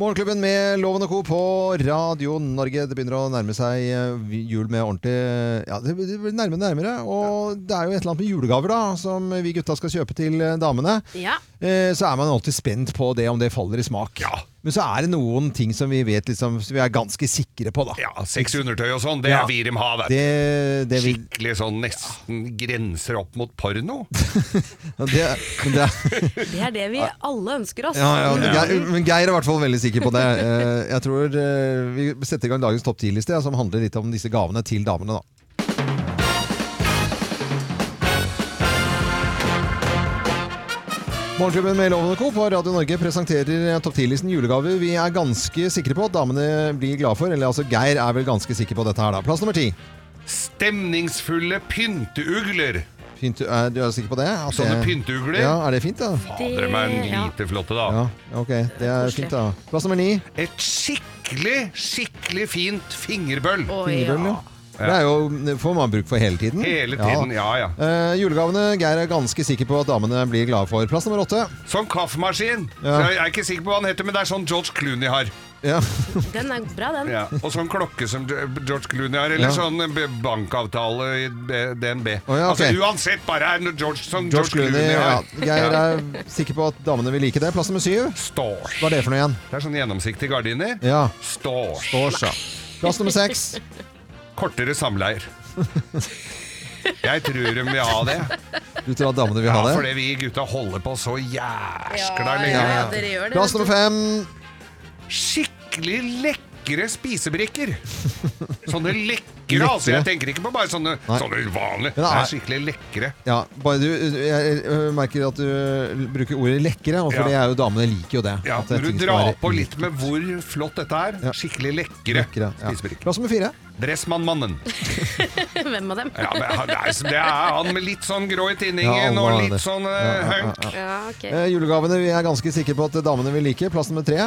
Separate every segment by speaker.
Speaker 1: Morgenklubben med Loven og Co. på Radio Norge. Det begynner å nærme seg eh, jul med ordentlig Ja, det blir nærmere og nærmere. Og det er jo et eller annet med julegaver da, som vi gutta skal kjøpe til eh, damene.
Speaker 2: Ja.
Speaker 1: Eh, Så er man alltid spent på det, om det faller i smak. Men så er det noen ting som vi vet liksom, som vi er ganske sikre på, da.
Speaker 3: Ja, Seks undertøy og sånn, det
Speaker 1: Ja.
Speaker 3: er Virim ha, det.
Speaker 1: Det, det, vil,
Speaker 3: Skikkelig sånn nesten grenser opp mot porno.
Speaker 1: det, men det er
Speaker 2: Det er det vi alle ønsker oss. Mm.
Speaker 1: Ja, ja, men Geir, men Geir er i hvert fall veldig sikker på det. Eh, Jeg tror eh, Vi setter i gang dagens topp 10-liste, ja, som handler litt om disse gavene til damene. da. Morgenklubben med Loven og Co. på Radio Norge presenterer topp 10-listen julegaver vi er ganske sikre på at damene blir glade for. Eller altså, Geir er vel ganske sikker på dette her, da. Plass nummer ti.
Speaker 3: Stemningsfulle pynteugler.
Speaker 1: Fint, er eh, du er sikker på det? At
Speaker 3: Sånne
Speaker 1: det-
Speaker 3: pynteugler.
Speaker 1: Ja, Er det fint, da?
Speaker 3: Fader meg en
Speaker 2: ja.
Speaker 3: lite flotte, da.
Speaker 1: Ja, ok. Det er fint, da. Plass nummer ni.
Speaker 3: Et skikkelig, skikkelig fint fingerbøll.
Speaker 2: Oi, ja.
Speaker 1: Fingerbøll, ja. Det er jo, får man bruk for hele tiden.
Speaker 3: Hele
Speaker 1: Ja.
Speaker 3: tiden, ja ja.
Speaker 1: Eh, julegavene Geir er ganske sikker på at damene blir glade for. Plass nummer åtte.
Speaker 3: Sånn kaffemaskin.
Speaker 1: Ja.
Speaker 3: Jeg er ikke sikker på hva han heter, men det er sånn George Clooney har.
Speaker 1: Ja.
Speaker 2: Den er bra, den.
Speaker 3: Ja. Og sånn klokke som George Clooney har, eller
Speaker 1: Ja.
Speaker 3: sånn b- bankavtale i B- DNB.
Speaker 1: Å, ja, ok.
Speaker 3: Altså Uansett, bare er noe George, som
Speaker 1: George
Speaker 3: George,
Speaker 1: Clooney.
Speaker 3: har.
Speaker 1: Ja. Geir er sikker på at damene vil like det. Plass nummer syv.
Speaker 3: Stårs.
Speaker 1: Hva er det for noe igjen?
Speaker 3: Det er sånn gjennomsiktig gardiner.
Speaker 1: Ja.
Speaker 3: Stårs.
Speaker 1: Års, ja. Plass nummer seks.
Speaker 3: Kortere samleier. Jeg tror de vil ha det.
Speaker 1: Du tror at damene vil
Speaker 3: Ja,
Speaker 1: ha det?
Speaker 3: fordi vi gutta holder på så jæskla
Speaker 2: Ja,
Speaker 3: lenge.
Speaker 2: ja, ja, dere gjør det.
Speaker 1: Plass nummer fem.
Speaker 3: skikkelig lekre spisebrikker. Sånne lekre, altså. Jeg tenker ikke på bare sånne,
Speaker 1: Nei.
Speaker 3: sånne uvanlige.
Speaker 1: Men
Speaker 3: Det
Speaker 1: det er-
Speaker 3: er skikkelig lekre.
Speaker 1: Ja, bare du, jeg øh, merker at du bruker ordet lekre, og for
Speaker 3: Ja.
Speaker 1: det er jo damene liker jo det.
Speaker 3: Ja,
Speaker 1: At det er
Speaker 3: Når du
Speaker 1: ting som
Speaker 3: drar
Speaker 1: er
Speaker 3: på litt med hvor flott dette er. Skikkelig lekre,
Speaker 1: lekre. Ja.
Speaker 3: spisebrikker.
Speaker 1: Plass nummer fire.
Speaker 3: Dressmannmannen.
Speaker 2: Hvem av dem?
Speaker 3: Ja, men han- det er, det er han med litt sånn grå i
Speaker 1: Ja,
Speaker 3: tinningen
Speaker 1: alle
Speaker 3: og
Speaker 1: har
Speaker 3: litt
Speaker 1: det.
Speaker 3: sånn
Speaker 1: Ja,
Speaker 3: eh,
Speaker 1: ja,
Speaker 3: hunk.
Speaker 2: Ja, ok.
Speaker 1: Eh, julegavene vi er ganske sikre på at damene vil like. Plass nummer tre.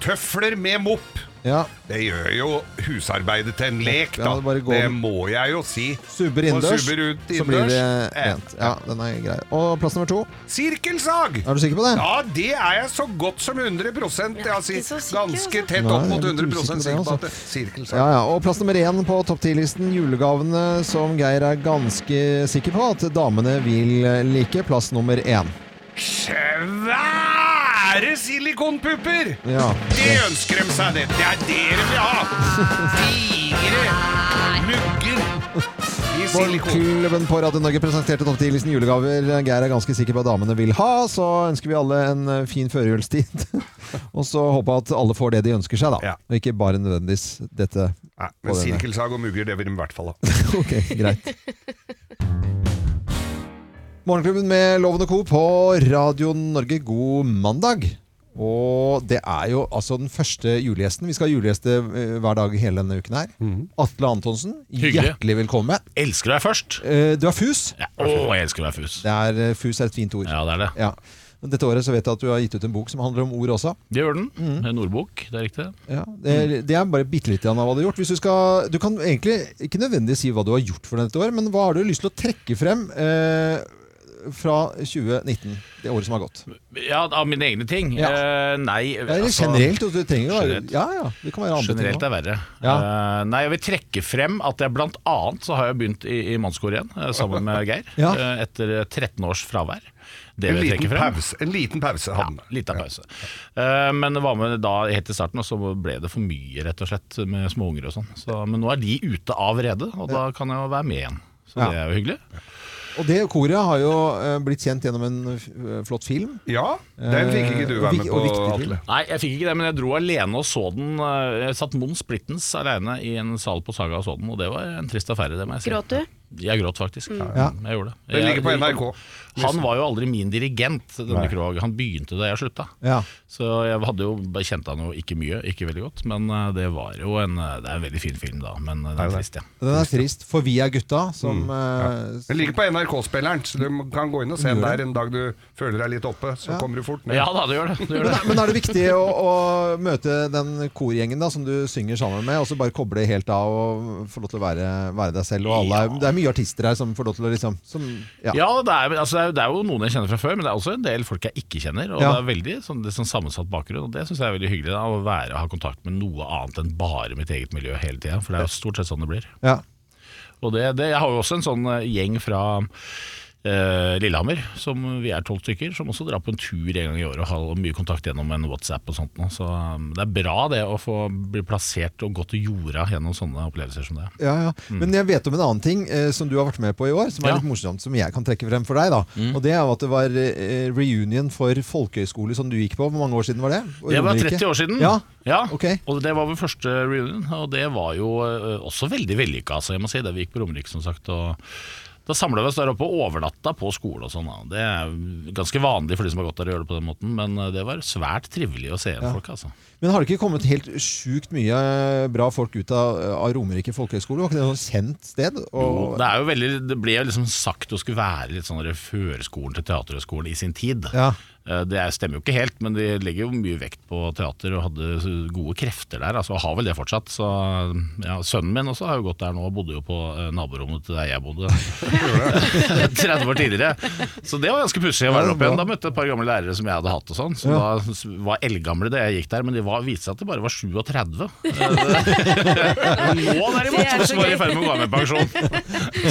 Speaker 3: Tøfler med mopp.
Speaker 1: Ja.
Speaker 3: Det gjør jo husarbeidet til en lek,
Speaker 1: Ja,
Speaker 3: da.
Speaker 1: det bare går-
Speaker 3: Det må jeg jo si.
Speaker 1: Subber
Speaker 3: Og
Speaker 1: innendørs,
Speaker 3: subber ut
Speaker 1: så blir det
Speaker 3: innendørs. Eh,
Speaker 1: rent. Ja, den er grei. Og plass nummer to.
Speaker 3: Sirkelsag!
Speaker 1: Er du sikker på det?
Speaker 3: Ja, det er jeg så godt som 100
Speaker 2: Jeg er
Speaker 3: altså,
Speaker 2: ikke så sikker,
Speaker 3: Ganske
Speaker 2: altså.
Speaker 3: tett
Speaker 1: Nei,
Speaker 3: opp mot
Speaker 1: jeg er litt
Speaker 3: 100 sikker på
Speaker 1: usikker på altså.
Speaker 3: at det sirkel
Speaker 1: Ja, ja. Og plass nummer én på topp ti-listen. Julegavene som Geir er ganske sikker på at damene vil like. Plass nummer én.
Speaker 3: Svære silikonpupper!
Speaker 1: Ja.
Speaker 3: Det ønsker de seg, det. Det er det de vil ha! Digre mugger i silikon.
Speaker 1: Morgenklubben på Radio Norge presenterte topp ti-listen julegaver Geir er ganske sikker på at damene vil ha. Så ønsker vi alle en eh, fin førjulstid. og så håper jeg at alle får det de ønsker seg, da.
Speaker 3: Ja.
Speaker 1: Og ikke bare nødvendigvis dette.
Speaker 3: Nei, men
Speaker 1: På denne.
Speaker 3: sirkelsag og mugger, det vil de i hvert fall ha.
Speaker 1: Ok, greit. Morgenklubben med Loven og Co. på Radio Norge, god mandag. Og det er jo altså den første julegjesten. Vi skal ha julegjeste eh, hver dag hele denne uken her. Atle Antonsen,
Speaker 4: Mhm. Hyggelig.
Speaker 1: hjertelig velkommen.
Speaker 4: Elsker deg først.
Speaker 1: Eh, Du er fus.
Speaker 4: Ja, å, jeg elsker å være fus.
Speaker 1: Det er, eh, fus er et fint ord.
Speaker 4: Ja, det er det.
Speaker 1: Ja. Dette året så vet jeg at du har gitt ut en bok som handler om ord også. Mhm.
Speaker 4: Det gjør den. Det er en ordbok, det er riktig.
Speaker 1: Ja,
Speaker 4: Mm.
Speaker 1: det, det er bare bitte litt av hva du har gjort. Hvis du, skal, du kan egentlig ikke nødvendigvis si hva du har gjort for dette år, men hva har du lyst til å trekke frem eh, fra 2019? Det året som har gått.
Speaker 4: Ja, av mine egne ting. Eh, nei
Speaker 1: Eller
Speaker 4: altså,
Speaker 1: generelt. Du trenger jo
Speaker 4: generelt.
Speaker 1: Ja, ja. Det kan være andre
Speaker 4: Generelt
Speaker 1: ting
Speaker 4: er verre.
Speaker 1: Ja.
Speaker 4: Eh, nei, jeg vil trekke frem at jeg blant annet så har jeg begynt i, i mannskor igjen, eh, sammen med Geir.
Speaker 1: Ja.
Speaker 4: eh, etter 13 års fravær. Det
Speaker 3: En
Speaker 4: vil jeg
Speaker 3: liten
Speaker 4: trekke frem.
Speaker 3: pause, en liten pause
Speaker 4: Ja,
Speaker 3: hadde
Speaker 4: litt av pause. Eh, men det var med da helt til starten, og så ble det for mye, rett og slett, med små unger og sånn. Så- Men nå er de ute av redet, og da kan jeg jo være med igjen. Så
Speaker 1: Ja.
Speaker 4: det er jo hyggelig.
Speaker 1: også. Og det koret har jo eh, blitt kjent gjennom en f- flott film.
Speaker 3: Ja, den fikk ikke du
Speaker 1: Eh, og
Speaker 3: være
Speaker 1: vik-
Speaker 3: med
Speaker 1: og
Speaker 3: på,
Speaker 1: viktig film.
Speaker 3: Atle.
Speaker 4: Nei, jeg fikk ikke det, men jeg dro alene og så den. eh, Jeg satt Mons Blittens alene i en sal på Saga og så den, og det var en trist affære, det må jeg si.
Speaker 2: Gråt du? Mm.
Speaker 4: Jeg gråt faktisk.
Speaker 1: Ja.
Speaker 4: Jeg gjorde det.
Speaker 3: Den ligger på
Speaker 4: Jeg-
Speaker 3: NRK.
Speaker 4: Han var jo aldri min dirigent, denne Krog. Han begynte da jeg slutta.
Speaker 1: Ja.
Speaker 4: Så jeg hadde jo bare kjent han jo ikke mye, ikke veldig godt, men eh, det var jo en eh, Det er en veldig fin film da, men eh, den er trist, ja.
Speaker 1: Den er trist, for vi er gutta som
Speaker 4: Mm.
Speaker 1: eh,
Speaker 3: Den ligger på NRK-spilleren, så du kan gå inn og se den der en dag du føler deg litt oppe. Så kommer du fort ned.
Speaker 4: Ja da, det gjør det. det, gjør
Speaker 1: Men,
Speaker 4: det.
Speaker 1: er- men er det viktig å, å møte den korgjengen da, som du synger sammen med, og så bare koble helt av og få lov til å være, være deg selv? Og alle, er- Det er mye artister her som får lov til å liksom som, ja.
Speaker 4: Ja, det er, altså, det er- det er jo noen jeg kjenner fra før, men det er også en del folk jeg ikke kjenner. Og
Speaker 1: Ja.
Speaker 4: det er veldig sånn, det er sånn sammensatt bakgrunn, og det syns jeg er veldig hyggelig. Da, å være, ha kontakt med noe annet enn bare mitt eget miljø hele tida, for det er jo stort sett sånn det blir.
Speaker 1: Ja.
Speaker 4: Og det, det, jeg har jo også en sånn eh, gjeng fra eh, Lillehammer, som vi er tolv stykker, som også drar på en tur en gang i året og har mye kontakt gjennom en WhatsApp og sånt. nå. Så um, det er bra det å få bli plassert og gått til jorda gjennom sånne opplevelser som det.
Speaker 1: Ja, ja. Men jeg vet om en annen ting eh, som du har vært med på i år, som er
Speaker 4: Mm. Ja. Mm.
Speaker 1: litt morsomt, som jeg kan trekke frem for deg. da. Og Det er jo at det var eh, reunion for folkehøyskole som du gikk på. Hvor mange år siden var det? Og
Speaker 4: Det var
Speaker 1: Romerike.
Speaker 4: 30 år siden.
Speaker 1: Ja. ok.
Speaker 4: Og det var vår første reunion, og det var jo eh, også veldig vellykka. Altså, jeg må si det. Vi gikk på Romerike, som sagt. og da samla vi oss der oppe og overnatta på skole og sånn. da. Det er ganske vanlig for de som har gått der og gjør det på den måten, men eh, det var svært trivelig å se igjen folk, altså.
Speaker 1: Men har det ikke kommet helt sjukt mye eh, bra folk ut av, av Romerike folkehøgskole? Var ikke det et sånt kjent sted?
Speaker 4: Jo,
Speaker 1: Og,
Speaker 4: det, er jo veldig, det ble jo liksom sagt å skulle være litt sånn der førskolen til teaterhøgskolen i sin tid.
Speaker 1: Ja.
Speaker 4: Eh, Det er- stemmer jo ikke helt, men de legger jo mye vekt på teater og hadde så gode krefter der. Altså, og har vel det fortsatt. Så, ja, sønnen min også har jo gått der nå og bodde jo på eh, naborommet til der jeg bodde 30 år tidligere. Så det var ganske pussig å være
Speaker 1: Ja,
Speaker 4: der oppe igjen.
Speaker 1: bra.
Speaker 4: Da møtte jeg et par gamle lærere som jeg hadde hatt og sånn. Som da s- var eldgamle da jeg gikk der, men de var, viste seg at de bare var 37. Eh, det- Nå
Speaker 2: Det er
Speaker 4: derimot
Speaker 2: så
Speaker 4: så var de
Speaker 2: gøy.
Speaker 4: i ferd med å gå av med pensjon.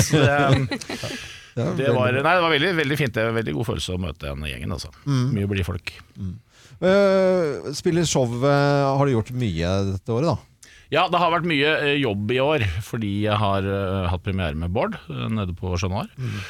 Speaker 4: Så det, um, det var, nei, det var veldig, veldig fint. Det var en veldig god følelse å møte den gjengen. Altså.
Speaker 1: Mm.
Speaker 4: Mye blide folk.
Speaker 1: Eh, spiller show eh, har du gjort mye dette året, da?
Speaker 4: Ja, det har vært mye eh, jobb i år, fordi jeg har eh, hatt premiere med Bård eh, nede på Chat Noir.
Speaker 1: Mm.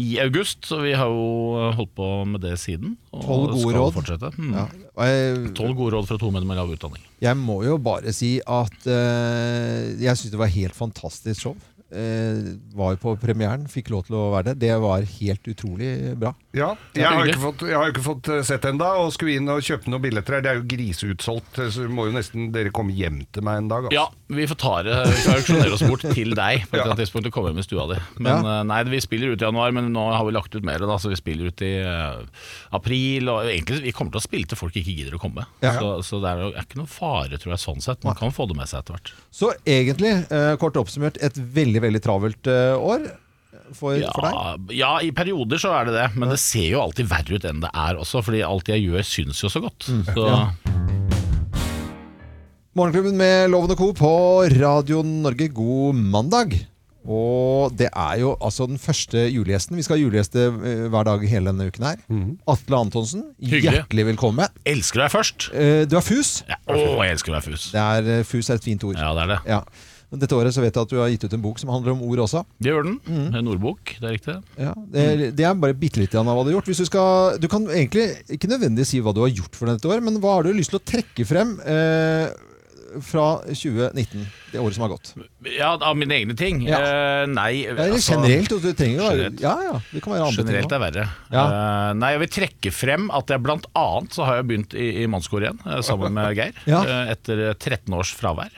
Speaker 4: I august, så vi har jo eh, holdt på med det siden. Og
Speaker 1: Tolv gode
Speaker 4: skal
Speaker 1: råd.
Speaker 4: fortsette. Mm.
Speaker 1: Ja. Og jeg-
Speaker 4: Tolv gode råd fra to menn med lav utdanning.
Speaker 1: Jeg må jo bare si at eh, jeg syns det var helt fantastisk show. Eh, var jo på premieren, fikk lov til å være der. Det var helt utrolig bra.
Speaker 3: Ja, jeg har
Speaker 4: hyggelig.
Speaker 3: ikke fått, jeg har ikke fått eh, sett enda og skulle inn og kjøpe noen billetter her. Det er jo griseutsolgt, eh, så må jo nesten dere komme hjem til meg en dag. altså.
Speaker 4: Ja, vi får ta det Vi får auksjonere oss bort til deg på et eller
Speaker 3: Ja.
Speaker 4: annet tidspunkt og komme hjem i stua di. Men eh, nei, vi spiller ut i januar, men nå har vi lagt ut mer, da, så vi spiller ut i eh, april. Og egentlig, vi kommer til å spille til folk ikke gidder å komme.
Speaker 1: Ja.
Speaker 4: Så, så det er jo er ikke noe fare, tror jeg, sånn sett. Man kan få det med seg etter hvert.
Speaker 1: Så egentlig, eh, kort oppsummert, et veldig veldig travelt eh, år for, for deg.
Speaker 4: Ja, ja, i perioder så er det det, men det ser jo alltid verre ut enn det er også, fordi alt jeg gjør syns jo så godt.
Speaker 1: Mm.
Speaker 4: Så
Speaker 1: Morgenklubben med Loven og Co. på Radio Norge, god mandag. Og det er jo altså den første julegjesten. Vi skal ha julegjeste eh, hver dag hele denne uken her. Atle Antonsen,
Speaker 4: Mhm. Hyggelig.
Speaker 1: hjertelig velkommen.
Speaker 4: elsker du deg først?
Speaker 1: Eh, du er fus.
Speaker 4: Ja, å, jeg elsker deg, Fus.
Speaker 1: Det er, eh, fus er et fint ord.
Speaker 4: Ja, det er det.
Speaker 1: Ja. Men Dette året så vet jeg at du har gitt ut en bok som handler om ord også. Mhm.
Speaker 4: Det gjør den. En ordbok, det er riktig.
Speaker 1: Ja, det, er, det er bare bitte litt av hva du har gjort. Hvis du, skal, du kan egentlig ikke nødvendigvis si hva du har gjort for dette året, men hva har du lyst til å trekke frem eh, fra 2019? Det året som har gått.
Speaker 4: Ja, av mine egne ting? Eh, nei
Speaker 1: Eller
Speaker 4: altså-
Speaker 1: generelt. Du trenger jo være-
Speaker 4: generelt.
Speaker 1: ja, ja, det kan være andre
Speaker 4: Generelt
Speaker 1: ting
Speaker 4: er verre.
Speaker 1: Ja.
Speaker 4: Eh, nei, jeg vil trekke frem at jeg blant annet så har jeg begynt i, i mannskor igjen, eh, sammen med Geir.
Speaker 1: Ja.
Speaker 4: eh, etter 13 års fravær.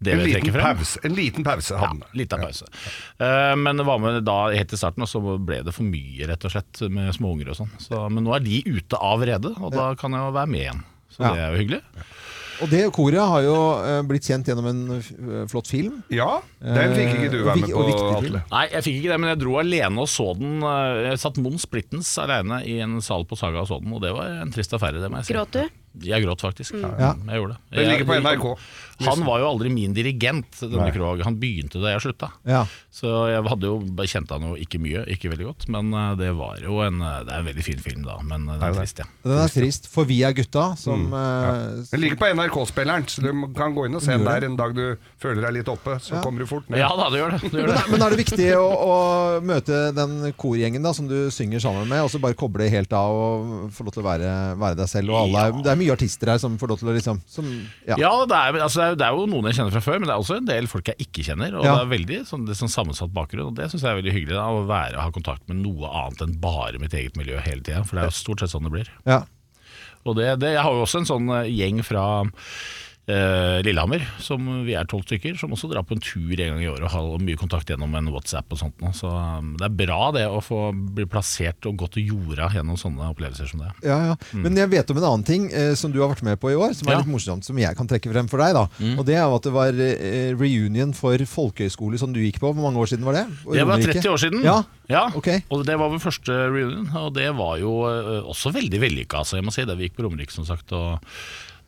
Speaker 4: Det
Speaker 3: En
Speaker 4: vil jeg
Speaker 3: liten
Speaker 4: trekke frem.
Speaker 3: pause, en liten pause
Speaker 4: Ja,
Speaker 3: hadde den.
Speaker 4: litt av pause. Eh, men det var med da helt til starten, og så ble det for mye, rett og slett, med småunger og sånn. Så- Men nå er de ute av redet, og da kan jeg jo være med igjen. Så
Speaker 1: Ja.
Speaker 4: det er jo hyggelig.
Speaker 1: også. Og det koret har jo eh, blitt kjent gjennom en eh, f- flott film.
Speaker 3: Ja, den fikk ikke du
Speaker 1: Eh, og
Speaker 3: være
Speaker 1: vik-
Speaker 3: med
Speaker 1: og
Speaker 3: på,
Speaker 1: viktig film.
Speaker 3: Atle.
Speaker 4: Nei, jeg fikk ikke det, men jeg dro alene og så den. eh, Jeg satt Mons Splittens alene i en sal på Saga og så den, og det var en trist affære, det må jeg si.
Speaker 2: Gråt du? Mm.
Speaker 4: Jeg gråt faktisk.
Speaker 1: Ja.
Speaker 4: Jeg gjorde det.
Speaker 3: Den
Speaker 4: Jeg-
Speaker 3: ligger på NRK.
Speaker 4: Han var jo aldri min dirigent, denne Krog. Han begynte da jeg slutta.
Speaker 1: Ja.
Speaker 4: Så jeg hadde jo kjente han jo ikke mye, ikke veldig godt. Men eh, det var jo en eh, Det er en veldig fin film, da, men eh, den er
Speaker 3: det?
Speaker 4: trist, ja.
Speaker 1: Den er trist, for vi er gutta som
Speaker 4: Mm.
Speaker 1: eh,
Speaker 3: Den ligger på NRK-spilleren, så du må- kan gå inn og se den der en dag du føler deg litt oppe. Så kommer du fort ned.
Speaker 4: Ja da, det gjør det. det, gjør
Speaker 1: Men,
Speaker 4: det.
Speaker 1: er- men er det viktig å, å møte den korgjengen da, som du synger sammen med, og så bare koble helt av og få lov til å være, være deg selv? Og alle, er- Det er mye artister her som får lov til å liksom som, ja.
Speaker 4: Ja, det er, altså, det, er, jo- det er jo noen jeg kjenner fra før, men det er også en del folk jeg ikke kjenner. Og
Speaker 1: Ja.
Speaker 4: Det er veldig sånn, det er sånn sammensatt bakgrunn, og det syns jeg er veldig hyggelig. Da, å være, ha kontakt med noe annet enn bare mitt eget miljø hele tida, for det er jo stort sett sånn det blir.
Speaker 1: Ja.
Speaker 4: Og det, det, jeg har jo også en sånn eh, gjeng fra eh, Lillehammer, som vi er tolv stykker, som også drar på en tur en gang i året og har mye kontakt gjennom en WhatsApp og sånt. nå. Så um, det er bra det å få bli plassert og gått til jorda gjennom sånne opplevelser som det.
Speaker 1: Ja, ja. Men jeg vet om en annen ting eh, som du har vært med på i år, som er
Speaker 4: Mm. Ja. Mm.
Speaker 1: litt morsomt, som jeg kan trekke frem for deg. da. Og Det er jo at det var eh, reunion for folkehøyskole som du gikk på. Hvor mange år siden var det? Og
Speaker 4: Det var
Speaker 1: Romerike.
Speaker 4: 30 år siden.
Speaker 1: Ja.
Speaker 4: Ja,
Speaker 1: Ok.
Speaker 4: Og det var vår første reunion, og det var jo eh, også veldig vellykka. Altså, jeg må si det. Vi gikk på Romerike, som sagt. og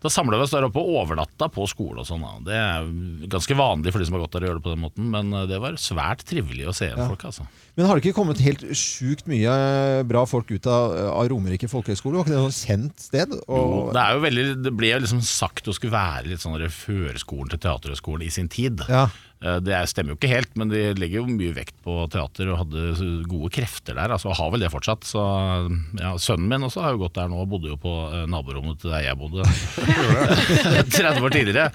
Speaker 4: da samla vi oss der oppe og overnatta på skole og sånn. da. Det er jo ganske vanlig for de som har gått der og gjør det på den måten, men eh, det var svært trivelig å se igjen folk, altså.
Speaker 1: Men har det ikke kommet helt sjukt mye eh, bra folk ut av, eh, av Romerike folkehøgskole? Var ikke det et sånt kjent sted?
Speaker 4: Jo,
Speaker 1: Og,
Speaker 4: det, er jo veldig, det ble jo liksom sagt å skulle være litt sånn der førskolen til teaterhøgskolen i sin tid.
Speaker 1: Ja.
Speaker 4: Eh, Det er- stemmer jo ikke helt, men de legger jo mye vekt på teater og hadde gode krefter der. Altså, og har vel det fortsatt. Så, ja, sønnen min også har jo gått der nå og bodde jo på eh, naborommet til der jeg bodde 30 år tidligere.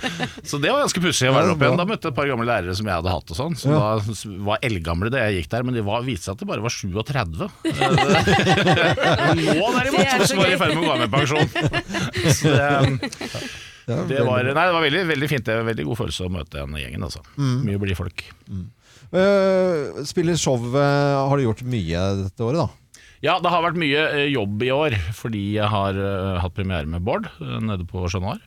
Speaker 4: Så det var ganske pussig å være der oppe igjen. Da møtte jeg et par gamle lærere som jeg hadde hatt og sånn, som da s- var eldgamle da jeg gikk der, men de var, viste seg at de bare var 37. Eh, det- Nå
Speaker 2: Det er
Speaker 4: derimot,
Speaker 2: så
Speaker 4: så var de i
Speaker 2: gøy.
Speaker 4: ferd med å gå av med pensjon. Så um, det, det var, nei, det var veldig, veldig fint. Det var veldig god følelse å møte den gjengen. Altså. Mye blide folk.
Speaker 1: Øh, spiller show øh, har du gjort mye dette året, da?
Speaker 4: Ja, det har vært mye eh, jobb i år, fordi jeg har eh, hatt premiere med Bård eh, nede på Chat Noir.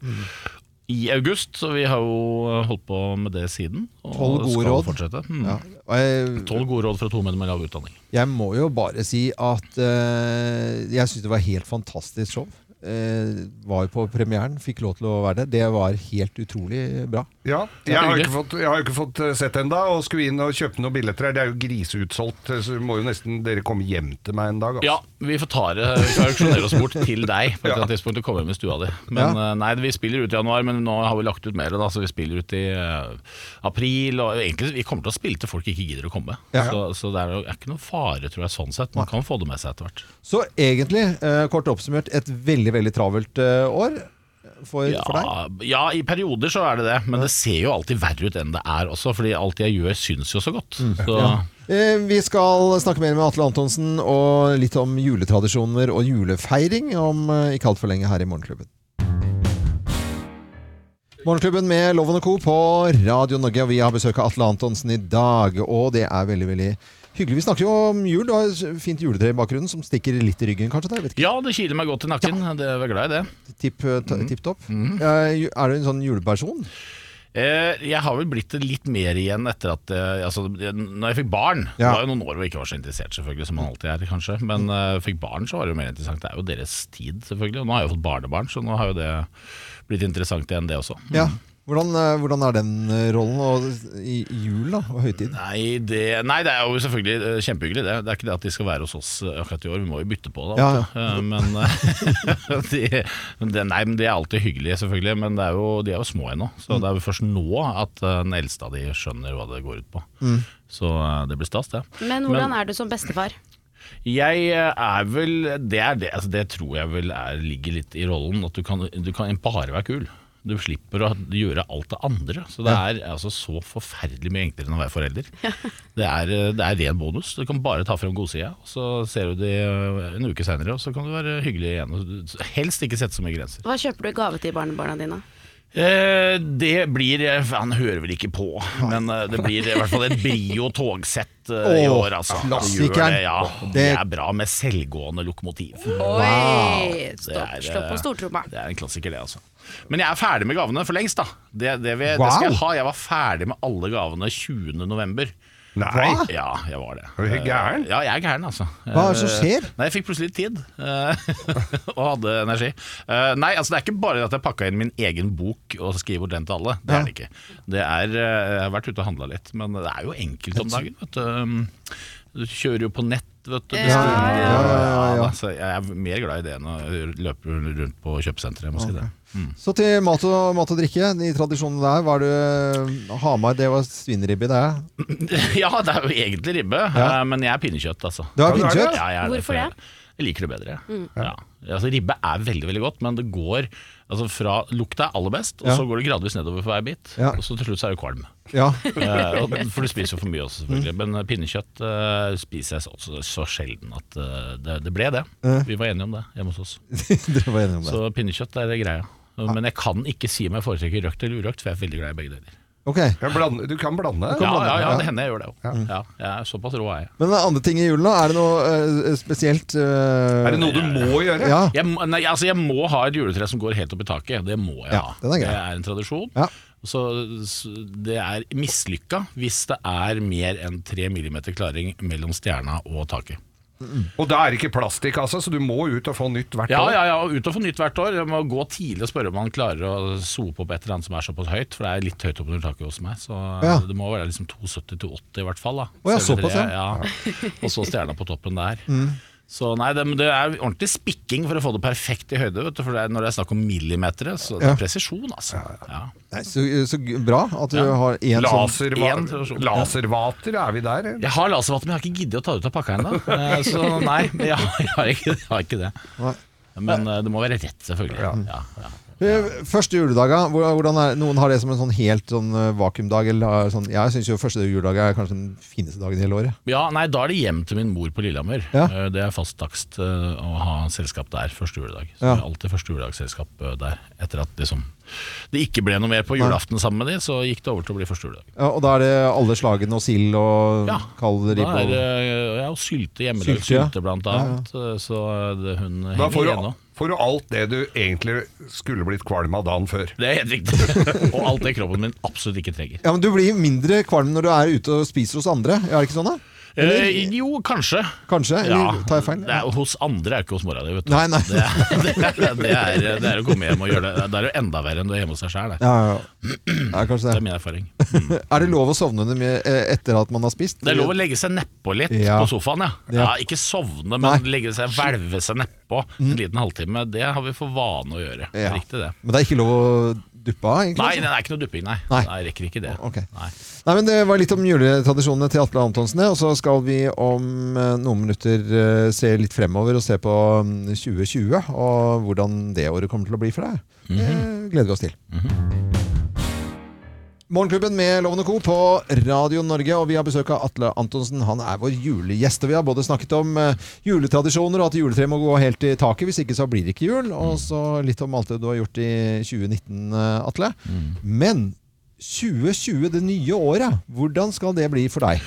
Speaker 4: I august, så vi har jo eh, holdt på med det siden. og
Speaker 1: Tolv gode
Speaker 4: skal
Speaker 1: råd.
Speaker 4: fortsette. Mm.
Speaker 1: Ja. Og Jeg,
Speaker 4: Tolv gode råd fra to menn med lav utdanning.
Speaker 1: jeg må jo bare si at øh, jeg syns det var helt fantastisk show. Eh, var jo på premieren, fikk lov til å være der. Det var helt utrolig bra.
Speaker 3: Ja, jeg har,
Speaker 4: hyggelig.
Speaker 3: ikke fått, jeg har ikke fått eh, sett enda og skulle inn og kjøpe noen billetter her. Det er jo griseutsolgt, eh, så må jo nesten dere komme hjem til meg en dag. altså.
Speaker 4: Ja, vi får ta det, vi skal auksjonere oss bort til deg på et eller annet tidspunkt og komme hjem i stua di. Men eh, nei, vi spiller ut i januar, men nå har vi lagt ut mer, da, så vi spiller ut i eh, april. Og egentlig, vi kommer til å spille til folk ikke gidder å komme.
Speaker 1: Ja.
Speaker 4: Så, så det er jo er ikke noen fare, tror jeg, sånn sett. Man kan få det med seg etter hvert.
Speaker 1: Så egentlig, øh, kort oppsummert, et veldig, veldig travelt øh, år for, for deg.
Speaker 4: Ja, ja, i perioder så er det det, men det ser jo alltid verre ut enn det er også, fordi alt jeg gjør syns jo så godt.
Speaker 1: Mm.
Speaker 4: Så,
Speaker 1: Eh, Vi skal snakke mer med Atle Antonsen og litt om juletradisjoner og julefeiring om eh, ikke altfor lenge her i Morgenklubben. Morgenklubben med Loven og Co. på Radio Norge, og vi har besøk av Atle Antonsen i dag. Og det er veldig, veldig hyggelig. Vi snakker jo om jul. Du har et fint juletre i bakgrunnen som stikker litt i ryggen, kanskje? Da? Jeg vet
Speaker 4: ja, det kiler meg godt i nakken, det jeg er glad i det. Mm.
Speaker 1: ikke. Tipp, eh, ta- tipp topp. Eh, Er du en sånn juleperson?
Speaker 4: Eh, Jeg har vel blitt det litt mer igjen etter at eh, altså, Når jeg fikk barn Det
Speaker 1: Ja.
Speaker 4: var jo noen år hvor jeg ikke var så interessert, selvfølgelig, som man alltid er, kanskje. Men eh,
Speaker 1: Mm.
Speaker 4: jeg fikk barn, så var det jo mer interessant. Det er jo deres tid, selvfølgelig. Og nå har jeg jo fått barnebarn, så nå har jo det blitt interessant igjen, det også.
Speaker 1: Ja. Hvordan, eh, hvordan er den eh, rollen og, i i jul da, og høytid?
Speaker 4: Nei det, nei, det er jo selvfølgelig eh, kjempehyggelig. Det Det er ikke det at de skal være hos oss eh, akkurat i år, vi må jo bytte på det.
Speaker 1: Ja,
Speaker 4: vet du. Eh, Men, eh, de, men det- nei, men de er alltid hyggelige, selvfølgelig. Men det er jo, de er jo små ennå.
Speaker 1: Mm.
Speaker 4: Så det er jo først nå at eh, den eldste av de skjønner hva det går ut på.
Speaker 1: Mm.
Speaker 4: Så eh, det blir stas, det.
Speaker 2: Men hvordan er du som bestefar?
Speaker 4: Jeg eh, er vel Det er det, altså det tror jeg vel er, ligger litt i rollen. At du kan, du kan bare være kul. Du slipper å gjøre alt det andre. Så det er altså så forferdelig mye enklere enn å være forelder. Det, er, eh, det er ren bonus. Du kan bare ta frem godsida, og så ser du de eh, en uke seinere, og så kan du være hyggelig igjen. og du- Helst ikke sette så mye grenser.
Speaker 2: Hva kjøper du i gave til barnebarna dine?
Speaker 4: Eh, det blir eh, Han hører vel ikke på, men eh, det blir i hvert fall et Brio togsett eh, i
Speaker 1: Åh,
Speaker 4: år, altså. Det,
Speaker 1: klassikeren.
Speaker 4: gjør det, ja. det
Speaker 1: Det-
Speaker 4: er bra med selvgående lokomotiv.
Speaker 2: Oi!
Speaker 4: Det
Speaker 2: Stopp,
Speaker 4: er,
Speaker 2: slå
Speaker 4: eh,
Speaker 2: på stortromma.
Speaker 4: Det er en klassiker, det, altså. Men jeg er ferdig med gavene for lengst, da. Det, det, vil,
Speaker 1: Wow.
Speaker 4: det skal jeg ha. Jeg var ferdig med alle gavene 20. november.
Speaker 3: Nei,
Speaker 1: Hva?
Speaker 4: Ja, jeg var det.
Speaker 3: Er du helt gæren?
Speaker 4: Ja, jeg er gæren, altså.
Speaker 1: Hva er det som
Speaker 4: Eh,
Speaker 1: skjer?
Speaker 4: Nei, Jeg fikk plutselig litt tid, eh, og hadde energi. Eh, Nei, altså det er ikke bare det at jeg pakka inn min egen bok og skriver bort den til alle. Det
Speaker 1: Ja.
Speaker 4: er det ikke. Det er, eh, jeg har vært ute og handla litt, men det er jo enkelt om dagen, vet du. Um, Du kjører jo på nett, vet du.
Speaker 2: Ja, ja,
Speaker 1: ja, ja, ja.
Speaker 4: da, så altså, jeg er mer glad i det enn å løpe rundt på kjøpesenteret, jeg må si det.
Speaker 1: Så til mat og, mat og drikke. I tradisjonen der var det Hamar, det var svinribbe, det.
Speaker 4: Ja, det er jo egentlig ribbe, eh, men jeg er pinnekjøtt, altså.
Speaker 1: Det
Speaker 3: Ja, det
Speaker 1: var
Speaker 3: er
Speaker 1: pinnekjøtt.
Speaker 4: Ja, jeg er
Speaker 2: Hvorfor
Speaker 4: for jeg-
Speaker 2: det? Mm.
Speaker 4: Jeg liker det bedre. Ja. Altså, ribbe er veldig veldig godt, men det går altså, fra lukta er aller best, og
Speaker 1: Ja.
Speaker 4: så går det gradvis nedover for hver bit.
Speaker 1: Ja.
Speaker 4: Og så til slutt så er det kvalm.
Speaker 1: Ja. Mm.
Speaker 4: Eh, og- for du spiser jo for mye også, selvfølgelig. Men eh, pinnekjøtt eh, spiser jeg så, så, så sjelden at eh, det, det ble det. Vi var enige om det hjemme hos oss.
Speaker 1: Dere var enige om det.
Speaker 4: Så pinnekjøtt er greia. Men jeg kan ikke si om jeg foretrekker røkt eller urøkt, for jeg er veldig glad i begge deler.
Speaker 1: Ok,
Speaker 3: Jeg blander- Du kan blande.
Speaker 4: Ja,
Speaker 1: blande,
Speaker 4: ja, ja,
Speaker 1: ja.
Speaker 4: det hender jeg gjør det òg. Ja, jeg er såpass rå er jeg.
Speaker 1: Men andre ting i julen, da? Er det noe eh, spesielt eh,
Speaker 3: Er det noe du må gjøre?
Speaker 1: Ja.
Speaker 4: Jeg, må- nei, altså jeg må ha et juletre som går helt opp i taket. Det må jeg
Speaker 1: Ja,
Speaker 4: ha.
Speaker 1: den er grei.
Speaker 4: det er en tradisjon.
Speaker 1: Ja.
Speaker 4: Så s- det er mislykka hvis det er mer enn tre millimeter klaring mellom stjerna og taket.
Speaker 3: Og da er det ikke plass til kassa, så du må ut og få nytt hvert
Speaker 4: Ja,
Speaker 3: år.
Speaker 4: ja, ja, og ut og få nytt hvert år. Jeg må gå tidlig og spørre om man klarer å sope opp et eller annet som er såpass høyt, for det er litt høyt oppunder taket hos meg. Så
Speaker 1: Ja.
Speaker 4: det må være liksom 270-80 i hvert fall. Da.
Speaker 1: Å ja,
Speaker 4: Selve
Speaker 1: såpass,
Speaker 4: treet, ja. Og så stjerna på toppen der. Så nei, det, men det er ordentlig spikking for å få det perfekt i høyde, vet du, for det er, når det er snakk om millimeter, så det
Speaker 1: Ja.
Speaker 4: er presisjon, altså. Ja.
Speaker 1: Nei, så, så g- bra at du
Speaker 4: Ja.
Speaker 1: har én sånn
Speaker 3: Laserva-
Speaker 4: En tradisjon.
Speaker 3: Laservater, er vi der? eller?
Speaker 4: Jeg har laservater, men jeg har ikke giddet å ta det ut av pakka ennå. Eh, Så nei, jeg har, jeg har, ikke, jeg har ikke det.
Speaker 1: Nei.
Speaker 4: Men eh, det må være rett, selvfølgelig. Ja, ja.
Speaker 1: Eh, Første juledaga, hvor- hvordan er, noen har det som en sånn helt sånn eh, vakuumdag. Eller har sånn, jeg syns jo første juledag er kanskje den fineste dagen i hele året.
Speaker 4: Ja, nei, Da er det hjem til min mor på Lillehammer.
Speaker 1: Ja.
Speaker 4: Eh, Det er fast takst eh, å ha selskap der første juledag. Så
Speaker 1: Ja.
Speaker 4: det er alltid første juledagsselskap eh, der. Etter at liksom, det ikke ble noe mer på julaften sammen med de, så gikk det over til å bli første juledag.
Speaker 1: Ja, og da er det alle slagene og sild og
Speaker 4: Ja,
Speaker 1: kald
Speaker 4: Da
Speaker 1: ribbe.
Speaker 4: er
Speaker 1: og-
Speaker 4: eh, ja, og sylte hjemmelagd
Speaker 1: Sylte, ja.
Speaker 4: sylte, blant
Speaker 1: ja.
Speaker 4: annet. eh, Så det, hun
Speaker 3: Da
Speaker 4: henger
Speaker 3: får
Speaker 4: igjen
Speaker 3: du,
Speaker 4: nå.
Speaker 3: får du alt det du egentlig skulle blitt kvalm av dagen før.
Speaker 4: Det er helt riktig. og alt det kroppen min absolutt ikke trenger.
Speaker 1: Ja, men Du blir mindre kvalm når du er ute og spiser hos andre, er det ikke sånn? da? Eller,
Speaker 4: Eh, jo, kanskje.
Speaker 1: kanskje?
Speaker 4: Ja,
Speaker 1: Eller tar jeg feil?
Speaker 4: Det er, hos andre er ikke hos mora di, vet du.
Speaker 1: Nei, nei.
Speaker 4: Det, er, det, er, det, er, det er å komme hjem og gjøre det. Det er jo enda verre enn du er hjemme hos deg sjæl. Det
Speaker 1: Ja, ja, ja. ja, kanskje
Speaker 4: Det er
Speaker 1: det.
Speaker 4: min erfaring.
Speaker 1: Er det lov å sovne under med, eh, etter at man har spist?
Speaker 4: Det er lov å legge seg nedpå litt
Speaker 1: Ja.
Speaker 4: på sofaen, ja. ja.
Speaker 1: Ja.
Speaker 4: Ikke sovne, men
Speaker 1: Nei. Mm.
Speaker 4: legge seg, hvelve seg nedpå en liten halvtime. Det har vi for vane å gjøre.
Speaker 1: Ja.
Speaker 4: Riktig det.
Speaker 1: Men det er ikke lov å duppe av? egentlig?
Speaker 4: Nei, det er ikke noe dupping, nei.
Speaker 1: Nei.
Speaker 4: nei. Jeg rekker ikke det.
Speaker 1: Ok.
Speaker 4: Nei.
Speaker 1: Nei, men Det var litt om juletradisjonene til Atle Antonsen. ja, Og så skal vi om eh, noen minutter eh, se litt fremover og se på mm, 2020. Og hvordan det året kommer til å bli for deg.
Speaker 4: Mhm.
Speaker 1: Det gleder vi oss til. Morgenklubben med Lovende Co. på Radio Norge. Og vi har besøk av Atle Antonsen. Han er vår julegjest. Og vi har både snakket om eh, juletradisjoner og at juletreet må gå helt i taket. Hvis ikke så blir det ikke jul. Og så litt om alt det du har gjort i 2019, eh, Atle. Men 2020, det nye året, hvordan skal det bli for deg?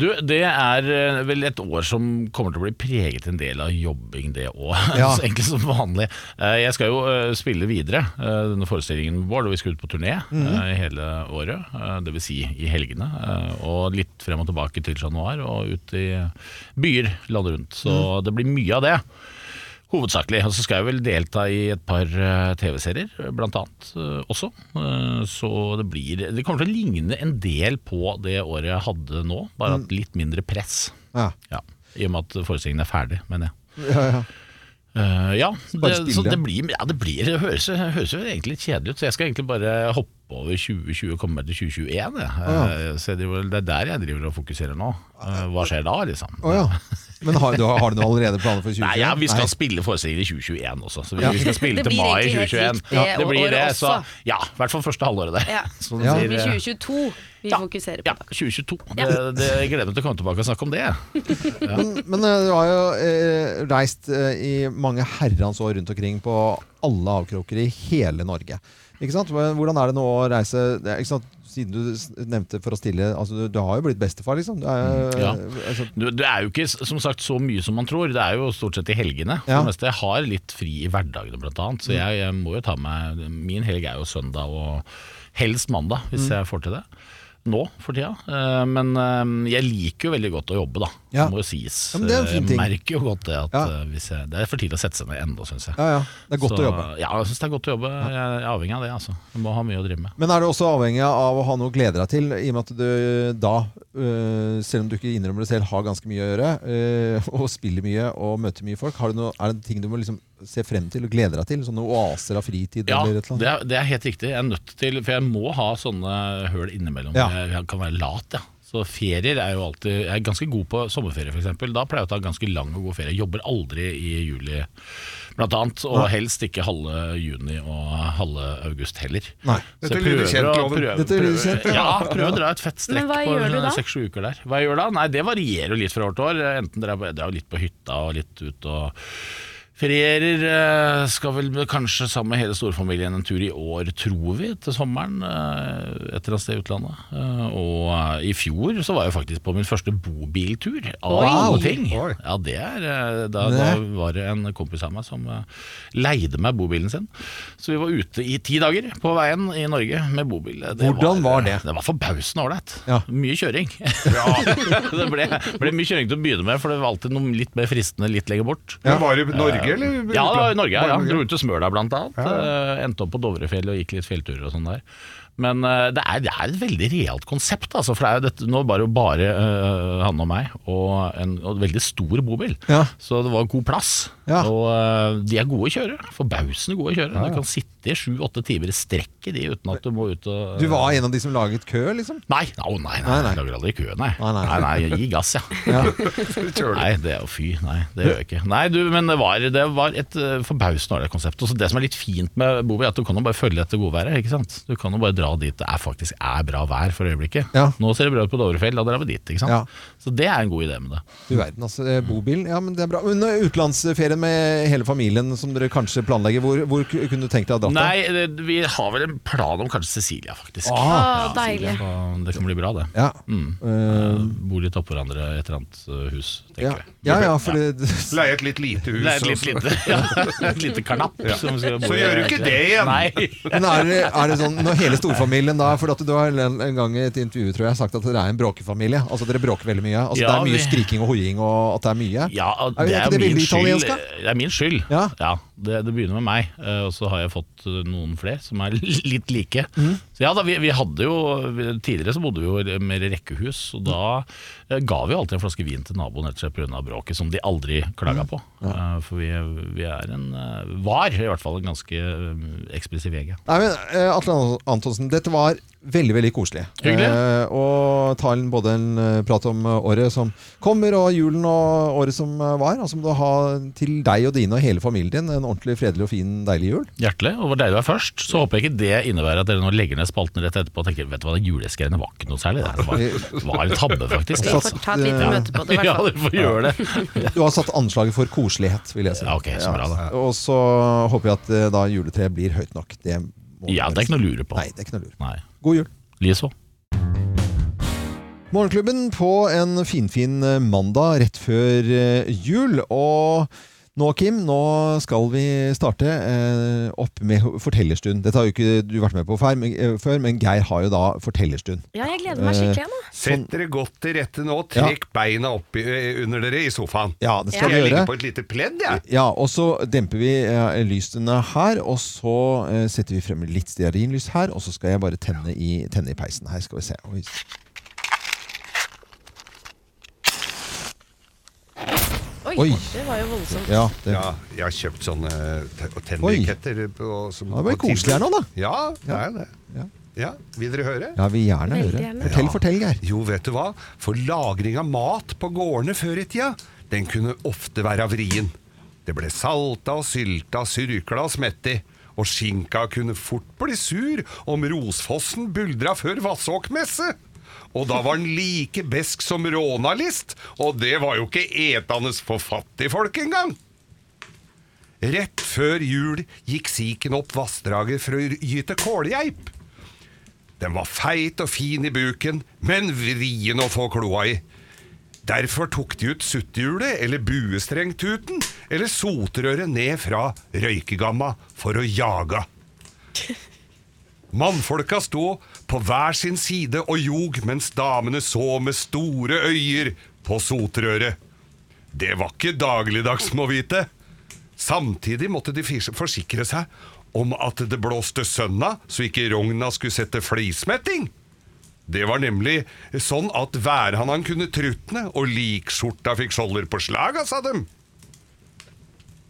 Speaker 4: Du, det er eh, vel et år som kommer til å bli preget en del av jobbing, det òg.
Speaker 1: Ja.
Speaker 4: Så enkelt som vanlig. Eh, Jeg skal jo eh, spille videre eh, denne forestillingen vår, og vi skal ut på turné eh, hele året. eh, det vil Si i helgene, eh, og litt frem og tilbake til Chat Noir, og ut i byer landet rundt. Så det blir mye av det. Hovedsakelig. Og så skal jeg vel delta i et par eh, TV-serier, eh, blant annet eh, også. Eh, Så det blir Det kommer til å ligne en del på det året jeg hadde nå, bare at litt mindre press.
Speaker 1: Ja,
Speaker 4: Ja, I og med at forestillingen er ferdig, mener jeg.
Speaker 1: ja, ja.
Speaker 4: Eh, ja,
Speaker 1: Bare
Speaker 4: det,
Speaker 1: spille.
Speaker 4: så det blir, ja, det blir Det høres, det høres jo egentlig litt kjedelig ut, så jeg skal egentlig bare hoppe over 2020 og komme meg til 2021. Jeg. Eh, så jeg driver, det er der jeg driver og fokuserer nå. Eh, hva skjer da, liksom?
Speaker 1: Å ja. Men har, du, har du noe allerede planer for 2020?
Speaker 4: Nei, ja, vi skal
Speaker 1: Nei.
Speaker 4: spille forestillinger i 2021 også, så vi,
Speaker 1: Ja.
Speaker 4: vi skal spille
Speaker 2: Det
Speaker 4: til
Speaker 2: blir
Speaker 4: mai
Speaker 2: egentlig
Speaker 4: 2021.
Speaker 2: helt likt det
Speaker 4: det blir
Speaker 2: året
Speaker 4: det, så
Speaker 2: også.
Speaker 4: ja, i hvert fall første halvåret der.
Speaker 2: Ja.
Speaker 4: Så
Speaker 1: Ja.
Speaker 2: Det
Speaker 4: det
Speaker 2: blir
Speaker 4: blir, eh,
Speaker 2: 2022 vi fokuserer på.
Speaker 4: ja, 2022. Det, det, jeg gleder meg til å komme tilbake og snakke om det.
Speaker 1: Men, men eh, du har jo eh, reist eh, i mange herrens år rundt omkring på alle avkroker i hele Norge. Ikke sant? Men Hvordan er det nå å reise det er- ikke sant? Siden du s- nevnte for å stille altså, du, du har jo blitt bestefar, liksom. Du er, jo-
Speaker 4: Mm, Ja.
Speaker 1: altså,
Speaker 4: Du, det er jo ikke som sagt så mye som man tror. Det er jo stort sett i helgene. For
Speaker 1: Ja. Mm.
Speaker 4: det meste. Jeg har litt fri i hverdagene, blant annet. Så jeg, jeg må jo ta meg Min helg er jo søndag og helst mandag,
Speaker 1: Mm.
Speaker 4: hvis jeg får til det. Nå for tida. Eh, Men eh, jeg liker jo veldig godt å jobbe, da.
Speaker 1: Ja.
Speaker 4: Det må jo sies.
Speaker 1: Ja, men det er en fin ting.
Speaker 4: Jeg merker jo godt det at
Speaker 1: Ja.
Speaker 4: eh, hvis jeg, Det er for tidlig å sette seg ned ennå, syns jeg.
Speaker 1: ja, ja. Det er godt
Speaker 4: Så-
Speaker 1: å jobbe.
Speaker 4: Ja, jeg syns det er godt å jobbe. Jeg er avhengig av det, altså. Jeg må ha mye å drive med.
Speaker 1: Men er du også avhengig av å ha noe å glede deg til, i og med at du eh, da, øh, selv om du ikke innrømmer det selv, har ganske mye å gjøre, øh, og spiller mye og møter mye folk? Har du noe, er det ting du må liksom se frem til og glede deg til? Sånne oaser av fritid?
Speaker 4: Ja,
Speaker 1: eller et
Speaker 4: det
Speaker 1: eller annet?
Speaker 4: er, det er helt riktig. Jeg er nødt til For jeg må ha sånne høl innimellom.
Speaker 1: Ja.
Speaker 4: Jeg, jeg kan være lat, ja. Så ferier er jo alltid Jeg er ganske god på sommerferie, f.eks. Da pleier jeg å ta ganske lang og god ferie. Jeg jobber aldri i juli, blant annet. Og helst ikke halve juni og halve august heller.
Speaker 1: Nei.
Speaker 4: Så jeg
Speaker 3: Dette lyder
Speaker 4: prøver
Speaker 3: kjent,
Speaker 4: å-
Speaker 3: Loven.
Speaker 4: prøver-
Speaker 1: Dette lyder kjent, ja.
Speaker 4: ja. prøver å dra et fett
Speaker 2: Men
Speaker 4: strekk
Speaker 2: hva gjør du da?
Speaker 4: på seks-sju uker der. Hva jeg gjør da? Nei, det varierer jo litt fra år til år. Enten drar jeg på- jeg drar jo litt på hytta og litt ut og Ferierer eh, skal vel kanskje sammen med hele storfamilien en tur i år, tror vi, til sommeren. eh, Et eller annet sted i utlandet. Eh, Og eh, i fjor så var jeg faktisk på min første bobiltur.
Speaker 2: Oi.
Speaker 4: Av alle ting.
Speaker 3: Oi.
Speaker 4: Ja, det er eh, da, da var det en kompis av meg som eh, leide meg bobilen sin. Så vi var ute i ti dager på veien i Norge med bobil.
Speaker 1: Hvordan var det?
Speaker 4: Det var forbausende ålreit.
Speaker 1: Ja.
Speaker 4: Mye kjøring. det ble, ble mye kjøring til å begynne med, for det var alltid noe litt mer fristende litt lenger bort. Eh,
Speaker 3: Men var det i Norge, eller?
Speaker 4: Ja, det var i Norge. Ja.
Speaker 3: Bare
Speaker 4: Dro ut til Smøla blant annet. Eh, Endte opp på Dovrefjell og gikk litt fjellturer og sånn der. Men eh, det er, det er et veldig realt konsept, altså, for det er jo dette, nå var det jo bare eh, han og meg og en, og en veldig stor bobil.
Speaker 1: Ja.
Speaker 4: Så det var god plass.
Speaker 1: Ja.
Speaker 4: Og eh, de er gode kjørere. Forbausende gode kjørere. Du kan sitte i sju-åtte timer i strekk i de uten at du må ut og
Speaker 1: Du var en av de som laget kø, liksom?
Speaker 4: Nei, å nei, nei,
Speaker 1: Nei, nei.
Speaker 4: jeg lager aldri kø, nei.
Speaker 1: Nei,
Speaker 4: Nei,
Speaker 1: nei.
Speaker 4: nei. jeg gir gass, ja.
Speaker 3: kjører du.
Speaker 4: Nei, det er jo fy, nei, det gjør jeg ikke. Nei, du, men det var, det var et eh, forbausende ålreit konsept. Og så det som er litt fint med Bovi, er at du kan jo bare følge etter godværet, ikke sant. Du kan jo bare dra dit det er faktisk er bra vær for øyeblikket.
Speaker 1: Ja.
Speaker 4: Nå ser det bra ut på Dovrefjell, da drar vi dit, ikke sant.
Speaker 1: Ja.
Speaker 4: Så det er en god idé med det.
Speaker 1: Du verden, altså. eh, Bobilen. Ja, men det er bra. Men eh, utenlandsferie med hele familien som dere kanskje planlegger, hvor, hvor ku- kunne du tenkt deg å dra til?
Speaker 4: Nei, det- vi har vel en plan om kanskje Cecilia, faktisk.
Speaker 2: Ah,
Speaker 4: Ja, Cecilia,
Speaker 2: deilig.
Speaker 4: så Det kan bli bra, det.
Speaker 1: Ja.
Speaker 4: Eh, Bo litt oppå hverandre i et eller annet eh, hus,
Speaker 1: Ja.
Speaker 4: tenker jeg.
Speaker 1: ja, ja, for det
Speaker 3: Leie et litt lite hus.
Speaker 4: Det er et
Speaker 3: og
Speaker 4: litt
Speaker 3: så-
Speaker 4: lite, ja, et lite karnapp. Som skal bo
Speaker 3: Så
Speaker 4: i-
Speaker 3: gjør du ikke det igjen.
Speaker 4: Nei.
Speaker 1: Men er det, er det sånn, når hele storfamilien da For at du har en, en gang i et intervju tror jeg, sagt at dere er en bråkefamilie. Altså Dere bråker veldig mye. Altså Det
Speaker 4: Ja,
Speaker 1: er mye
Speaker 4: vi-
Speaker 1: skriking og hoiing og at det er mye.
Speaker 4: Ja, og
Speaker 1: Er
Speaker 4: det
Speaker 1: ikke
Speaker 4: er,
Speaker 1: det
Speaker 4: min
Speaker 1: veldig
Speaker 4: skyld.
Speaker 1: italiensk, da?
Speaker 4: det er min skyld.
Speaker 1: Ja.
Speaker 4: det, det begynner med meg, eh, og så har jeg fått eh, noen flere som er litt like.
Speaker 1: Mm.
Speaker 4: Så ja da, vi, vi hadde jo Tidligere så bodde vi jo mer i rekkehus, og da eh, ga vi jo alltid en flaske vin til naboen rett og slett pga. bråket, som de aldri klaga
Speaker 1: Mm.
Speaker 4: på. Eh, For vi, vi er en eh, var i hvert fall en ganske eh, ekspressiv gjeng. ja.
Speaker 1: Nei, men eh, Atle Antonsen, dette var veldig veldig koselig.
Speaker 4: Hyggelig.
Speaker 1: Eh, og ta en, både en eh, prat om eh, året som kommer, og julen og året som eh, var. Altså må du ha til deg og dine og hele familien din en ordentlig fredelig og fin, deilig jul.
Speaker 4: Hjertelig. Og det var deilig å være først. Så håper jeg ikke det innebærer at dere nå legger ned spalten rett etterpå og tenker vet du hva, den julesgreiene var ikke noe særlig. Det var, var en tabbe, faktisk.
Speaker 2: Vi får ta et lite møte på det, i
Speaker 4: Ja,
Speaker 2: hvert fall.
Speaker 4: dere får gjøre det.
Speaker 1: Du har satt anslaget for koselighet, vil jeg si.
Speaker 4: Ja, ok, så bra da.
Speaker 1: Og så håper jeg at eh, da juletreet blir høyt nok. Det, må
Speaker 4: Ja, det er ikke noe å lure på.
Speaker 1: Nei, det er ikke noe lur.
Speaker 4: Nei.
Speaker 1: God jul.
Speaker 4: Lieså.
Speaker 1: Morgenklubben på en finfin eh, mandag rett før eh, jul. Og nå, Kim, nå skal vi starte eh, opp med fortellerstund. Dette har jo ikke du vært med på før, men- eh, før, men Geir har jo da fortellerstund. Eh,
Speaker 5: Ja, jeg gleder meg skikkelig nå.
Speaker 3: Sett dere godt til rette nå. Trekk beina opp i, eh, under dere i sofaen.
Speaker 1: Ja, det skal
Speaker 3: Jeg
Speaker 1: vi
Speaker 3: ligger
Speaker 1: gjøre.
Speaker 3: på et lite pledd, jeg.
Speaker 1: Ja, og så demper vi eh, lysene her, og så eh, setter vi frem litt stearinlys her, og så skal jeg bare tenne i, tenne i peisen. Her skal vi se. Oi.
Speaker 5: Oi,
Speaker 1: Oi.
Speaker 5: det var jo voldsomt.
Speaker 1: Ja, det,
Speaker 3: Ja, jeg har kjøpt sånne te- tennbriketter. på- som-
Speaker 1: Ja, det ble
Speaker 3: på
Speaker 1: koselig her nå, da.
Speaker 3: Ja, det er det.
Speaker 1: Ja.
Speaker 3: Ja. Vil dere høre?
Speaker 1: ja vil gjerne
Speaker 5: Veldig
Speaker 1: høre.
Speaker 5: gjerne.
Speaker 1: Fortell,
Speaker 3: Ja.
Speaker 1: fortell, Geir.
Speaker 3: Jo, vet du hva? For lagring av mat på gårdene før i tida, den kunne ofte være vrien. Det ble salta og sylta, surkla og smett i. Og skinka kunne fort bli sur om Rosfossen buldra før Vassåkmesse. Og da var den like besk som rånalist, og det var jo ikke etende for fattigfolk engang. Rett før jul gikk siken opp vassdraget for å gyte kålgeip. Den var feit og fin i buken, men vrien å få kloa i. Derfor tok de ut sutthjulet eller buestrengtuten eller sotrøret ned fra røykegamma for å jage. Mannfolka sto på hver sin side og ljog mens damene så med store øyer på sotrøret. Det var ikke dagligdags, må vite. Samtidig måtte de fis- forsikre seg om at det blåste sønna, så ikke rogna skulle sette flismetting. Det var nemlig sånn at værhanan kunne trutne, og likskjorta fikk skjolder på slaga, sa dem.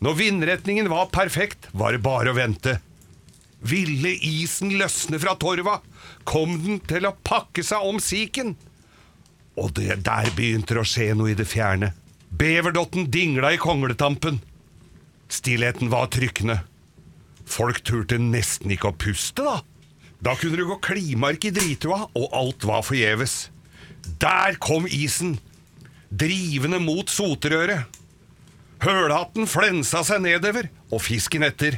Speaker 3: Når vindretningen var perfekt, var det bare å vente. Ville isen løsne fra torva, kom den til å pakke seg om siken. Og det der begynte det å skje noe i det fjerne. Beverdotten dingla i kongletampen. Stillheten var trykkende. Folk turte nesten ikke å puste, da. Da kunne du gå klimark i dritua, og alt var forgjeves. Der kom isen, drivende mot sotrøret. Hølhatten flensa seg nedover, og fisken etter.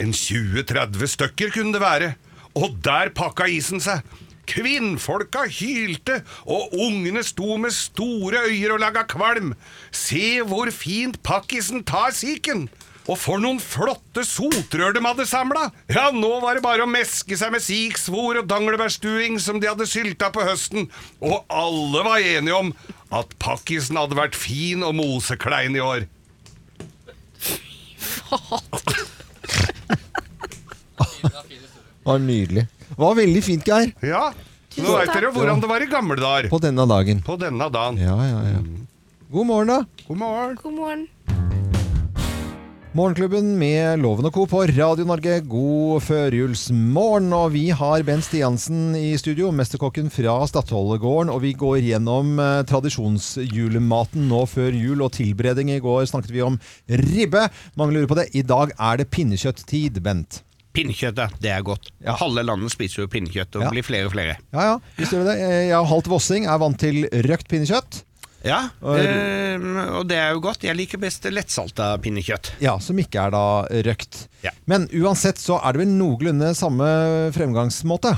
Speaker 3: En 20-30 stykker kunne det være, og der pakka isen seg. Kvinnfolka hylte, og ungene sto med store øyer og laga kvalm. Se hvor fint pakkisen tar siken! Og for noen flotte sotrør de hadde samla! Ja, nå var det bare å meske seg med siksvor og danglebærstuing som de hadde sylta på høsten, og alle var enige om at pakkisen hadde vært fin og moseklein i år.
Speaker 1: Det var nydelig. Det var veldig fint, Geir,
Speaker 3: Ja, nå veit dere hvordan det var i gamle dager.
Speaker 1: på denne dagen.
Speaker 3: På denne dagen. Mm.
Speaker 1: Ja, ja, ja. God morgen, da.
Speaker 3: God morgen.
Speaker 5: God morgen.
Speaker 1: Morgenklubben med Loven og Co. på Radio Norge. God førjulsmorgen. Og vi har Bent Stiansen i studio, mesterkokken fra Stadholdegården. Og vi går gjennom eh, tradisjonsjulematen nå før jul og tilberedning. I går snakket vi om ribbe. Mange lurer på det. I dag er det pinnekjøtt-tid, Bent.
Speaker 6: Pinnekjøttet, det er godt.
Speaker 1: Ja.
Speaker 6: Halve landet spiser jo pinnekjøtt, og
Speaker 1: Ja.
Speaker 6: det blir flere og flere.
Speaker 1: Ja, ja, visst gjør vi det. Eh, Jeg er halvt vossing, er vant til røkt pinnekjøtt.
Speaker 6: Ja,
Speaker 1: Og-
Speaker 6: ehm, og det er jo godt. Jeg liker best lettsalta pinnekjøtt.
Speaker 1: Ja, Som ikke er da røkt.
Speaker 6: Ja.
Speaker 1: Men uansett så er det vel noenlunde samme fremgangsmåte.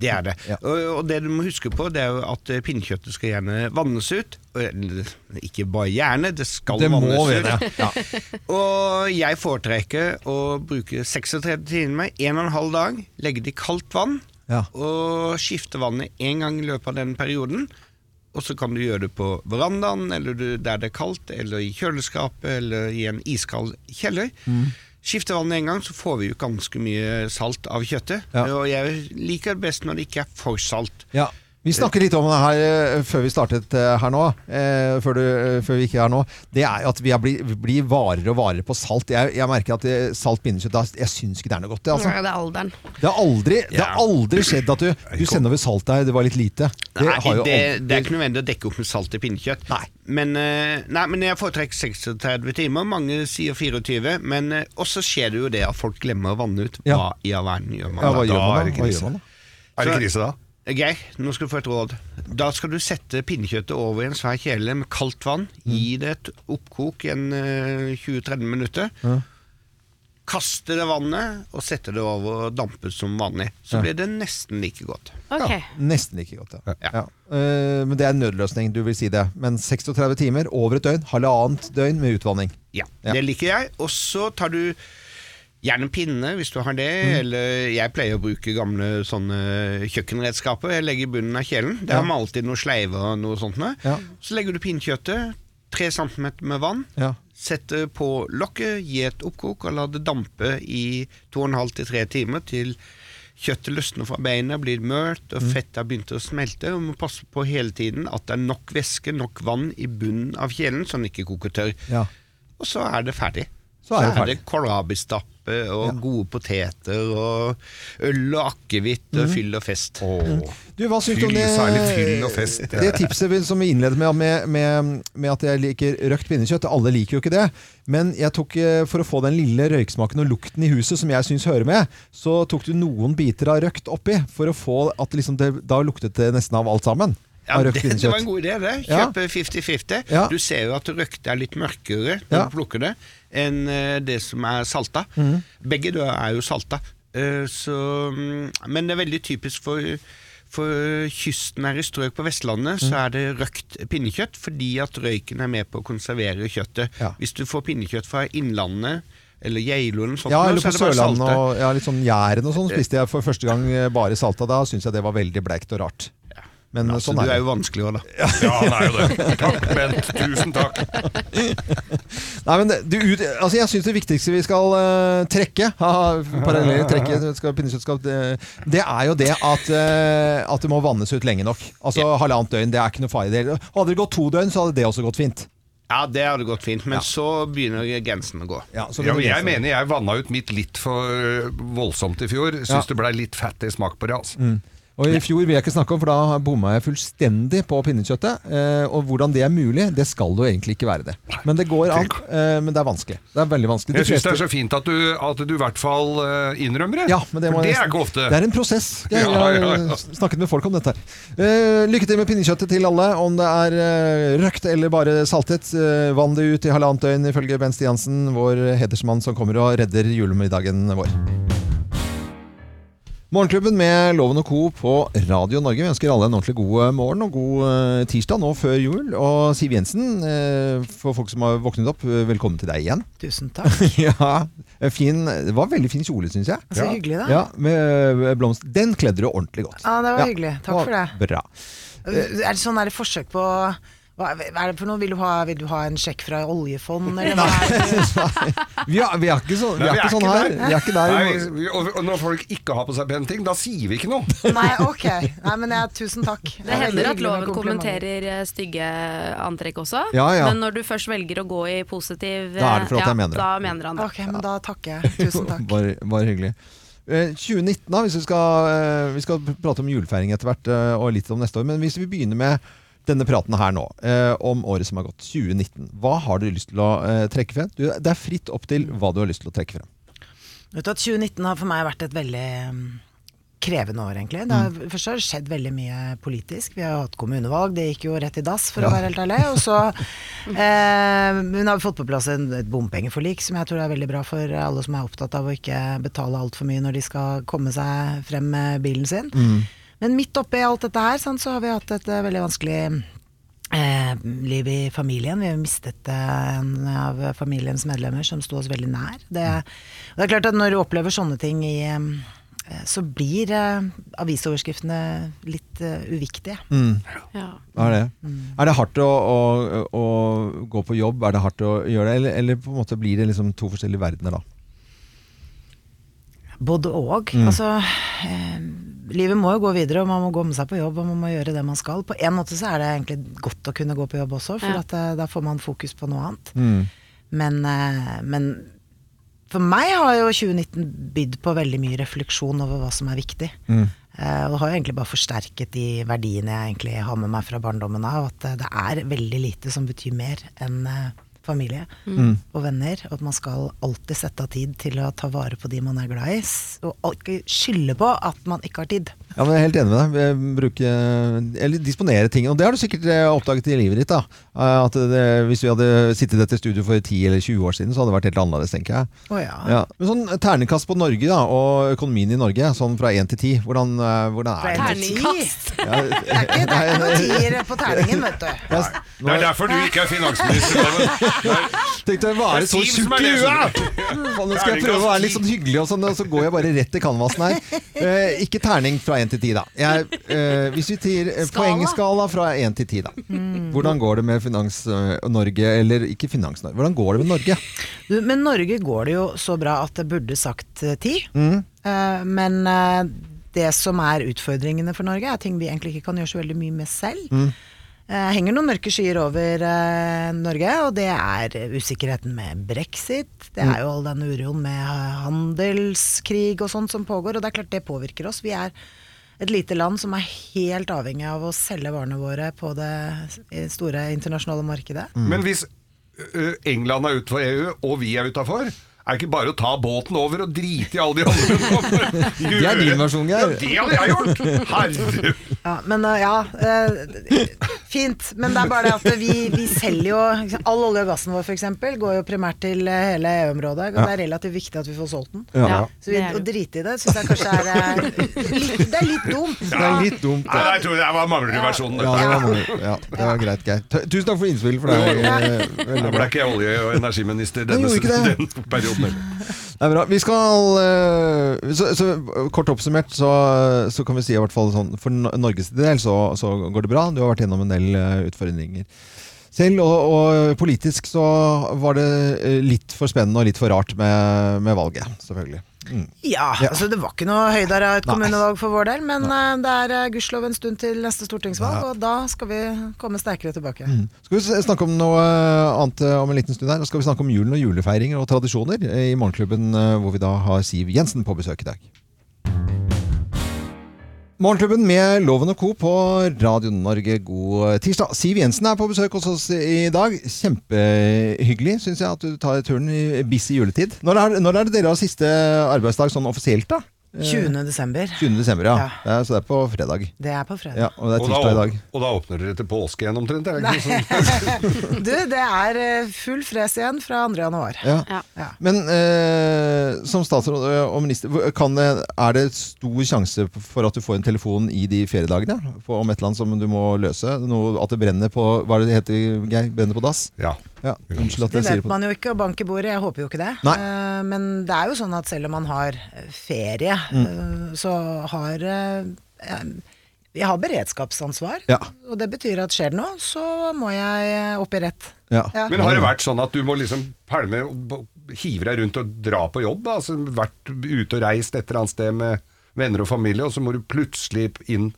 Speaker 6: Det er det.
Speaker 1: Ja.
Speaker 6: Og, og det du må huske på, det er jo at eh, pinnekjøttet skal gjerne vannes ut. Eller, Ikke bare gjerne, det skal
Speaker 1: Det må
Speaker 6: vannes ut.
Speaker 1: være det. Ja.
Speaker 6: Og jeg foretrekker å bruke 36 timer, 1 12 dag, legge det i kaldt vann,
Speaker 1: Ja.
Speaker 6: og skifte vannet én gang i løpet av den perioden. Og så kan du gjøre det på verandaen, eller du, der det er kaldt, eller i kjøleskapet, eller i en iskald kjeller.
Speaker 1: Mm.
Speaker 6: Skifte vannet én gang, så får vi jo ganske mye salt av kjøttet.
Speaker 1: Ja.
Speaker 6: Og jeg liker det best når det ikke er for salt.
Speaker 1: Ja, Vi snakker litt om det her eh, før vi startet eh, her nå. Eh, før, du, eh, før vi ikke er her nå. Det er jo at vi er blir blir varere og varere på salt. Jeg, jeg merker at eh, salt pinnekjøtt da- Jeg syns ikke det er noe godt. Det, altså.
Speaker 2: Nei, det er alderen.
Speaker 1: det, har aldri, det har aldri skjedd at du, du sender over salt der, det var litt lite. Det
Speaker 6: Nei,
Speaker 1: har jo
Speaker 6: det,
Speaker 1: aldri
Speaker 6: det er ikke nødvendig å dekke opp med salt i pinnekjøtt.
Speaker 1: Nei.
Speaker 6: Men, eh, nei, men jeg foretrekker 36 timer. Mange sier 24. Men eh, også skjer det jo det at folk glemmer å vanne ut.
Speaker 1: Ja.
Speaker 6: Hva i all verden gjør man
Speaker 1: ja, hva,
Speaker 6: da?
Speaker 1: gjør
Speaker 3: Da er det
Speaker 1: man da? hva
Speaker 3: krise.
Speaker 1: gjør man da?
Speaker 3: Er det krise da?
Speaker 6: Eh, Geir, nå skal du få et råd. Da skal du sette pinnekjøttet over i en svær kjele med kaldt vann.
Speaker 1: Mm.
Speaker 6: Gi det et oppkok i en, eh, 20-30 minutter. Kaste det vannet og sette det over og dampe som vanlig. Så blir det nesten like godt.
Speaker 2: Ok.
Speaker 1: Nesten like godt, ja.
Speaker 6: Ja.
Speaker 1: ja. Eh, men det er en nødløsning, du vil si det. Men 36 timer, over et døgn, halvannet døgn med utvanning.
Speaker 6: Ja,
Speaker 1: Ja.
Speaker 6: det liker jeg. Og så tar du gjerne pinne hvis du har det,
Speaker 1: Mm.
Speaker 6: eller jeg pleier å bruke gamle sånne kjøkkenredskaper. Jeg legger i bunnen av kjelen. Der
Speaker 1: Ja.
Speaker 6: har man alltid noe sleiver og noe sånt. med.
Speaker 1: Ja.
Speaker 6: Så legger du pinnekjøttet, 3 cm med vann.
Speaker 1: Ja.
Speaker 6: Setter på lokket, gi et oppkok og la det dampe i 2,5-3 timer til kjøttet løsner fra beina, blir mørt
Speaker 1: Mm.
Speaker 6: og fettet har begynt å smelte. Og må passe på hele tiden at det er nok væske, nok vann i bunnen av kjelen, så den ikke koker tørr.
Speaker 1: Ja.
Speaker 6: Og så er det ferdig.
Speaker 1: Så er det ferdig.
Speaker 6: kålrabistappe og gode poteter og øl og akevitt og fyll og fest.
Speaker 1: Mm. Du, hva syns du om
Speaker 3: Fyll,
Speaker 1: det
Speaker 3: særlig fyll og fest.
Speaker 1: Det tipset vi- som vi innledet med, med, med, med at jeg liker røkt pinnekjøtt. Alle liker jo ikke det. Men jeg tok, eh, for å få den lille røyksmaken og lukten i huset som jeg syns hører med, så tok du noen biter av røkt oppi. For å få at liksom det, Da luktet det nesten av alt sammen.
Speaker 6: Ja,
Speaker 1: av
Speaker 6: det,
Speaker 1: røkt
Speaker 6: det var en
Speaker 1: pinnekjøtt.
Speaker 6: god idé, det.
Speaker 1: Ja.
Speaker 6: Kjøpe 50-50.
Speaker 1: Ja.
Speaker 6: Du ser jo at røkte er litt mørkere når
Speaker 1: Ja. Mhm.
Speaker 6: du plukker det, enn eh, det som er salta. Begge døde er jo salta. Eh, Så, mm, men det er veldig typisk for for kystnære strøk på Vestlandet så
Speaker 1: Mhm.
Speaker 6: er det røkt pinnekjøtt, fordi at røyken er med på å konservere kjøttet.
Speaker 1: Ja.
Speaker 6: Hvis du får pinnekjøtt fra Innlandet eller Geilo eller noe sånt,
Speaker 1: Ja,
Speaker 6: nå,
Speaker 1: eller
Speaker 6: så er
Speaker 1: på
Speaker 6: det bare
Speaker 1: Sørlandet
Speaker 6: salte.
Speaker 1: og ja, litt sånn Jæren og sånn spiste jeg for første gang eh, bare salta. Da syns jeg det var veldig bleikt og rart. Men eh,
Speaker 6: Altså, du
Speaker 1: sånn er
Speaker 6: er
Speaker 1: det.
Speaker 6: jo vanskelig òg, da.
Speaker 3: Ja, han er jo det. Takk, Bent. Tusen takk.
Speaker 1: Nei, men du, ut, altså jeg syns det viktigste vi skal eh, trekke, haha, paralleller trekke, skal, pinnekjøtt skal, det, det er jo det at, eh, at det må vannes ut lenge nok. Altså Halvannet døgn, det er ikke noe fare i det. Hadde det gått to døgn, så hadde det også gått fint.
Speaker 6: Ja, det hadde gått fint, men så begynner grensen å gå.
Speaker 1: Ja, så
Speaker 3: Ja, men
Speaker 1: begynner
Speaker 3: jeg
Speaker 1: det.
Speaker 3: mener jeg vanna ut mitt litt for øh, eh, voldsomt i fjor. Syns
Speaker 1: Ja.
Speaker 3: det blei litt fattig smak på det. altså.
Speaker 1: Mm. Og I fjor vil jeg ikke snakke om, for da bomma jeg fullstendig på pinnekjøttet. Eh, og hvordan det er mulig, det skal jo egentlig ikke være det. Men det går an. Eh, men det er vanskelig. Det er veldig vanskelig.
Speaker 3: Jeg
Speaker 1: De
Speaker 3: syns det er
Speaker 1: fleste-
Speaker 3: så fint at du, at du i hvert fall eh, innrømmer det.
Speaker 1: ja, men det, må
Speaker 3: For det
Speaker 1: jeg-
Speaker 3: er ikke ofte.
Speaker 1: Det er en prosess. Jeg, jeg
Speaker 3: Ja,
Speaker 1: har eh,
Speaker 3: ja, ja.
Speaker 1: snakket med folk om dette. her. Eh, lykke til med pinnekjøttet til alle, om det er eh, røkt eller bare saltet. Eh, vann det ut i halvannet døgn, ifølge Ben Stiansen, vår hedersmann som kommer og redder julemiddagen vår. Morgenklubben med Loven og Co. på Radio Norge. Vi ønsker alle en ordentlig god morgen og god eh, tirsdag nå før jul. Og Siv Jensen, eh, for folk som har våknet opp, eh, velkommen til deg igjen.
Speaker 7: Tusen takk.
Speaker 1: ja, en fin, Det var veldig fin kjole, syns jeg.
Speaker 7: Så hyggelig, da.
Speaker 1: Ja, med eh, blomster. Den kledde du ordentlig godt.
Speaker 7: Ja, det var
Speaker 1: Ja.
Speaker 7: hyggelig. Takk for det.
Speaker 1: Bra.
Speaker 7: Er det sånn er det forsøk på hva hva er det for noe? Vil du ha, vil du ha en sjekk fra oljefond, eller hva er det?
Speaker 1: Vi er, vi er ikke, så, vi
Speaker 3: Nei,
Speaker 1: er ikke sånn her. Vi er ikke der.
Speaker 3: Nei, vi- og, og når folk ikke har på seg pene ting, da sier vi ikke noe.
Speaker 7: Nei, ok. Nei, men jeg, tusen takk. Det
Speaker 2: Det
Speaker 7: er veldig
Speaker 2: hender at
Speaker 7: hyggelig med
Speaker 2: loven
Speaker 7: komplimenter.
Speaker 2: kommenterer eh, stygge antrekk også.
Speaker 1: Ja, ja.
Speaker 2: Men når du først velger å gå i positiv eh,
Speaker 1: Da er det for at jeg mener det.
Speaker 2: Da mener han det.
Speaker 7: Ok, men da takker jeg. Tusen takk.
Speaker 1: Bare, bare hyggelig. Eh, 2019, da, hvis vi skal, eh, vi skal pr- prate om julefeiring etter hvert, eh, og litt om neste år. Men hvis vi begynner med denne praten her nå, eh, om året som har gått, 2019. Hva har du lyst til å eh, trekke frem? Du, det er fritt opp til hva du har lyst til å trekke frem.
Speaker 7: Vet du at 2019 har for meg vært et veldig mm, krevende år, egentlig. Det har, Først har det skjedd veldig mye politisk. Vi har hatt kommunevalg, det gikk jo rett i dass, for å være helt ærlig. Og så eh, Hun har fått på plass en, et bompengeforlik, som jeg tror er veldig bra for alle som er opptatt av å ikke betale altfor mye når de skal komme seg frem med bilen sin.
Speaker 1: Mm.
Speaker 7: Men midt oppi alt dette her, sant, så har vi hatt et eh, veldig vanskelig eh, liv i familien. Vi har mistet eh, en av familiens medlemmer som sto oss veldig nær. Det, og det er klart at når du opplever sånne ting i eh, så blir eh, avisoverskriftene litt eh, uviktige.
Speaker 1: Mm.
Speaker 2: Ja.
Speaker 1: Er det,
Speaker 7: Mm.
Speaker 1: er det hardt å, å, å gå på jobb? Er det hardt å gjøre det? Eller, eller på en måte blir det liksom to forskjellige verdener, da?
Speaker 7: Både og. Altså, eh, livet må jo gå videre, og man må gå med seg på jobb, og man må gjøre det man skal. På en måte så er det egentlig godt å kunne gå på jobb også, for
Speaker 2: Ja.
Speaker 7: at, eh, da får man fokus på noe annet.
Speaker 1: Mm.
Speaker 7: Men, eh, men for meg har jo 2019 bydd på veldig mye refleksjon over hva som er viktig. Eh, og har jo egentlig bare forsterket de verdiene jeg egentlig har med meg fra barndommen av. At eh, det er veldig lite som betyr mer enn eh, familie og venner. Og at man skal alltid sette av tid til å ta vare på de man er glad i. s- Og al- ikke skylde på at man ikke har tid.
Speaker 1: Ja, men jeg er helt enig med deg. Jeg bruker, eller disponere ting. Og det har du sikkert eh, oppdaget i livet ditt. da. Eh, At det, Hvis vi hadde sittet i dette studioet for 10 eller 20 år siden, så hadde det vært helt annerledes, tenker jeg.
Speaker 7: Å ja.
Speaker 1: Ja. Men sånn Terningkast på Norge da, og økonomien i Norge, sånn fra 1 til 10. Hvordan, eh, hvordan
Speaker 7: Fra
Speaker 1: er det?
Speaker 7: en til ti.
Speaker 2: Terningkast.
Speaker 1: Ja, eh,
Speaker 7: Det er ikke, det er ikke noen tier på terningen, vet du.
Speaker 1: jeg
Speaker 3: Det er derfor du ikke er finansminister. Loven.
Speaker 1: tenkte jeg var
Speaker 3: Det er
Speaker 1: så
Speaker 3: Siv som
Speaker 1: tjukk
Speaker 3: er
Speaker 1: i
Speaker 3: det som-
Speaker 1: huet! Mm. Faen, Nå skal jeg prøve å være litt sånn hyggelig, og, sånn, og så går jeg bare rett til canvasen her. Eh, ikke terning fra 1 til 10, da. Jeg, eh, hvis vi tier eh,
Speaker 2: Skala.
Speaker 1: poengskala fra 1 til 10, da. Hvordan går det med Finans-Norge, eller ikke Finans-Norge, hvordan går det med Norge?
Speaker 7: Du, Men Norge går det jo så bra at det burde sagt eh, ti. Eh, men eh, det som er utfordringene for Norge, er ting vi egentlig ikke kan gjøre så veldig mye med selv.
Speaker 1: Mm.
Speaker 7: Eh, henger noen mørke skyer over eh, Norge, og det er usikkerheten med brexit. Det er jo all den uroen med eh, handelskrig og sånt som pågår, og det er klart det påvirker oss. Vi er et lite land som er helt avhengig av å selge varene våre på det s- store internasjonale markedet.
Speaker 1: Mm.
Speaker 3: Men hvis ø, England er utenfor EU, og vi er utafor er det ikke bare å ta båten over og drite i alle de andre som kommer?
Speaker 1: Det er din versjon,
Speaker 3: Ja,
Speaker 1: Geir.
Speaker 3: det hadde jeg gjort! Herregud.
Speaker 7: Ja, men uh, ja eh, Fint, men det er bare det at vi, vi selger jo ikke sant, All olje og gassen vår f.eks. går jo primært til eh, hele EU-området, og det er relativt viktig at vi får solgt den.
Speaker 1: Ja.
Speaker 7: Så vi,
Speaker 2: det er
Speaker 7: å
Speaker 2: det.
Speaker 7: drite i det syns jeg kanskje er eh, litt, Det er litt dumt.
Speaker 1: Det er litt dumt.
Speaker 3: Nei,
Speaker 1: det.
Speaker 3: jeg tror det var manglerversjonen.
Speaker 1: Ja, det
Speaker 3: dette.
Speaker 1: var, mange- ja, det var greit, Geir. Tu- Tusen takk for innspill for deg. eh,
Speaker 3: Da
Speaker 1: Veldig bra.
Speaker 3: ble ikke jeg olje- og energiminister denne,
Speaker 1: Nei, gjorde ikke
Speaker 3: den perioden.
Speaker 1: Det er bra. Vi skal eh, så, så, Kort oppsummert så, så kan vi si i hvert fall sånn For N- Norges del så, så går det bra. Du har vært gjennom en del eh, utfordringer selv. Og, og politisk så var det eh, litt for spennende og litt for rart med, med valget, selvfølgelig. Mm.
Speaker 7: Ja,
Speaker 1: Ja.
Speaker 7: altså Det var ikke noe høyder av et
Speaker 1: Nei.
Speaker 7: kommunevalg for vår del, men eh, det er eh, gudskjelov en stund til neste stortingsvalg, og da skal vi komme sterkere tilbake.
Speaker 1: Skal vi s- snakke om noe annet eh, om en liten stund her? Nå skal vi snakke om julen og julefeiringer og tradisjoner eh, i Morgenklubben, eh, hvor vi da har Siv Jensen på besøk i dag. Morgenklubben med Loven og Co. på Radio Norge, god eh, tirsdag. Siv Jensen er på besøk hos oss i dag. Kjempehyggelig, syns jeg, at du tar turen i biss i juletid. Når er, når er det deres siste arbeidsdag sånn offisielt, da? Eh,
Speaker 7: 20. desember.
Speaker 1: 20. desember, ja.
Speaker 7: Ja.
Speaker 1: Det er, så det er på fredag.
Speaker 7: Det er på fredag.
Speaker 1: Ja, og det er
Speaker 3: Og da,
Speaker 1: tirsdag i dag.
Speaker 3: åp- og da åpner dere til påske igjen omtrent? Er det ikke sånn?
Speaker 7: Du, det er eh, full fres igjen fra 2. januar.
Speaker 1: Ja.
Speaker 2: Ja.
Speaker 7: Ja.
Speaker 1: Men eh, som statsråd og minister, hvor- kan, det- er det stor sjanse for at du får en telefon i de feriedagene? For, om et eller annet som du må løse? Noe, at det brenner på Hva er det det heter, Geir? Brenner på dass?
Speaker 3: Ja.
Speaker 1: Ja, unnskyld at
Speaker 7: Det
Speaker 1: jeg sier det
Speaker 7: vet
Speaker 1: på
Speaker 7: man jo ikke, og bank i bordet, jeg håper jo ikke det.
Speaker 1: Nei.
Speaker 7: Eh, Men det er jo sånn at selv om man har eh, ferie, eh, så har eh, eh, jeg har beredskapsansvar,
Speaker 1: Ja.
Speaker 7: og det betyr at skjer det noe, så må jeg eh, opp i rett.
Speaker 1: Ja.
Speaker 7: Ja.
Speaker 3: Men har det vært sånn at du må liksom pælme og hive deg rundt og dra på jobb? da? Altså vært ute og reist et eller annet sted med venner og familie, og så må du plutselig inn?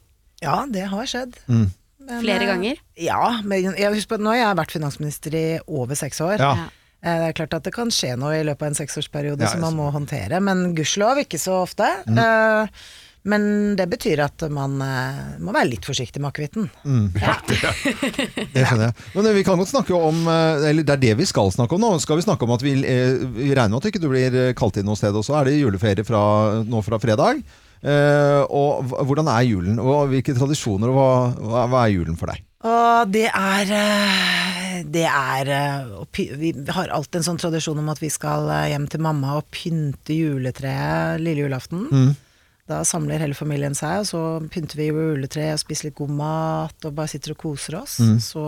Speaker 7: Ja, det har skjedd.
Speaker 1: Mm.
Speaker 7: Men,
Speaker 2: Flere
Speaker 7: eh,
Speaker 2: ganger?
Speaker 7: Ja, men jeg husker på at nå har jeg vært finansminister i over seks år.
Speaker 1: Ja.
Speaker 2: Ja.
Speaker 7: Eh, Det er klart at det kan skje noe i løpet av en seksårsperiode
Speaker 1: Ja,
Speaker 7: som
Speaker 1: jeg Mm.
Speaker 7: man må håndtere, men gudskjelov ikke så ofte. Eh, Men det betyr at man eh, må være litt forsiktig med akevitten.
Speaker 1: Mm. Det skjønner jeg. Men eh, vi kan godt snakke om eh, Eller det er det vi skal snakke om nå. Skal vi snakke om at vi, eh, vi regner med at ikke du blir eh, kalt inn noe sted, og så er det juleferie fra, nå fra fredag. Eh, og hva- hvordan er julen? Og hvilke tradisjoner, og hva, hva- hva er julen for deg?
Speaker 7: Og det er eh, Det er eh, å py- Vi har alltid en sånn tradisjon om at vi skal eh, hjem til mamma og pynte juletreet lille julaften.
Speaker 2: Mm.
Speaker 7: Da samler hele familien seg, og så pynter vi juletreet og spiser litt god mat og bare sitter og koser oss. Så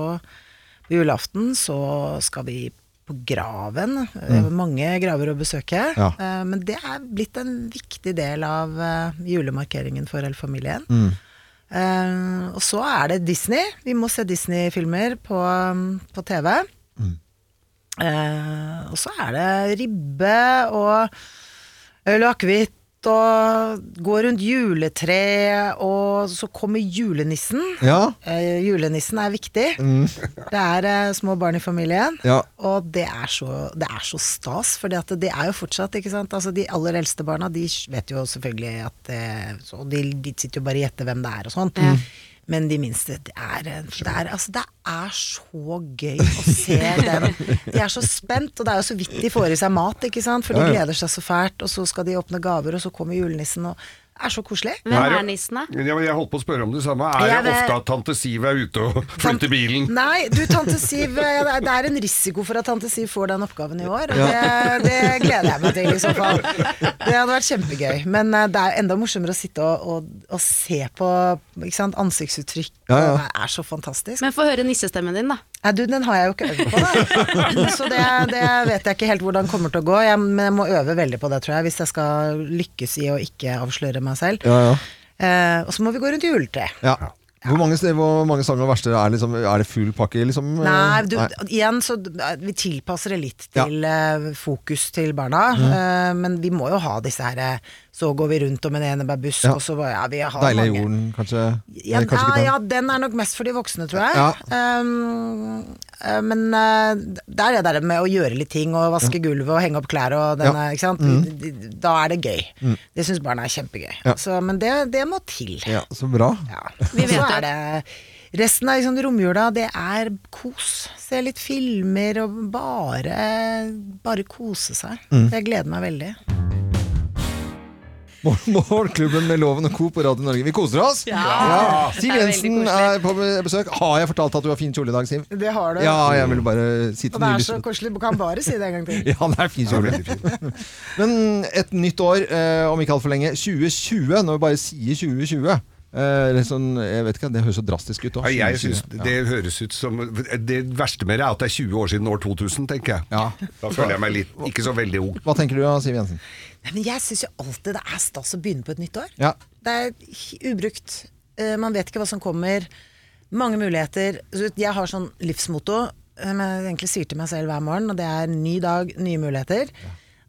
Speaker 7: på julaften så skal vi på graven. Det er Mange graver å besøke.
Speaker 1: Ja.
Speaker 7: Eh, Men det er blitt en viktig del av eh, julemarkeringen for hele familien. Eh, og så er det Disney. Vi må se Disney-filmer på, um, på TV. Eh, og så er det ribbe og øl og akevitt. Og gå rundt juletreet, og så kommer julenissen.
Speaker 1: Ja,
Speaker 7: Eh, julenissen er viktig. det er eh, små barn i familien.
Speaker 1: Mm. Ja.
Speaker 7: Og det er så, det er så stas, for det er jo fortsatt ikke sant? Altså, De aller eldste barna de vet jo selvfølgelig at eh, så de, de sitter jo bare og gjetter hvem det er og sånn. Men de minste det er, eh, det, er, altså, det er så gøy å se den. De er så spent, og det er jo så vidt de får i seg mat, ikke sant? for de
Speaker 1: Ja, ja.
Speaker 7: gleder seg så fælt. Og så skal de åpne gaver, og så kommer julenissen, og det er så koselig.
Speaker 2: Hvem
Speaker 3: det-
Speaker 2: er nissen, da?
Speaker 3: Men Jeg, jeg holdt på å spørre om det samme. Er
Speaker 7: Jeg
Speaker 3: det
Speaker 7: vet-
Speaker 3: ofte at tante Siv er ute og
Speaker 7: Tant-
Speaker 3: flytter bilen?
Speaker 7: Nei, du tante Siv, eh, det er- det er en risiko for at tante Siv får den oppgaven i år. Og det, det gleder jeg meg til i så fall.
Speaker 2: liksom-
Speaker 7: Det hadde vært kjempegøy. Men eh, det er enda morsommere å sitte og, og, og se på ikke sant, ansiktsuttrykk.
Speaker 1: Ja, ja.
Speaker 7: og Det er så fantastisk.
Speaker 2: Men få høre nissestemmen din, da.
Speaker 7: Nei, du, den har jeg jo ikke øvd på, da. Så det, det vet jeg ikke helt hvordan kommer til å gå. Jeg, men jeg må øve veldig på det, tror jeg, hvis jeg skal lykkes i å ikke avsløre meg selv.
Speaker 1: Ja, ja.
Speaker 7: Eh, og så må vi gå rundt juletreet.
Speaker 1: ja. Hvor mange, st- hvor mange sanger og verksteder er, liksom, er det full pakke? Liksom, eh,
Speaker 7: Nei, du, igjen så d- vi tilpasser det litt
Speaker 1: Ja.
Speaker 7: til eh, fokus til barna. eh, men vi må jo ha disse her eh, Så går vi rundt om en enebærbusk,
Speaker 1: Ja.
Speaker 7: og så bare- ja, vi har
Speaker 1: Deilig i
Speaker 7: mange.
Speaker 1: jorden, kanskje?
Speaker 7: Ja,
Speaker 1: Eller kanskje ikke
Speaker 7: ja,
Speaker 1: den?
Speaker 7: ja, den er nok mest for de voksne, tror jeg.
Speaker 1: Ja.
Speaker 7: Um, eh, men eh, det er det der med å gjøre litt ting, og vaske gulvet og henge opp klær og denne, ikke sant. Da er det gøy. Det syns barna er kjempegøy.
Speaker 1: Mm. Ja.
Speaker 7: Så, men det, det må til.
Speaker 1: ja, så bra.
Speaker 7: Ja.
Speaker 2: Vi
Speaker 7: Og så
Speaker 2: vet
Speaker 7: er det Resten av liksom, romjula, det er kos. Se litt filmer og bare, bare kose seg. Jeg gleder meg veldig.
Speaker 1: Mor- Morgenklubben med Loven og Co. på Radio Norge. Vi koser oss! Ja.
Speaker 2: Det
Speaker 1: Siv
Speaker 2: er veldig
Speaker 1: Jensen
Speaker 2: koselig.
Speaker 1: er på be- besøk. Har jeg fortalt at du har fin kjole i dag, Siv?
Speaker 7: Det har du.
Speaker 1: Ja, jeg ville bare si
Speaker 7: Og
Speaker 1: til
Speaker 7: det
Speaker 1: nye
Speaker 7: er så
Speaker 1: lyttere.
Speaker 7: koselig. Du kan bare si det en gang til.
Speaker 1: Ja, det er fin kjole. Men et nytt år, eh, om ikke altfor lenge. 2020, når vi bare sier 2020. Eh, det er sånn, jeg vet ikke, Det høres så drastisk ut.
Speaker 3: Ja,
Speaker 1: Også,
Speaker 3: jeg synes Det høres ut som Det verste med det er at det er 20 år siden år 2000, tenker jeg.
Speaker 1: Ja.
Speaker 3: Da føler jeg meg litt ikke så veldig ung.
Speaker 1: Hva tenker du da, Siv Jensen?
Speaker 7: Nei, men jeg syns jo alltid det er stas å begynne på et nytt år.
Speaker 1: Ja.
Speaker 7: Det er hi- ubrukt. Eh, Man vet ikke hva som kommer. Mange muligheter. Så Jeg har sånn livsmotto eh, som jeg egentlig sier til meg selv hver morgen, og det er ny dag, nye muligheter.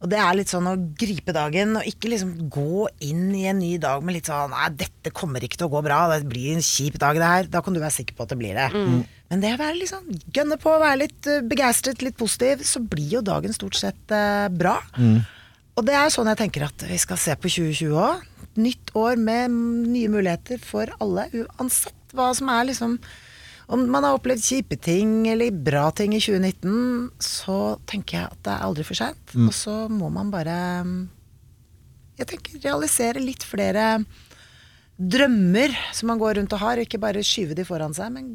Speaker 7: Og det er litt sånn å gripe dagen, og ikke liksom gå inn i en ny dag med litt sånn Nei, dette kommer ikke til å gå bra, det blir en kjip dag, det her. Da kan du være sikker på at det blir det. Men det å være litt sånn gønne på, være litt eh, begeistret, litt positiv, så blir jo
Speaker 1: Mm.
Speaker 7: dagen stort sett eh, bra. Og det er sånn jeg tenker at vi skal se på 2020 òg. nytt år med nye muligheter for alle, uansett hva som er liksom Om man har opplevd kjipe ting eller bra ting i 2019, så tenker jeg at det er aldri for seint. Og så må man bare Jeg tenker realisere litt flere drømmer som man går rundt og har, og ikke bare skyve de foran seg, men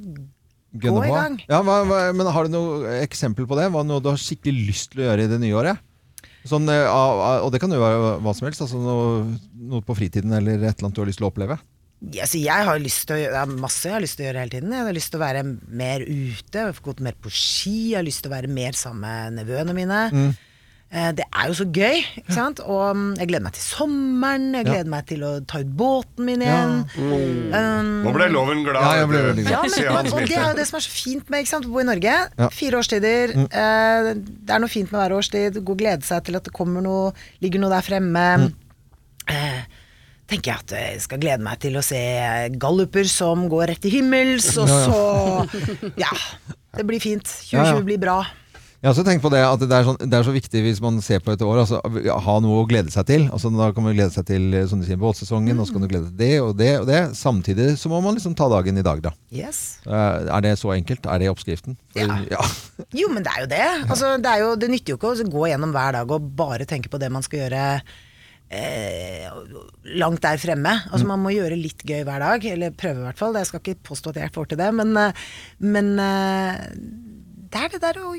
Speaker 1: Gønne
Speaker 7: Gå i
Speaker 1: på.
Speaker 7: gang.
Speaker 1: Ja, hva, hva, men har du noe eksempel på det? Hva er noe du har skikkelig lyst til å gjøre i det nye året? Sånn, eh, av- av- og det kan jo være hva som helst. Altså noe, noe på fritiden eller et eller annet du har lyst til å oppleve.
Speaker 7: Ja, så jeg har lyst til å gjøre, det er masse jeg har lyst til å gjøre hele tiden. Jeg har lyst til å være mer ute, gått mer på ski, jeg har lyst til å være mer sammen med nevøene mine.
Speaker 1: Mm.
Speaker 7: Eh, Det er jo så gøy, ikke sant? Og mm, jeg gleder meg til sommeren, jeg
Speaker 1: Ja.
Speaker 7: gleder meg til å ta ut båten min igjen. Um,
Speaker 3: Nå ble loven glad.
Speaker 1: Ja, jeg ble
Speaker 3: vet du.
Speaker 1: veldig glad.
Speaker 7: ja, men,
Speaker 3: Se han
Speaker 7: men, og det
Speaker 3: smilte.
Speaker 7: er jo det som er så fint med ikke sant, å bo i Norge.
Speaker 1: Ja. Mm.
Speaker 7: Fire årstider. Eh, det er noe fint med hver årstid. Gå og glede seg til at det kommer noe, ligger noe der fremme.
Speaker 1: Mm.
Speaker 7: Eh, tenker jeg at eh, jeg skal glede meg til å se galluper som går rett til himmels, og så Ja. Det blir fint. 2020
Speaker 1: Ja, ja.
Speaker 7: blir bra.
Speaker 1: Jeg har også tenkt på det at det er, sånn, det er så viktig hvis man ser på et år, altså, ha noe å glede seg til. Altså, da kan man glede seg til eh, som du sier, båtsesongen, og så
Speaker 7: Mm.
Speaker 1: kan du glede deg til det og det og det. Samtidig så må man liksom ta dagen i dag, da.
Speaker 7: Yes.
Speaker 1: Eh, Er det så enkelt? Er det oppskriften? For,
Speaker 7: Ja. Jo, men det er jo det. Altså, det, er jo, det nytter jo ikke å så gå gjennom hver dag og bare tenke på det man skal gjøre eh, langt der fremme.
Speaker 2: Mm.
Speaker 7: Altså, man må gjøre litt gøy hver dag, eller prøve i hvert fall. Jeg skal ikke påstå at jeg får til det, men, eh, men eh, det er det der å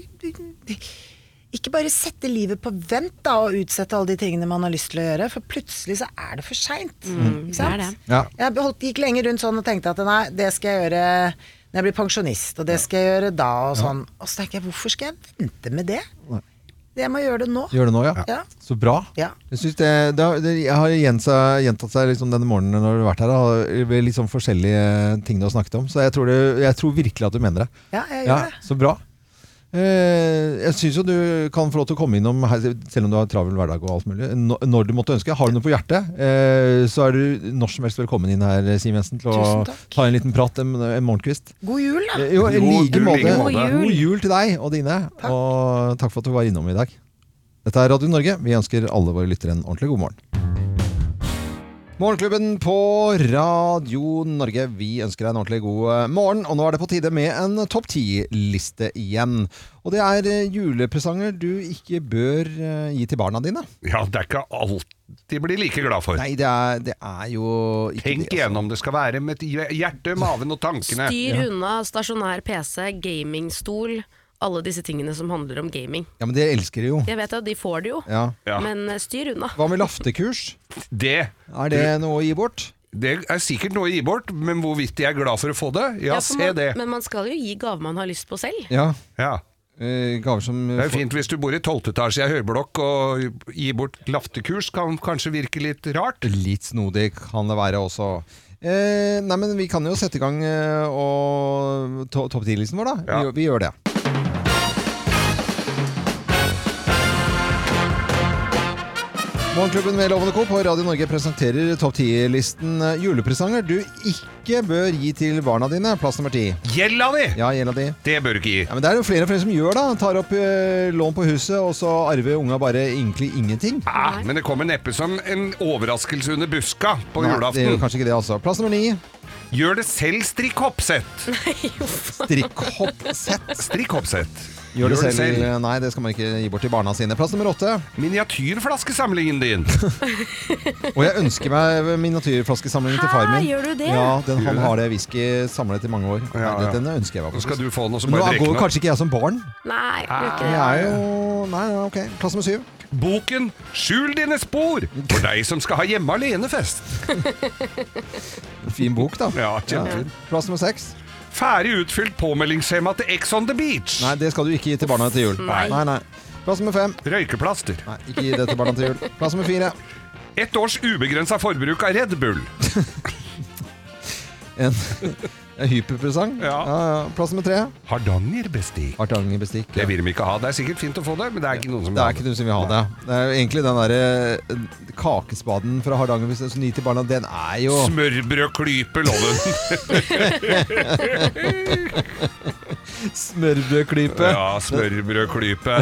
Speaker 7: ikke bare sette livet på vent da, og utsette alle de tingene man har lyst til å gjøre, for plutselig så er det for seint.
Speaker 2: Mm. det er det.
Speaker 1: Ja.
Speaker 7: Jeg beholdt, gikk lenge rundt sånn og tenkte at nei, det skal jeg gjøre når jeg blir pensjonist, og det skal jeg gjøre da, og sånn. Og så tenker jeg, hvorfor skal jeg vente med det? Jeg må gjøre det nå.
Speaker 1: Gjør det nå, ja.
Speaker 7: Ja.
Speaker 1: Så bra.
Speaker 7: Ja.
Speaker 1: Jeg, synes det, det, har- det jeg har gjensa, gjentatt seg liksom denne morgenen når du har vært her, da, ved liksom forskjellige ting du har snakket om. Så jeg tror, det, jeg tror virkelig at du mener det.
Speaker 7: Ja, jeg gjør
Speaker 1: Ja,
Speaker 7: det.
Speaker 1: så bra. Eh, jeg syns jo du kan få lov til å komme innom her, selv om du har travel hverdag og alt mulig, nå- når du måtte ønske. Har du noe på hjertet, eh, så er du når som helst velkommen inn her, Siv Jensen, til å
Speaker 7: Tusen takk.
Speaker 1: ta en liten prat en, en morgenkvist.
Speaker 7: God jul, da!
Speaker 1: Eh, Jo, i
Speaker 3: Jo,
Speaker 1: like
Speaker 3: du, i
Speaker 1: måte.
Speaker 3: like
Speaker 1: God
Speaker 3: måte.
Speaker 1: jul. God jul til deg og dine, og takk for at du var innom i dag. Dette er Radio Norge. Vi ønsker alle våre lyttere en ordentlig god morgen. Morgenklubben på Radio Norge, vi ønsker deg en ordentlig god eh, morgen. Og nå er det på tide med en topp ti-liste igjen. Og det er eh, julepresanger du ikke bør eh, gi til barna dine.
Speaker 3: Ja, det er ikke alt de blir like glad for.
Speaker 1: Nei, det er, det er jo ikke
Speaker 3: Tenk
Speaker 1: det, altså.
Speaker 3: igjennom. Det skal være med hjertet, maven og tankene.
Speaker 2: Styr unna stasjonær PC, gamingstol, alle disse tingene som handler om gaming.
Speaker 1: Ja, men det elsker de jo.
Speaker 2: Jeg vet at de får det jo,
Speaker 1: Ja.
Speaker 3: Ja.
Speaker 2: men eh, styr unna.
Speaker 1: Hva med laftekurs?
Speaker 3: Det,
Speaker 1: Er det noe å gi bort?
Speaker 3: det er sikkert noe å gi bort, men hvorvidt de er glad for å få det,
Speaker 2: Ja,
Speaker 3: ja,
Speaker 2: for
Speaker 3: se
Speaker 2: man,
Speaker 3: det.
Speaker 2: Men man skal jo gi gaver man har lyst på selv.
Speaker 1: Ja.
Speaker 3: Ja.
Speaker 1: eh, Gaver som
Speaker 3: Det er jo fint hvis du bor i 12. etasje i ei høyblokk og gi bort laftekurs kan kanskje virke litt rart.
Speaker 1: Litt snodig kan det være også. Eh, nei, men vi kan jo sette i gang eh, og to topp 10-listen vår, da.
Speaker 3: Ja.
Speaker 1: Vi, gjør- vi gjør det. Morgenklubben med Lovende Co. på Radio Norge presenterer topp 10-listen julepresanger du ikke bør gi til barna dine. Plass nummer ti.
Speaker 3: Gjelda di!
Speaker 1: Ja, gjelda di.
Speaker 3: Det bør du ikke gi.
Speaker 1: Ja, men Det er jo flere og flere som gjør da. Tar opp eh, lån på huset, og så arver unga bare egentlig ingenting.
Speaker 3: Ah, men det kommer neppe som en overraskelse under buska på
Speaker 1: Nei, det gjør
Speaker 3: julaften.
Speaker 1: kanskje ikke det, altså. Plass nummer ni.
Speaker 3: Gjør det selv, strikk hoppsett!
Speaker 1: Strikkhoppsett.
Speaker 3: Strikk hoppsett.
Speaker 1: Gjør det selv. Nei, det skal man ikke gi bort til barna sine. Plass nummer åtte.
Speaker 3: Miniatyrflaskesamlingen din.
Speaker 1: Og jeg ønsker meg miniatyrflaskesamlingen til far
Speaker 2: Hæ,
Speaker 1: min.
Speaker 2: gjør du det?
Speaker 1: Ja, den,
Speaker 3: Gjør
Speaker 1: han
Speaker 3: du
Speaker 1: har det whisky samlet i mange år. Nei,
Speaker 3: Ja, ja.
Speaker 1: Den ønsker jeg meg
Speaker 3: Nå skal
Speaker 1: faktisk.
Speaker 3: du få noe som
Speaker 1: Men nå
Speaker 3: bare
Speaker 1: går
Speaker 3: drikker noe.
Speaker 1: kanskje ikke jeg som barn.
Speaker 2: Nei, jeg tror ikke
Speaker 1: Jeg
Speaker 2: det.
Speaker 1: er jo Nei, ja, ok. Plass nummer syv.
Speaker 3: Boken 'Skjul dine spor' for deg som skal ha hjemme alene-fest.
Speaker 1: Fin bok, da.
Speaker 3: Ja, kjempefin.
Speaker 1: Plass nummer seks.
Speaker 3: Ferdig utfylt påmeldingsskjema til Ex on the Beach.
Speaker 1: Nei, det skal du ikke gi til barna til jul.
Speaker 3: Nei.
Speaker 1: nei. nei. Plass nummer fem.
Speaker 3: Røykeplaster.
Speaker 1: Nei, ikke gi det til barna til jul. Plass nummer fire.
Speaker 3: Ett års ubegrensa forbruk av Red Bull.
Speaker 1: En, en hyperpresang.
Speaker 3: Ja.
Speaker 1: Ja, ja. Plass nummer tre.
Speaker 3: Hardangerbestikk.
Speaker 1: Hardangerbestikk.
Speaker 3: Det vil de ikke ha. Det er sikkert fint å få det, men det er ikke noen som
Speaker 1: Det
Speaker 3: vil ha
Speaker 1: er ikke noe som vil ha det. Det er jo egentlig den der eh, kakespaden fra Hardanger hvis den som gir til barna, den er jo
Speaker 3: Smørbrødklype, loven.
Speaker 1: smørbrødklype.
Speaker 3: ja, smørbrødklype.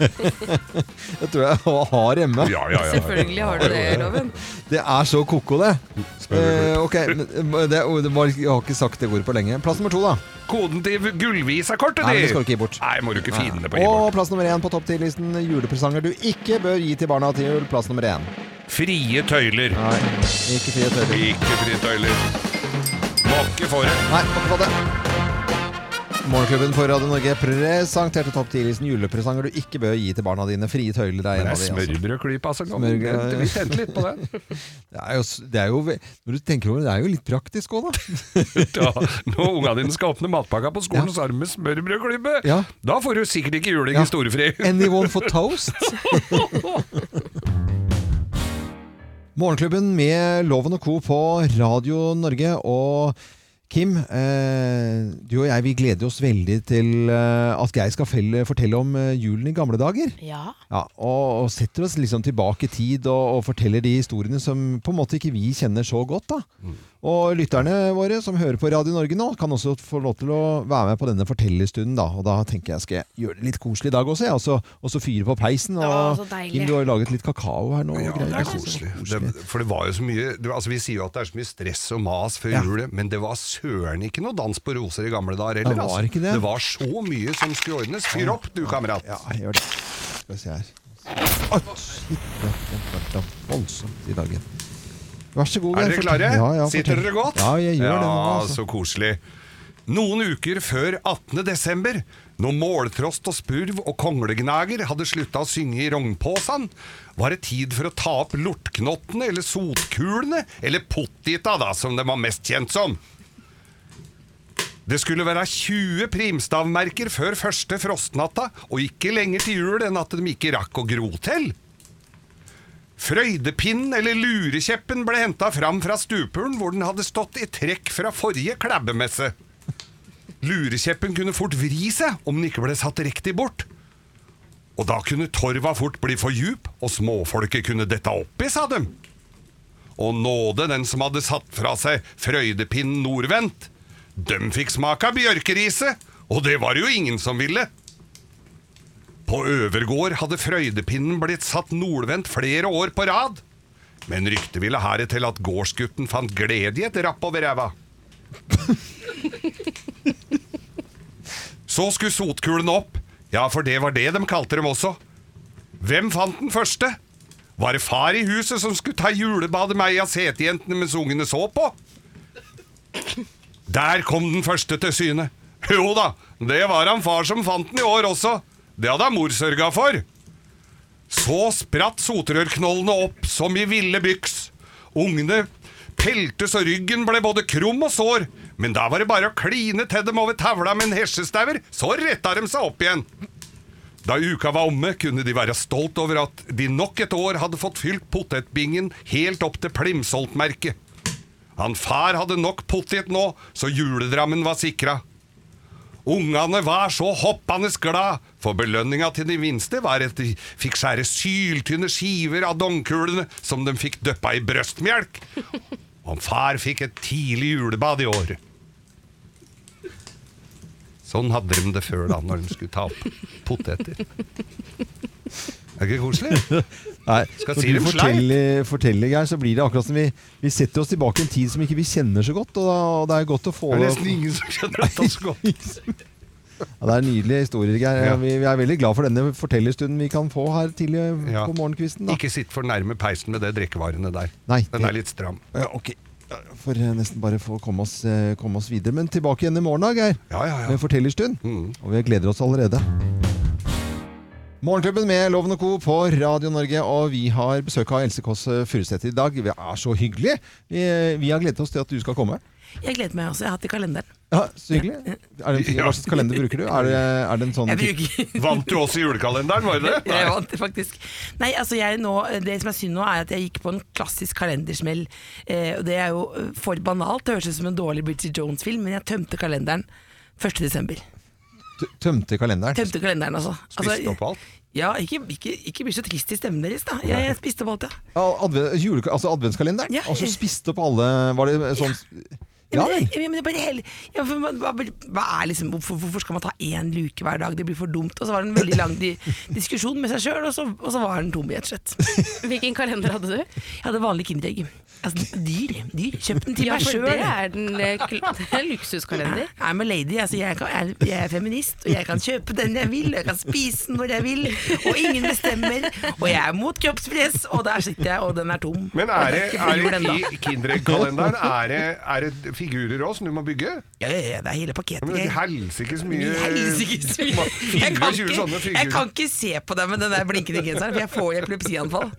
Speaker 1: Det tror jeg jeg har hjemme.
Speaker 3: Ja, ja, ja.
Speaker 5: Selvfølgelig har du det, Loven.
Speaker 1: Det er så koko, det. Eh, ok, men det, det var, Jeg har ikke sagt det ordet på lenge. Plass nummer to, da.
Speaker 3: Koden til gullvisa-kortet
Speaker 1: Nei,
Speaker 3: ditt!
Speaker 1: det skal du ikke gi bort.
Speaker 3: Nei, må du ikke finne det på
Speaker 1: Og
Speaker 3: e-bort.
Speaker 1: plass nummer én på topp ti-listen julepresanger du ikke bør gi til barna til jul. Plass nummer én.
Speaker 3: Frie tøyler.
Speaker 1: Nei, ikke fri tøyler.
Speaker 3: Ikke frie tøyler. Må ikke få det.
Speaker 1: Nei, akkurat det. Morgenklubben på Radio Norge presenterte topp 10-listen julepresanger du ikke bør gi til barna dine. Frie tøyler er
Speaker 3: Det er
Speaker 1: en av de. Altså.
Speaker 3: smørbrødklypa som kommer.
Speaker 1: Smørbrød, ja.
Speaker 3: Vi kjente litt på den.
Speaker 1: Det, er jo, s- det er jo ve- Når du tenker over det, det er jo litt praktisk òg, da.
Speaker 3: Da, når unga dine skal åpne matpakka på skolen,
Speaker 1: Ja.
Speaker 3: så er det med smørbrødklype!
Speaker 1: Ja.
Speaker 3: Da får du sikkert ikke juling
Speaker 1: Ja.
Speaker 3: i storefri.
Speaker 1: Anyone for toast? Morgenklubben med Loven og Co. på Radio Norge. Og Kim, eh, du og jeg vi gleder oss veldig til eh, at Geir skal felle, fortelle om eh, julen i gamle dager.
Speaker 5: Ja.
Speaker 1: Ja, og, og setter oss liksom tilbake i tid og, og forteller de historiene som på en måte ikke vi kjenner så godt. da.
Speaker 3: Mm.
Speaker 1: Og lytterne våre som hører på Radio Norge nå, kan også få lov til å være med på denne fortellerstunden. da. Og da tenker jeg skal jeg gjøre det litt koselig i dag også, jeg. Og så- og så fyre på peisen. Og
Speaker 5: Å, så deilig.
Speaker 1: Kim, du har jo laget litt kakao her nå. og
Speaker 3: Ja,
Speaker 1: greier.
Speaker 3: det er koselig. Det, for det var jo så mye det, var- altså Vi sier jo at det er så mye stress og mas før
Speaker 1: Ja.
Speaker 3: jul, men det var søren ikke noe dans på roser i gamle dager heller.
Speaker 1: Det var
Speaker 3: altså.
Speaker 1: ikke det.
Speaker 3: det var så mye som skulle ordnes. Fyr opp, du kamerat!
Speaker 1: Ja, jeg gjør det. Skal vi se her. Å, shit, det har vært da voldsomt i dag. Vær så god.
Speaker 3: Er
Speaker 1: Geir,
Speaker 3: dere
Speaker 1: fortell-
Speaker 3: klare?
Speaker 1: Ja, ja,
Speaker 3: Sitter
Speaker 1: fortell.
Speaker 3: dere godt?
Speaker 1: Ja, jeg gjør det. nå,
Speaker 3: Ja,
Speaker 1: altså.
Speaker 3: så koselig. Noen uker før 18. desember, når måltrost og spurv og konglegnager hadde slutta å synge i rognpåsan, var det tid for å ta opp lortknottene eller sotkulene, eller pottita da, som de var mest kjent som. Det skulle være 20 primstavmerker før første frostnatta, og ikke lenger til jul enn at de ikke rakk å gro til. Frøydepinnen eller lurekjeppen ble henta fram fra stupuren hvor den hadde stått i trekk fra forrige klabbemesse. Lurekjeppen kunne fort vri seg om den ikke ble satt riktig bort. Og da kunne torva fort bli for djup, og småfolket kunne dette oppi, sa de. Og nåde den som hadde satt fra seg frøydepinnen nordvendt. Dem fikk smak av bjørkeriset, og det var det jo ingen som ville. På Øvergård hadde frøydepinnen blitt satt nordvendt flere år på rad. Men ryktet ville her til at gårdsgutten fant glede i et rapp over ræva. Så skulle sotkulene opp. Ja, for det var det de kalte dem også. Hvem fant den første? Var det far i huset som skulle ta julebadet med ei av setejentene mens ungene så på? Der kom den første til syne. Jo da, det var han far som fant den i år også. Det hadde han mor sørga for. Så spratt sotrørknollene opp som i ville byks. Ungene peltes og ryggen ble både krum og sår, men da var det bare å kline til dem over tavla med en hesjestauer, så retta de seg opp igjen. Da uka var omme, kunne de være stolt over at de nok et år hadde fått fylt potetbingen helt opp til Plimsolt-merket. Han far hadde nok potet nå, så juledrammen var sikra. Ungene var så hoppende glad, for belønninga til de minste var at de fikk skjære syltynne skiver av dongkulene som de fikk døppa i brøstmjelk. Og far fikk et tidlig julebad i år. Sånn hadde de det før, da, når de skulle ta opp poteter. Er ikke det koselig?
Speaker 1: Nei,
Speaker 3: Skal
Speaker 1: når
Speaker 3: si
Speaker 1: du
Speaker 3: dem
Speaker 1: forteller, forteller Geir, så blir det akkurat som vi, vi setter oss tilbake i en tid som ikke vi kjenner så godt. Og, da, og det er godt å få
Speaker 3: Det er nesten ingen som skjønner dette så godt.
Speaker 1: Ja, det er nydelige historier, Geir.
Speaker 3: Ja.
Speaker 1: Vi, vi er veldig glad for denne fortellerstunden vi kan få her tidlig
Speaker 3: Ja.
Speaker 1: på morgenkvisten. Da.
Speaker 3: Ikke sitt for nærme peisen med det drikkevarene der.
Speaker 1: Nei,
Speaker 3: Den
Speaker 1: det-
Speaker 3: er litt stram.
Speaker 1: Ja, ok. For eh, nesten bare få komme oss, eh, komme oss videre. Men tilbake igjen i morgen da, Geir.
Speaker 3: Ja, ja,
Speaker 1: med
Speaker 3: ja.
Speaker 1: en fortellerstund.
Speaker 3: Mm.
Speaker 1: Og vi gleder oss allerede. Morgenklubben med Loven og Co. på Radio Norge, og vi har besøk av Else Kåss Furuseth i dag. Vi er så hyggelige! Vi, eh, vi har gledet oss til at du skal komme.
Speaker 8: Jeg gleder meg også. Jeg har hatt det i kalenderen.
Speaker 1: Ja, så hyggelig. Er det en,
Speaker 3: Ja.
Speaker 1: Hva slags kalender bruker du? Er det, er det en sånn
Speaker 8: Jeg bruker
Speaker 3: Vant du også julekalenderen, var det det?
Speaker 8: Jeg vant det faktisk. Nei, altså jeg nå, Det som er synd nå, er at jeg gikk på en klassisk kalendersmell. Eh, og Det er jo eh, for banalt. Det høres ut som en dårlig Bridget Jones-film, men jeg tømte kalenderen 1.12.
Speaker 1: t- tømte kalenderen?
Speaker 8: Tømte kalenderen, altså. altså
Speaker 3: Spiste opp alt?
Speaker 8: Ja, ikke, ikke, ikke bli så trist i stemmen deres, da. Jeg, jeg spiste opp alt, ja.
Speaker 1: Ja, Adve, juleka- altså adventskalenderen?
Speaker 8: Ja.
Speaker 1: Altså spiste opp alle Var det sånn
Speaker 8: Ja,
Speaker 1: Ja
Speaker 8: men,
Speaker 1: vel.
Speaker 8: ja, men det er bare hel- ja, for man- hva, hva er liksom, hvorfor, hvorfor skal man ta én luke hver dag? Det blir for dumt. Og så var det en veldig lang di diskusjon med seg sjøl, og, så- og så var den tom i et slett.
Speaker 2: Hvilken kalender hadde du?
Speaker 8: Jeg hadde vanlig Kinderegg. Altså, dyr. dyr. Kjøpt den til
Speaker 2: Ja,
Speaker 8: meg
Speaker 2: for det
Speaker 8: sjøl.
Speaker 2: er den eh, kl- det er en luksuskalender.
Speaker 8: I'm a lady, altså jeg, kan, jeg, jeg er feminist, og jeg kan kjøpe den jeg vil, og jeg kan spise den når jeg vil, og ingen bestemmer, og jeg er mot kroppspress, og der sitter jeg, og den er tom.
Speaker 3: Men er det,
Speaker 8: Og
Speaker 3: er
Speaker 8: jeg
Speaker 3: det
Speaker 8: den da.
Speaker 3: i Kinderegg-kalenderen er, det- er det figurer òg som du må bygge?
Speaker 8: Ja, ja, ja, det er hele
Speaker 3: Ja,
Speaker 8: pakketet.
Speaker 3: Men det er
Speaker 8: jeg-
Speaker 3: helsikes
Speaker 8: I
Speaker 3: mye
Speaker 8: helsikes mye. Jeg kan,
Speaker 3: 24
Speaker 8: ikke,
Speaker 3: sånne
Speaker 8: jeg kan
Speaker 3: figurer.
Speaker 8: ikke se på deg med den der blinkende genseren, for jeg får epilepsianfall.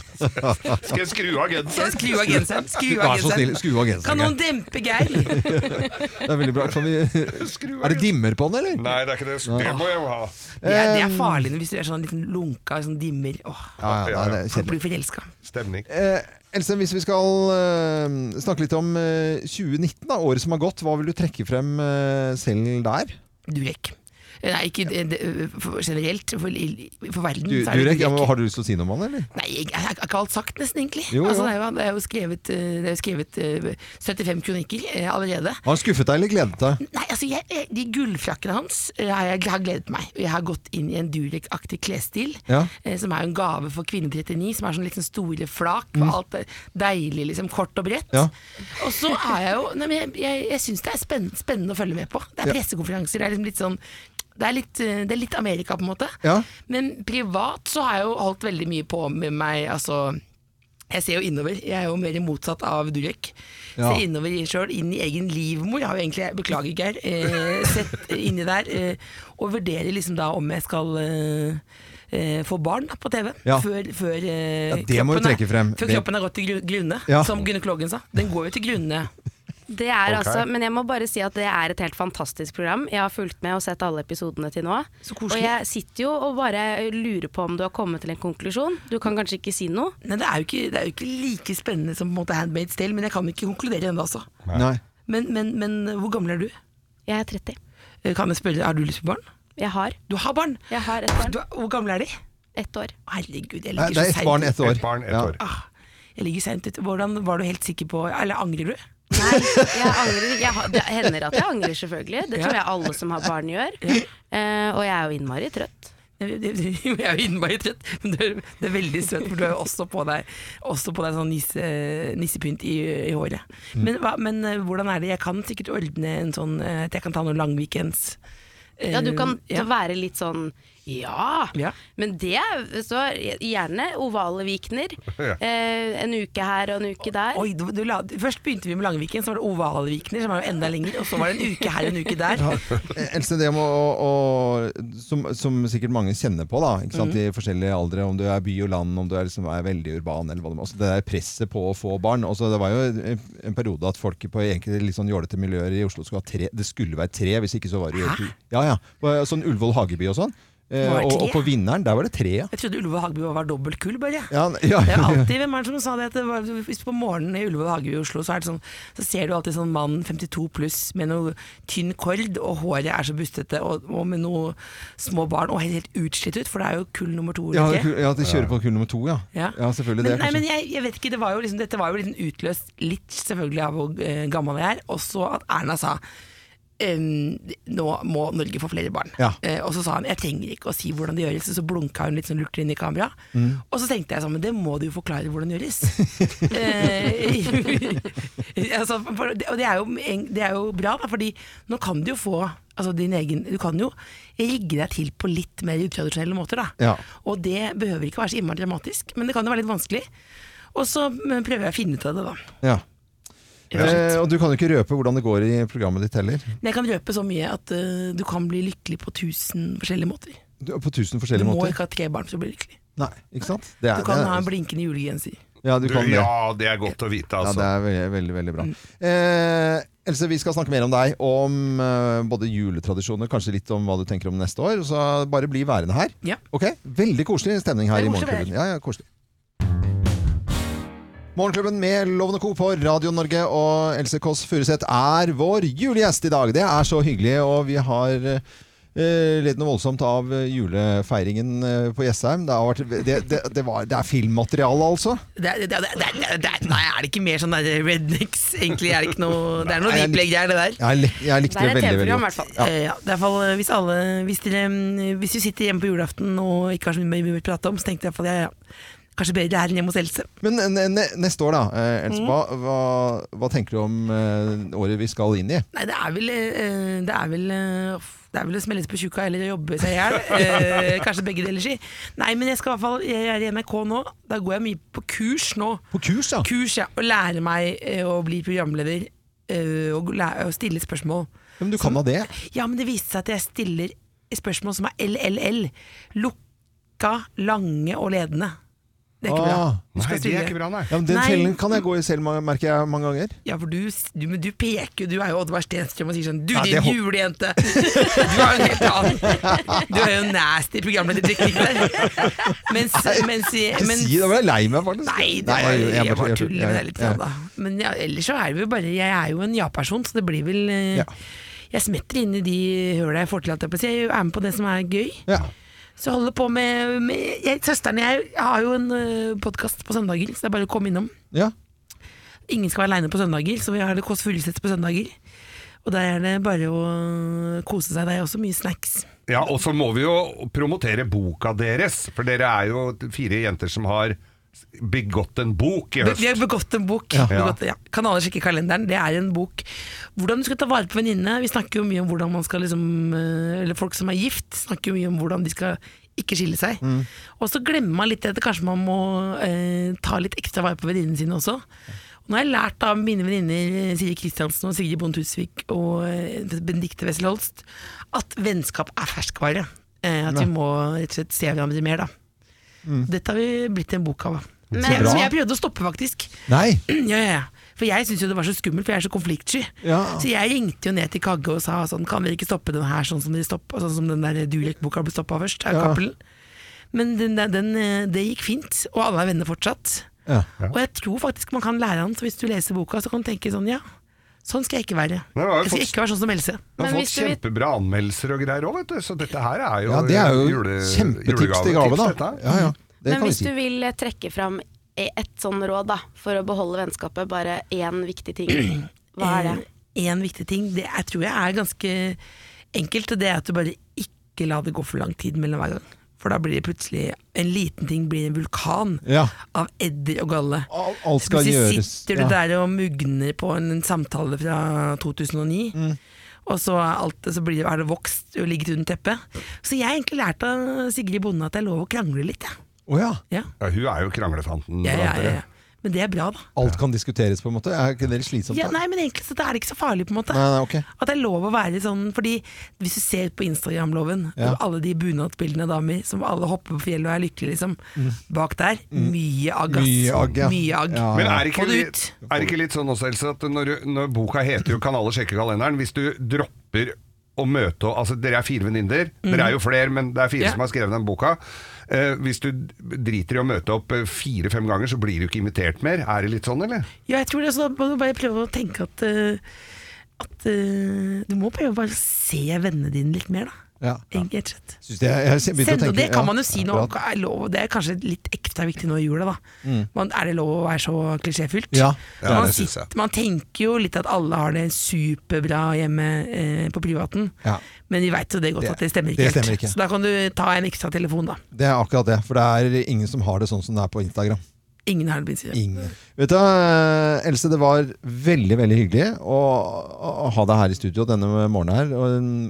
Speaker 3: Skal jeg skru av
Speaker 8: Så
Speaker 3: genseren?
Speaker 8: Skru av genseren. Skru av
Speaker 1: Vær så snill,
Speaker 8: genseren.
Speaker 1: skru av
Speaker 8: Kan
Speaker 1: genseren.
Speaker 8: noen dempe Geir?
Speaker 1: Det er veldig bra. Kan vi,
Speaker 3: Skru av
Speaker 1: er det dimmer på den, eller?
Speaker 3: Nei, det er ikke det. Det må jeg jo ha.
Speaker 8: Det er,
Speaker 1: Eh,
Speaker 8: det er farlig hvis du er sånn liten lunka, sånn dimmer. Åh,
Speaker 1: Ja, ja, nei, det er
Speaker 8: kan
Speaker 1: kjedelig.
Speaker 8: bli forelska.
Speaker 3: Stemning.
Speaker 1: Eh, Elsen, hvis vi skal eh, snakke litt om eh, 2019, da, året som har gått, hva vil du trekke frem eh, selv der?
Speaker 8: Durek. Nei, ikke eh, det- for, generelt. For, i- for verden
Speaker 1: Du,
Speaker 8: så er det
Speaker 1: Durek, ja, men har du lyst til å si noe om han, eller?
Speaker 8: Nei, jeg jeg har ikke alt sagt, nesten, egentlig.
Speaker 1: Jo, jo.
Speaker 8: Altså, det, er jo, det er jo skrevet, eh, det er jo skrevet eh, 75 kronikker eh, allerede.
Speaker 1: Har han skuffet deg eller gledet deg?
Speaker 8: Nei, altså jeg, jeg- De gullfrakkene hans eh, har, jeg, har gledet meg. Jeg har gått inn i en Durek-aktig klesstil,
Speaker 1: Ja.
Speaker 8: eh, som er jo en gave for kvinne 39. Som er sånn litt sånn store flak, og alt er deilig, liksom kort og bredt.
Speaker 1: Ja.
Speaker 8: Og så er jeg jo nei, men Jeg, jeg, jeg syns det er spennende, spennende å følge med på. Det er pressekonferanser, det er liksom litt sånn det er, litt, eh, det er litt Amerika, på en måte.
Speaker 1: Ja.
Speaker 8: Men privat så har jeg jo holdt veldig mye på med meg, altså jeg ser jo innover. Jeg er jo mer motsatt av Durek.
Speaker 1: Ja.
Speaker 8: Ser innover i sjøl, inn i egen livmor. Jeg har jo egentlig, beklager Geir, eh, sett inni der. Eh, og vurderer liksom da om jeg skal eh, eh, få barn da, på TV.
Speaker 1: Ja.
Speaker 8: Før, før, eh,
Speaker 1: Ja, det må
Speaker 8: kroppen
Speaker 1: du
Speaker 8: er-
Speaker 1: trekke frem.
Speaker 8: Før
Speaker 1: Det-
Speaker 8: kroppen har gått til gru- grunne,
Speaker 1: Ja.
Speaker 8: som gynekologen sa. Den går jo til grunne.
Speaker 2: Det er altså, men jeg må bare si at det er et helt fantastisk program. Jeg har fulgt med og sett alle episodene til nå.
Speaker 8: Så
Speaker 2: Og
Speaker 8: koselig.
Speaker 2: jeg sitter jo og bare lurer på om du har kommet til en konklusjon. Du kan kanskje ikke si noe.
Speaker 8: Men det er jo ikke, det er jo ikke like spennende som på en måte Handmaid's Tale, men jeg kan ikke konkludere ennå, altså.
Speaker 1: Nei.
Speaker 8: Men, men, men hvor gammel er du?
Speaker 2: Jeg er 30.
Speaker 8: Eh, Kan jeg spørre, Har du lyst på barn?
Speaker 2: Jeg har,
Speaker 8: Du har barn!
Speaker 2: jeg har et barn.
Speaker 8: Du, er- hvor gamle er de?
Speaker 2: Ett år.
Speaker 8: Herregud, jeg
Speaker 1: Nei,
Speaker 8: ligger
Speaker 1: Det
Speaker 8: så
Speaker 1: er ett
Speaker 8: sent
Speaker 1: barn,
Speaker 8: ut.
Speaker 1: ett år.
Speaker 3: Et barn, ett
Speaker 1: Ja.
Speaker 3: år.
Speaker 8: Ah, jeg ligger sent ute. Hvordan var du helt sikker på Eller angrer du?
Speaker 2: Nei, jeg angrer. Jeg har, det hender at jeg angrer, selvfølgelig. Det tror
Speaker 8: Ja.
Speaker 2: jeg alle som har barn gjør. Eh, og jeg er jo innmari trøtt.
Speaker 8: Jeg er jo innmari trøtt, men det er, det er veldig søt, for du har jo også på deg, også på deg sånn nisse, nissepynt i, i håret.
Speaker 1: Mm.
Speaker 8: Men, hva, men eh, hvordan er det? Jeg kan sikkert ordne en sånn eh, at jeg kan ta noen langweekends.
Speaker 2: Ja, du kan
Speaker 8: Eh, ja.
Speaker 2: være litt sånn ja,
Speaker 8: Ja.
Speaker 2: men det så gjerne ovale vikener. Eh, en uke her og en uke der.
Speaker 8: Oi, du, du la, først begynte vi med Langviken, så var det Ovalvikner, som var jo enda lenger. Og så var det en uke her og en uke der.
Speaker 1: Eh, Else, det må, og, og, som, som sikkert mange kjenner på, da, ikke sant? i forskjellige aldre, om du er by og land, om du er, liksom, er veldig urban eller hva det må altså, Det der presset på å få barn. Altså, det var jo en, en periode at folk på enkelte litt sånn jålete miljøer i Oslo skulle ha tre. Det skulle være tre, hvis ikke så var det jo to. Ja, ja. På Sånn Ullevål Hageby og sånn. Eh,
Speaker 8: Må være
Speaker 1: og,
Speaker 8: tre.
Speaker 1: og på Vinneren, der var det tre, ja.
Speaker 8: Jeg trodde Ullevål Hageby var dobbelt kull, bare.
Speaker 1: Ja, ja.
Speaker 8: Det er alltid, Hvem er det som sa det? At det var, hvis på morgenen i Ullevål hage i Oslo, så, er det sånn, så ser du alltid sånn mann 52 pluss med noe tynn kord, og håret er så bustete, og, og med noe små barn, og helt, helt utslitt ut, for det er jo kull nummer to.
Speaker 1: Ja,
Speaker 8: eller ikke?
Speaker 1: ku- ja, de kjører på kull nummer to, ja.
Speaker 8: Ja.
Speaker 1: selvfølgelig.
Speaker 8: men,
Speaker 1: det er
Speaker 8: nei,
Speaker 1: kanskje-
Speaker 8: men jeg, jeg vet ikke, det var jo liksom, Dette var jo liksom utløst litt selvfølgelig av hvor eh, gammel jeg er, også at Erna sa «Em, nå må Norge få flere barn.
Speaker 1: Ja.
Speaker 8: Eh, og så sa han jeg trenger ikke å si hvordan det gjøres, og så blunka hun litt sånn lurt inn i kamera. Og så tenkte jeg sånn, men det må du jo forklare hvordan det gjøres. eh, altså, for, og det er, jo, en- det er jo bra, da, fordi nå kan du jo få altså din egen, Du kan jo rigge deg til på litt mer utradisjonelle måter, da.
Speaker 1: Ja.
Speaker 8: Og det behøver ikke være så innmari dramatisk, men det kan jo være litt vanskelig. Og så men, prøver jeg å finne ut av det, da.
Speaker 1: ja.
Speaker 8: Rett og slett.
Speaker 1: Eh, og du kan jo ikke røpe hvordan det går i programmet ditt heller.
Speaker 8: Men jeg kan røpe så mye at eh, du kan bli lykkelig på tusen forskjellige måter.
Speaker 1: Du- På tusen
Speaker 8: Du
Speaker 1: forskjellige
Speaker 8: må
Speaker 1: måter.
Speaker 8: ikke ha tre barn for å bli lykkelig.
Speaker 1: Nei, ikke sant? Det er-
Speaker 8: Du kan
Speaker 1: det er-
Speaker 8: ha en blinkende julegenser.
Speaker 1: Ja, du
Speaker 3: Du,
Speaker 1: kan det.
Speaker 3: ja, det er godt å vite,
Speaker 1: Ja, det
Speaker 3: altså.
Speaker 1: er veldig, veldig, veldig bra. Eh, Else, vi skal snakke mer om deg, om eh, både juletradisjoner, kanskje litt om hva du tenker om neste år. Så bare bli værende her.
Speaker 8: Ja.
Speaker 1: Ok? Veldig koselig stemning her
Speaker 8: Det
Speaker 1: i
Speaker 8: er koselig
Speaker 1: Morgenklubben. Ja, ja, koselig. Morgenklubben med Lovende Co på Radio Norge, og Else Kåss Furuseth er vår julegjest i dag. Det er så hyggelig, og vi har eh, eh, litt noe voldsomt av eh, julefeiringen eh, på Jessheim. Det, har vært, det, det, det, var, det er filmmateriale, altså.
Speaker 8: Det, er- det, er- det, er- det, er- det, er- nei, er det ikke mer sånn der rednecks? Egentlig er det ikke noe Det er noe
Speaker 1: Nei, jeg lik-
Speaker 8: deeplegg der, det der.
Speaker 1: Jeg, lik, jeg likte
Speaker 2: Det
Speaker 1: det,
Speaker 2: er et TV-program, i
Speaker 1: veldig veldig
Speaker 2: hvert
Speaker 1: godt.
Speaker 2: fall.
Speaker 1: Ja.
Speaker 8: Eh, Ja, det er i hvert fall, eh, hvis, alle, hvis, dere, mm, hvis du sitter hjemme på julaften og ikke har så mye mer å prate om, så tenkte jeg i hvert fall, ja, ja. kanskje bedre her enn hjemme hos Else.
Speaker 1: Men eh, ne, ne, neste år, da. eh,
Speaker 8: Mm.
Speaker 1: Else, hva, hva, hva tenker du om eh, året vi skal inn i?
Speaker 8: Nei, det er vel, eh, det er vel eh, f- det er vel å smelles på tjukka eller å jobbe seg i hjel. Eh, Kanskje begge deler, si. Nei, men jeg skal i hvert fall Jeg er i NRK nå. Da går jeg mye på kurs nå.
Speaker 1: På kurs, ja.
Speaker 8: Kurs, ja. Og lærer meg eh, å bli programleder. eh, Og læ- og stille spørsmål.
Speaker 1: Men du kan da det?
Speaker 8: Ja, men det viste seg at jeg stiller spørsmål som er LLL. Lukka, lange og ledende. Det er ikke bra.
Speaker 1: Ah.
Speaker 8: Du skal
Speaker 3: Nei, det
Speaker 8: stille-
Speaker 3: er ikke bra, nei.
Speaker 1: Ja, men Den
Speaker 8: Nei.
Speaker 1: fellen kan jeg gå i selv, merker jeg mange ganger.
Speaker 8: Ja, for du, s- du, men du peker jo, du er jo Oddvar Stenstrøm og sier sånn Du
Speaker 1: Ja,
Speaker 8: din
Speaker 1: det hol-
Speaker 8: julejente! Du er jo en helt annen. Du er jo nasty programlederteknikk der. Mens, mens,
Speaker 1: Ikke
Speaker 8: mens
Speaker 1: si det, da ble jeg lei meg, faktisk.
Speaker 8: Nei, det
Speaker 1: Nei,
Speaker 8: var, jeg,
Speaker 1: jeg- jeg-
Speaker 8: bare
Speaker 1: jeg- jeg-
Speaker 8: tuller med det litt.
Speaker 1: jeg-
Speaker 8: sånn, Da. Men ja, ellers så er det jo bare Jeg er jo en ja-person, så det blir vel eh,
Speaker 1: Ja.
Speaker 8: Jeg smetter inn i de høla jeg får til. holdt jeg på å si. Jeg er med på det som er gøy.
Speaker 1: Ja.
Speaker 8: Så holder på med, med jeg, Søsteren og jeg har jo en podkast på søndager, så det er bare å komme innom.
Speaker 1: Ja.
Speaker 8: Ingen skal være aleine på søndager, så vi har det Kåss Furuseth på søndager. Og der er det bare å eh, kose seg. Det er også mye snacks.
Speaker 3: Ja, og så må vi jo promotere boka deres, for dere er jo fire jenter som har begått en bok i
Speaker 8: Vi vi har
Speaker 3: høst.
Speaker 8: begått en bok.
Speaker 1: Ja.
Speaker 8: Begått, ja. Kan alle sjekke kalenderen? Det er en bok. Hvordan du skal ta vare på venninnene. Vi snakker jo mye om hvordan man skal liksom eh, Eller folk som er gift, snakker jo mye om hvordan de skal ikke skille seg. Og så glemmer man litt at kanskje man må eh, ta litt ekstra vare på venninnene sine også. Og nå har jeg lært av mine venninner eh, Siri Kristiansen og Sigrid Bonde Tusvik og eh, Benedicte Wessel Holst at vennskap er ferskvare. Eh, at vi må rett og slett se hverandre mer, da. Dette har vi blitt en bok av. Men,
Speaker 1: Mm. bra.
Speaker 8: som jeg prøvde å stoppe, faktisk.
Speaker 1: Nei.
Speaker 8: Ja, ja, ja. For jeg syntes jo det var så skummelt, for jeg er så konfliktsky.
Speaker 1: Ja.
Speaker 8: Så jeg ringte jo ned til Kagge og sa sånn, kan dere ikke stoppe den her sånn som, de stopp, sånn som den der Durek-boka ble stoppa først, av
Speaker 1: Ja.
Speaker 8: Cappelen. Men den, der- den, eh, det gikk fint, og alle er venner fortsatt.
Speaker 1: Ja.
Speaker 8: Og jeg tror faktisk man kan lære han, så hvis du leser boka, så kan du tenke sånn, ja, sånn skal jeg ikke være.
Speaker 3: Nei, jeg har jo
Speaker 8: Jeg skal
Speaker 3: fått-
Speaker 8: ikke være sånn som Else.
Speaker 3: Vi har
Speaker 2: Men
Speaker 3: fått
Speaker 2: hvis du vil-
Speaker 3: kjempebra anmeldelser og greier òg, vet du. Så dette her er jo,
Speaker 1: ja, det er jo
Speaker 3: jule-
Speaker 1: kjempetips til gave,
Speaker 3: julegavetips,
Speaker 1: da.
Speaker 3: dette her.
Speaker 1: Ja, ja. Det
Speaker 2: Men
Speaker 1: kan vi
Speaker 2: hvis
Speaker 1: si.
Speaker 2: du vil eh, trekke fram e- et sånn råd da, for å beholde vennskapet, bare én viktig ting, hva er det?
Speaker 8: Eh. En viktig ting, det jeg tror jeg er ganske enkelt, og det er at du bare ikke la det gå for lang tid mellom hver gang. For da blir det plutselig, en liten ting blir en vulkan.
Speaker 1: Ja.
Speaker 8: av edder og galle.
Speaker 1: Al- alt skal
Speaker 8: Plutselig
Speaker 1: gjøres,
Speaker 8: sitter du
Speaker 1: ja.
Speaker 8: der og mugner på en, en samtale fra 2009.
Speaker 1: Mm.
Speaker 8: Og så, er alt, så blir, det- er det vokst og ligget under teppet. Så jeg har egentlig lært av Sigrid Bonde at det er lov å krangle litt. jeg.
Speaker 1: Å ja.
Speaker 8: Ja.
Speaker 3: Ja, hun er jo kranglefanten.
Speaker 8: Ja, ja,
Speaker 3: blant
Speaker 8: ja,
Speaker 3: dere.
Speaker 8: ja. Men det er bra, da.
Speaker 1: Alt kan diskuteres, på en måte. Er ikke det litt slitsomt?
Speaker 8: Ja,
Speaker 1: Sånn da?
Speaker 8: nei, men egentlig så det er det ikke så farlig, på en måte.
Speaker 1: Nei, nei, ok.
Speaker 8: At det er lov å være sånn, fordi hvis du ser på Instagram-loven,
Speaker 1: Ja.
Speaker 8: alle de bunadsbildene av damer som alle hopper på fjellet og er lykkelige, liksom. Bak der, mye agg, ass.
Speaker 1: Mm. Mye agg, ja.
Speaker 8: Mye agg.
Speaker 1: Ja,
Speaker 3: Men er det
Speaker 8: Få
Speaker 3: ikke,
Speaker 8: det
Speaker 3: litt, er det ikke litt sånn også, Else, at når, du- når boka heter jo 'Kan alle sjekke kalenderen', hvis du dropper å møte Altså, dere er fire venninner. Dere er jo flere, men det er fire
Speaker 8: Ja.
Speaker 3: som har skrevet den boka. Eh, hvis du d- driter i å møte opp eh, fire-fem ganger, så blir du ikke invitert mer. Er det litt sånn, eller?
Speaker 8: Ja, jeg tror det, så da må du bare prøve å tenke at, eh, at eh, Du må prøve å bare se vennene dine litt mer, da.
Speaker 1: Ja.
Speaker 8: Egentlig, rett og slett.
Speaker 1: Syns det, jeg begynte
Speaker 8: Send,
Speaker 1: å tenke
Speaker 8: og det kan
Speaker 1: ja,
Speaker 8: man jo si nå,
Speaker 1: akkurat. Mm.
Speaker 8: er lov, det er kanskje litt ekstra viktig nå i jula. da man, Er det lov å være så klisjéfylt?
Speaker 1: Ja,
Speaker 3: det
Speaker 8: man,
Speaker 3: synes jeg.
Speaker 8: sitter- man tenker jo litt at alle har det superbra hjemme eh, på privaten,
Speaker 1: Ja.
Speaker 8: men vi veit jo det godt
Speaker 1: Det-
Speaker 8: at det stemmer ikke
Speaker 1: det
Speaker 8: helt.
Speaker 1: stemmer ikke.
Speaker 8: Så da kan du ta en ekstra telefon, da.
Speaker 1: Det er akkurat det. For det er ingen som har det sånn som det er på Instagram.
Speaker 8: Ingen har det blitt sikkert.
Speaker 1: Ingen. Vet du, eh, Else, det var veldig veldig hyggelig å, å ha deg her i studio denne morgenen. her Og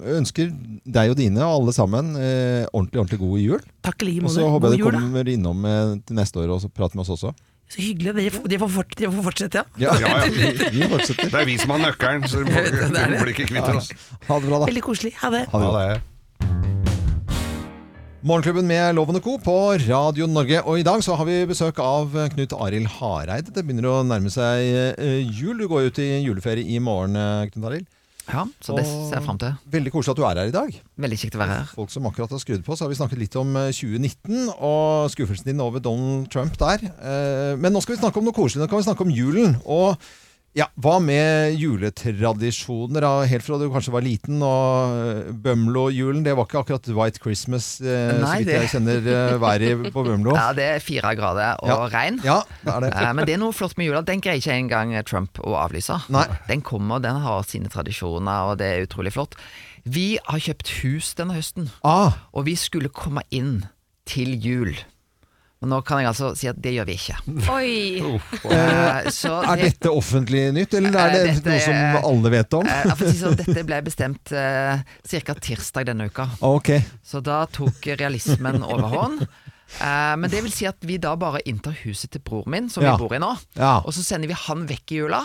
Speaker 1: eh, ønsker deg og dine og alle sammen eh, ordentlig ordentlig god jul.
Speaker 8: Takk i like
Speaker 1: Og så
Speaker 8: måte.
Speaker 1: håper
Speaker 8: God
Speaker 1: jeg du
Speaker 8: jul, da.
Speaker 1: kommer innom eh, til neste år og så prater med oss også.
Speaker 8: Så hyggelig. Dere får, dere får, fort, dere får fortsette, ja.
Speaker 1: Ja,
Speaker 3: ja.
Speaker 1: Vi, vi
Speaker 3: Det
Speaker 1: fortsetter.
Speaker 3: er vi som har nøkkelen, så du må- du blir ikke kvitt oss.
Speaker 1: Ha det bra, da.
Speaker 8: Veldig koselig. Ha det.
Speaker 1: Ha det.
Speaker 3: Ha det.
Speaker 1: Morgenklubben med Loven og Co. på Radio Norge. Og i dag så har vi besøk av Knut Arild Hareide. Det begynner å nærme seg eh, jul. Du går ut i juleferie i morgen, eh, Knut Arild.
Speaker 9: Ja, så det
Speaker 1: Og-
Speaker 9: ser jeg fram til.
Speaker 1: Veldig koselig at du er her i dag.
Speaker 9: Veldig kjekt å være her.
Speaker 1: Folk som akkurat har skrudd på, så har vi snakket litt om eh, 2019 og skuffelsen din over Donald Trump der. Eh, Men nå skal vi snakke om noe koselig. Nå kan vi snakke om julen. Og Ja, Hva med juletradisjoner? da? Helt fra du kanskje var liten. og eh, Bømlo-julen, det var ikke akkurat White Christmas, eh, så
Speaker 9: Nei,
Speaker 1: vidt
Speaker 9: det-
Speaker 1: jeg kjenner eh, været på Bømlo.
Speaker 9: Ja, det er fire grader og
Speaker 1: Ja.
Speaker 9: regn.
Speaker 1: Ja, det er det.
Speaker 9: Eh, Men det er noe flott med jula. Den greier ikke engang Trump å avlyse.
Speaker 1: Nei.
Speaker 9: Den kommer, den har sine tradisjoner, og det er utrolig flott. Vi har kjøpt hus denne høsten,
Speaker 1: Ah,
Speaker 9: og vi skulle komme inn til jul. Men nå kan jeg altså si at det gjør vi ikke.
Speaker 2: Oi!
Speaker 9: Eh, så
Speaker 1: er
Speaker 9: det-
Speaker 1: dette offentlig nytt, eller er
Speaker 9: Eh,
Speaker 1: det
Speaker 9: dette
Speaker 1: noe
Speaker 9: er-
Speaker 1: som alle vet om?
Speaker 9: eh, for å si sånn, dette ble bestemt eh, ca. tirsdag denne uka.
Speaker 1: Ok.
Speaker 9: Så da tok realismen overhånd. Eh, men det vil si at vi da bare inntar huset til bror min, som
Speaker 1: Ja.
Speaker 9: vi bor i nå.
Speaker 1: Ja.
Speaker 9: Og så sender vi han vekk i jula,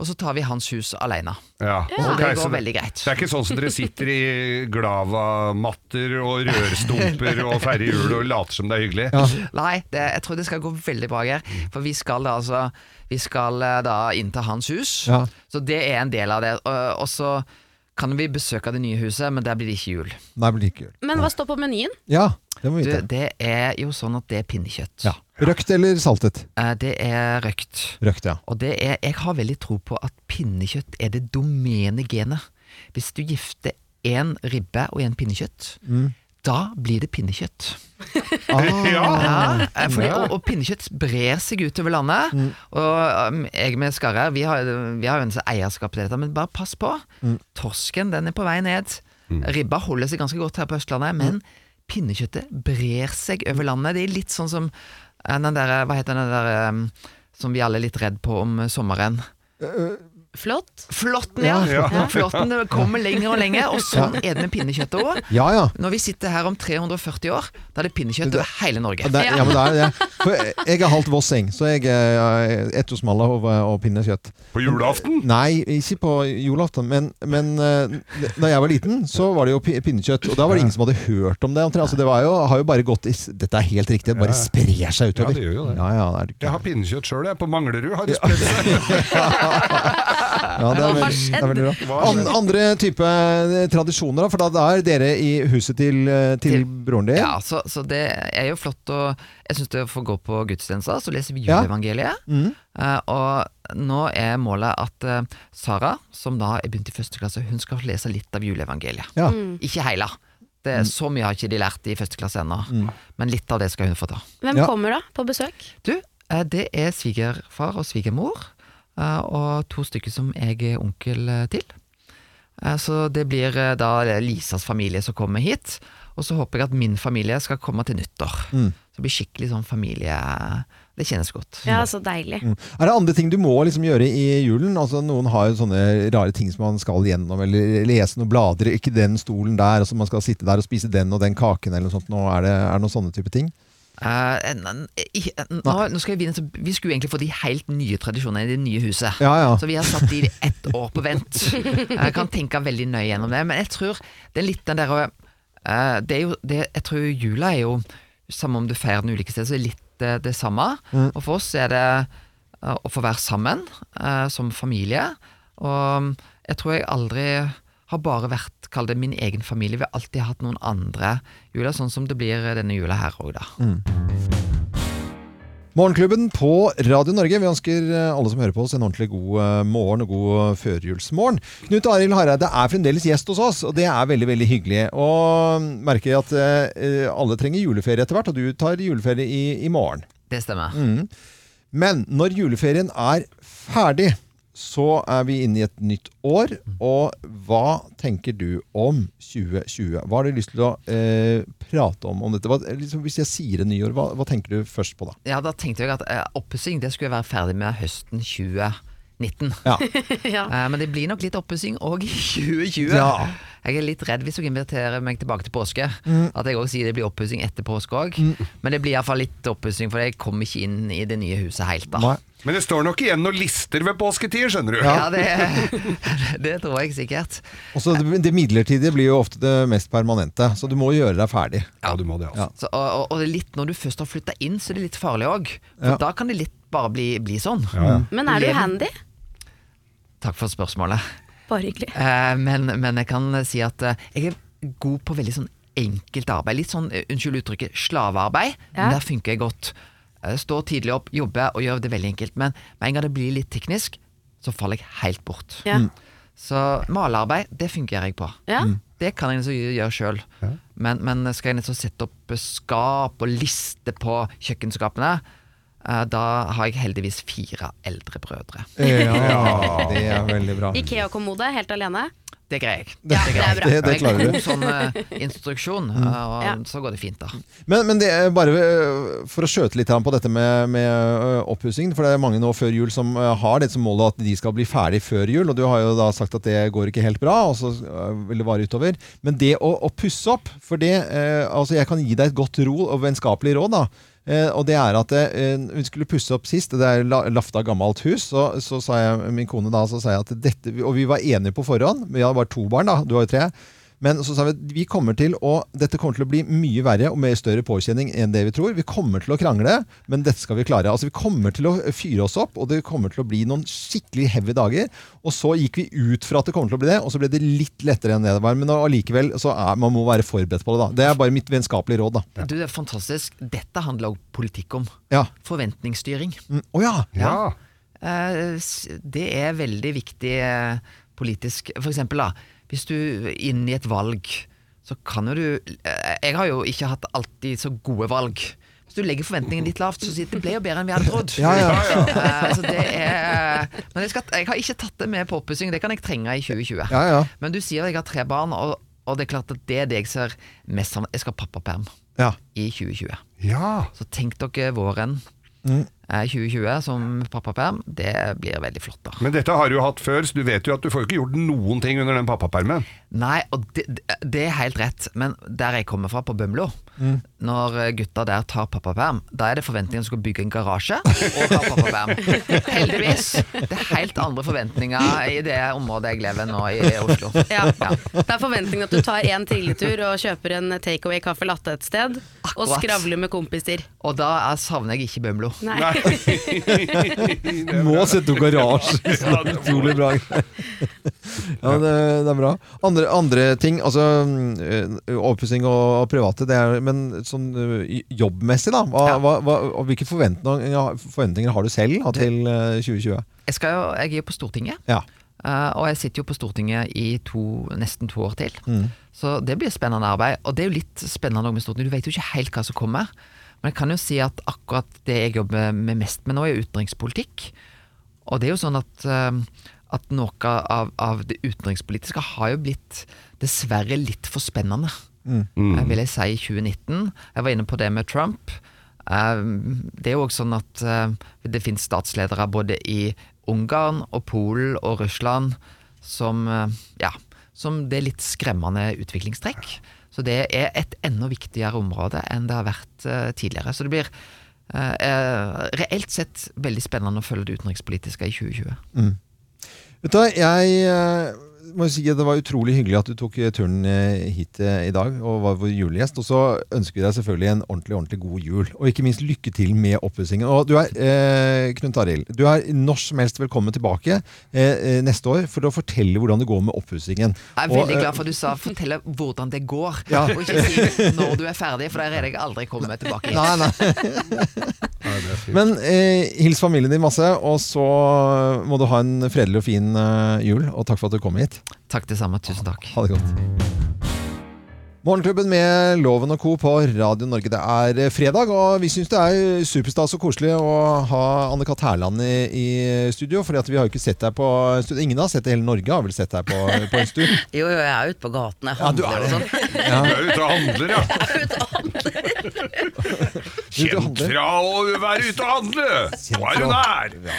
Speaker 9: og så tar vi hans hus alene.
Speaker 3: Ja.
Speaker 9: Så det
Speaker 3: Ok, så
Speaker 9: går veldig greit.
Speaker 3: Det er ikke sånn som dere sitter i glavamatter og rørstumper og feirer jul og later som det er hyggelig.
Speaker 9: Nei, det, jeg tror det skal gå veldig bra her. For vi skal da altså Vi skal eh, da innta hans hus.
Speaker 1: Ja.
Speaker 9: Så det er en del av det. Og, og så kan vi besøke det nye huset, men der blir det ikke jul.
Speaker 1: Nei, men like jul.
Speaker 2: Men hva står på menyen?
Speaker 1: Ja, det må vi
Speaker 9: Du,
Speaker 1: vite.
Speaker 9: det er jo sånn at det er pinnekjøtt.
Speaker 1: Ja. Røkt eller saltet?
Speaker 9: Eh, Det er røkt.
Speaker 1: Røkt, ja.
Speaker 9: Og det er, jeg har veldig tro på at pinnekjøtt er det domene genet. Hvis du gifter én ribbe og én pinnekjøtt,
Speaker 1: Mm.
Speaker 9: da blir det pinnekjøtt.
Speaker 1: Ah.
Speaker 9: Ja, eh, fordi, og, og pinnekjøtt brer seg utover landet.
Speaker 1: Mm.
Speaker 9: Og um, jeg med Skarre, vi har, vi har jo en sånn eierskap til dette, men bare pass på.
Speaker 1: Mm.
Speaker 9: Torsken den er på vei ned. Ribba holder seg ganske godt her på Østlandet, men
Speaker 1: Mm.
Speaker 9: pinnekjøttet brer seg over landet. Det er litt sånn som eh, den der, hva heter den der um, som vi alle er litt redd på om eh, sommeren.
Speaker 2: Flott.
Speaker 9: Flåtten, ja! Flåtten det kommer lenger og lenger, og sånn er det med pinnekjøttet òg.
Speaker 1: Ja, ja.
Speaker 9: Når vi sitter her om 340 år, da er det pinnekjøtt over hele Norge.
Speaker 1: Det, ja, men det er det. For jeg er halvt vossing, så jeg eh, er etosmalla og, og pinnekjøtt.
Speaker 3: På julaften?
Speaker 1: Nei, ikke på julaften, men, men eh, da jeg var liten, så var det jo pi- pinnekjøtt. Og da var det ingen som hadde hørt om det. omtrent. Altså, det var jo, har jo bare gått i, s- Dette er helt riktig, det bare sprer seg
Speaker 3: Ja,
Speaker 1: utover.
Speaker 3: det gjør jo det.
Speaker 1: Ja, ja, det er,
Speaker 3: Jeg har pinnekjøtt sjøl, jeg. På Manglerud har de spredt seg.
Speaker 1: ja, det er, veldig, det er veldig bra. An, andre type eh, tradisjoner, da? For da, da er dere i huset til, eh, til
Speaker 9: Til-
Speaker 1: broren din?
Speaker 9: Ja, så, så det er jo flott å Jeg syns det å få gå på gudstjenester, så leser vi juleevangeliet.
Speaker 1: Mm.
Speaker 9: Eh, og nå er målet at eh, Sara, som da er begynt i første klasse, hun skal lese litt av juleevangeliet.
Speaker 1: Ja.
Speaker 2: Mm.
Speaker 1: Mm.
Speaker 9: Ikke hele. Det er Så mye har ikke de lært i første klasse ennå, men litt av det skal hun få ta.
Speaker 2: Hvem
Speaker 1: Ja.
Speaker 2: kommer da på besøk?
Speaker 9: Du, eh, det er svigerfar og svigermor, eh, og to stykker som jeg er onkel eh, til. Eh, Så det blir eh, da Lisas familie som kommer hit. Og så håper jeg at min familie skal komme til nyttår. Så det blir skikkelig sånn familie Det kjennes godt.
Speaker 2: Ja, så deilig.
Speaker 1: Mm. Er det andre ting du må liksom gjøre i julen? Altså Noen har jo sånne rare ting som man skal gjennom, eller lese noen blader, ikke den stolen der, altså man skal sitte der og spise den og den kaken eller noe sånt. Nå er, det, er det noen sånne type ting?
Speaker 9: Eh, en- en- i- en- Nå, nå skal jeg vinne, så vi skulle egentlig få de helt nye tradisjonene i det nye huset.
Speaker 1: Ja, ja.
Speaker 9: Så vi har satt de ett år på vent. Jeg kan tenke veldig nøye gjennom det. Men jeg tror det er litt den derre eh, Det er jo det, Jeg tror jula er jo Samme om du feirer den ulike steder, så er det litt eh, det samme.
Speaker 1: Mm.
Speaker 9: Og for oss er det eh, å få være sammen eh, som familie. Og jeg tror jeg aldri har bare vært, kall det min egen familie. Vi har alltid hatt noen andre juler, sånn som det blir denne jula her òg, da.
Speaker 1: Mm. Morgenklubben på Radio Norge. Vi ønsker eh, alle som hører på oss en ordentlig god eh, morgen og god eh, førjulsmorgen. Knut Arild Hareide er fremdeles gjest hos oss, og det er veldig veldig hyggelig. Og mm, merker at eh, eh, alle trenger juleferie etter hvert, og du tar juleferie i, i morgen. Mm.
Speaker 9: Det stemmer.
Speaker 1: Men når juleferien er ferdig, så er vi inne i et nytt år. Og hva tenker du om 2020? Hva har du lyst til å eh, prate om om dette? Hva, liksom, hvis jeg sier et nyår, hva, hva tenker du først på da?
Speaker 9: Ja, da tenkte jeg at eh, oppussing det skulle jeg være ferdig med høsten 2019.
Speaker 1: Ja.
Speaker 2: Ja.
Speaker 9: Eh, men det blir nok litt oppussing òg i 2020.
Speaker 1: Ja.
Speaker 9: Jeg er litt redd hvis dere inviterer meg tilbake til påske.
Speaker 1: Mm.
Speaker 9: At jeg også sier det blir oppussing etter påske òg. Men det blir iallfall litt oppussing, for jeg kom ikke inn i det nye huset helt da.
Speaker 1: Nei.
Speaker 3: Men det står nok igjen noen lister ved påsketider, skjønner du.
Speaker 9: Ja, det, det tror jeg sikkert.
Speaker 1: Også det, det midlertidige blir jo ofte det mest permanente, så du må gjøre deg ferdig.
Speaker 3: Ja, du må det, altså.
Speaker 9: Så, og, og, og det er litt når du først har flytta inn, så er det litt farlig òg. For
Speaker 1: Ja.
Speaker 9: da kan det litt bare bli, bli sånn.
Speaker 2: Men er du handy?
Speaker 9: Takk for spørsmålet.
Speaker 2: Bare hyggelig.
Speaker 9: Eh, men, men jeg kan si at eh, jeg er god på veldig sånn enkelt arbeid. Litt sånn, eh, unnskyld uttrykket, slavearbeid.
Speaker 2: Ja.
Speaker 9: Men der funker jeg godt. Eh, Stå tidlig opp, jobbe og gjøre det veldig enkelt. Men med en gang det blir litt teknisk, så faller jeg helt bort.
Speaker 2: Ja. Mm.
Speaker 9: Så malearbeid, det fungerer jeg på.
Speaker 2: Ja. Mm.
Speaker 9: Det kan jeg liksom gjøre sjøl. Men, men skal jeg liksom sette opp skap og liste på kjøkkenskapene, eh, da har jeg heldigvis fire eldre brødre.
Speaker 1: Ja, det er veldig bra.
Speaker 2: Ikea-kommode helt alene.
Speaker 9: Det greier jeg.
Speaker 2: Ja, det er bra.
Speaker 1: Det- det klarer du.
Speaker 9: Jeg har en god sånn eh, instruksjon,
Speaker 1: Mm.
Speaker 9: eh, og
Speaker 2: Ja.
Speaker 9: så går det fint, da.
Speaker 1: Men, men det er bare øh, for å skjøte litt grann på dette med, med øh, oppussing. For det er mange nå før jul som øh, har det som mål at de skal bli ferdig før jul. Og du har jo da sagt at det går ikke helt bra, og så øh, vil det vare utover. Men det å, å pusse opp For det øh, Altså, jeg kan gi deg et godt ro og vennskapelig råd, da. Eh, og det er at eh, Hun skulle pusse opp sist, det er la- lafta gammelt hus. Så, så sa jeg min kone da, så sa jeg at dette Og vi var enige på forhånd. Vi hadde bare to barn, da. Du har jo tre. Men så sa vi at vi kommer til å, dette kommer til å bli mye verre og med større påkjenning enn det vi tror. Vi kommer til å krangle, men dette skal vi klare. Altså Vi kommer til å fyre oss opp, og det kommer til å bli noen skikkelig heavy dager. Og så gikk vi ut fra at det kommer til å bli det, og så ble det litt lettere enn det det var. Men allikevel så er, man må være forberedt på det, da. Det er bare mitt vennskapelige råd, da.
Speaker 9: Du, det er fantastisk. Dette handler også politikk om.
Speaker 1: Ja.
Speaker 9: Forventningsstyring.
Speaker 1: Mm, Å ja!
Speaker 3: Ja.
Speaker 9: Eh, s- Det er veldig viktig eh, politisk. For eksempel, da, hvis du er inne i et valg, så kan jo du eh, Jeg har jo ikke hatt alltid så gode valg. Hvis du legger forventningene litt lavt, så sier det ble jo bedre enn vi hadde trodd.
Speaker 1: Ja, ja.
Speaker 9: Eh, så det er, men jeg, skal, jeg har ikke tatt det med på oppussing, det kan jeg trenge i 2020.
Speaker 1: Ja, ja.
Speaker 9: Men du sier at jeg har tre barn, og, og det er klart at det er det jeg ser mest fram Jeg skal ha pappaperm
Speaker 1: ja.
Speaker 9: i 2020.
Speaker 3: ja.
Speaker 9: Så tenk dere våren
Speaker 1: Mm.
Speaker 9: eh, 2020 som pappaperm. Det blir veldig flott, da.
Speaker 3: Men dette har du jo hatt før, så du vet jo at du får ikke gjort noen ting under den pappapermen.
Speaker 9: Nei, og det, det er helt rett, men der jeg kommer fra, på Bømlo,
Speaker 1: Mm.
Speaker 9: når eh, gutta der tar pappaperm, da er det forventninger om du skal bygge en garasje og ha pappaperm. Heldigvis. Det er helt andre forventninger i det området jeg lever nå i Oslo.
Speaker 2: Ja. Det er forventningen at du tar en trilletur og kjøper en takeaway kaffe latte et sted, og
Speaker 9: Akkurat.
Speaker 2: skravler med kompiser.
Speaker 9: Og da er- savner jeg ikke Bømlo.
Speaker 2: Nei.
Speaker 1: Må sette opp garasje. Utrolig bra. Ja, det, det er bra. Andre, andre ting, altså mm, eh, overpussing og private, det er, men sånn eh, jobbmessig, da. Hva, hva, hva, og hvilke forventninger, forventninger har du selv da, til eh, 2020?
Speaker 9: Jeg, skal jo, jeg er jo på Stortinget.
Speaker 1: Ja.
Speaker 9: Eh, og jeg sitter jo på Stortinget i to, nesten to år til. Så det blir spennende arbeid. Og det er jo litt spennende også med Stortinget, du vet jo ikke helt hva som kommer. Men jeg kan jo si at akkurat det jeg jobber med mest med nå, er utenrikspolitikk. Og det er jo sånn at, eh, at noe av, av det utenrikspolitiske har jo blitt dessverre litt for spennende. Eh, vil jeg si i 2019. Jeg var inne på det med Trump. Eh, det er jo også sånn at eh, det finnes statsledere både i Ungarn og Polen og Russland som, eh, ja, som det er litt skremmende utviklingstrekk. Så det er et enda viktigere område enn det har vært eh, tidligere. Så det blir eh, eh, reelt sett veldig spennende å følge det utenrikspolitiske i 2020.
Speaker 1: Vet du, hva, jeg eh, må jo si at det var utrolig hyggelig at du tok eh, turen eh, hit eh, i dag og var vår julegjest. Og så ønsker vi deg selvfølgelig en ordentlig ordentlig god jul. Og ikke minst lykke til med oppussingen. Og du er, eh, Knut Arild, du er når som helst velkommen tilbake eh, eh, neste år for å fortelle hvordan det går med oppussingen.
Speaker 9: Jeg er
Speaker 1: Og,
Speaker 9: veldig
Speaker 1: eh,
Speaker 9: glad for at du sa 'fortelle hvordan det går',
Speaker 1: Ja.
Speaker 9: og ikke si 'når du er ferdig', for da er jeg aldri kommet tilbake.
Speaker 1: Nei, nei. Men eh, hils familien din masse, og så må du ha en fredelig og fin eh, jul. Og takk for at du kom hit.
Speaker 9: Takk det samme, tusen takk.
Speaker 1: Ha det godt. Morgenklubben med Loven og Co. på Radio Norge. Det er eh, fredag, og vi syns det er superstas og koselig å ha Anne-Kat. Hærland i, i studio. For vi har jo ikke sett deg på en stund. Ingen har sett deg, hele Norge har vel sett deg på, på en stund.
Speaker 10: Jo, jo, jeg er ute på gaten. Jeg handler og sånn.
Speaker 3: Du er ute og handler, ja. Kjent fra å være ute og handle! Nå er du nær!
Speaker 1: Hva,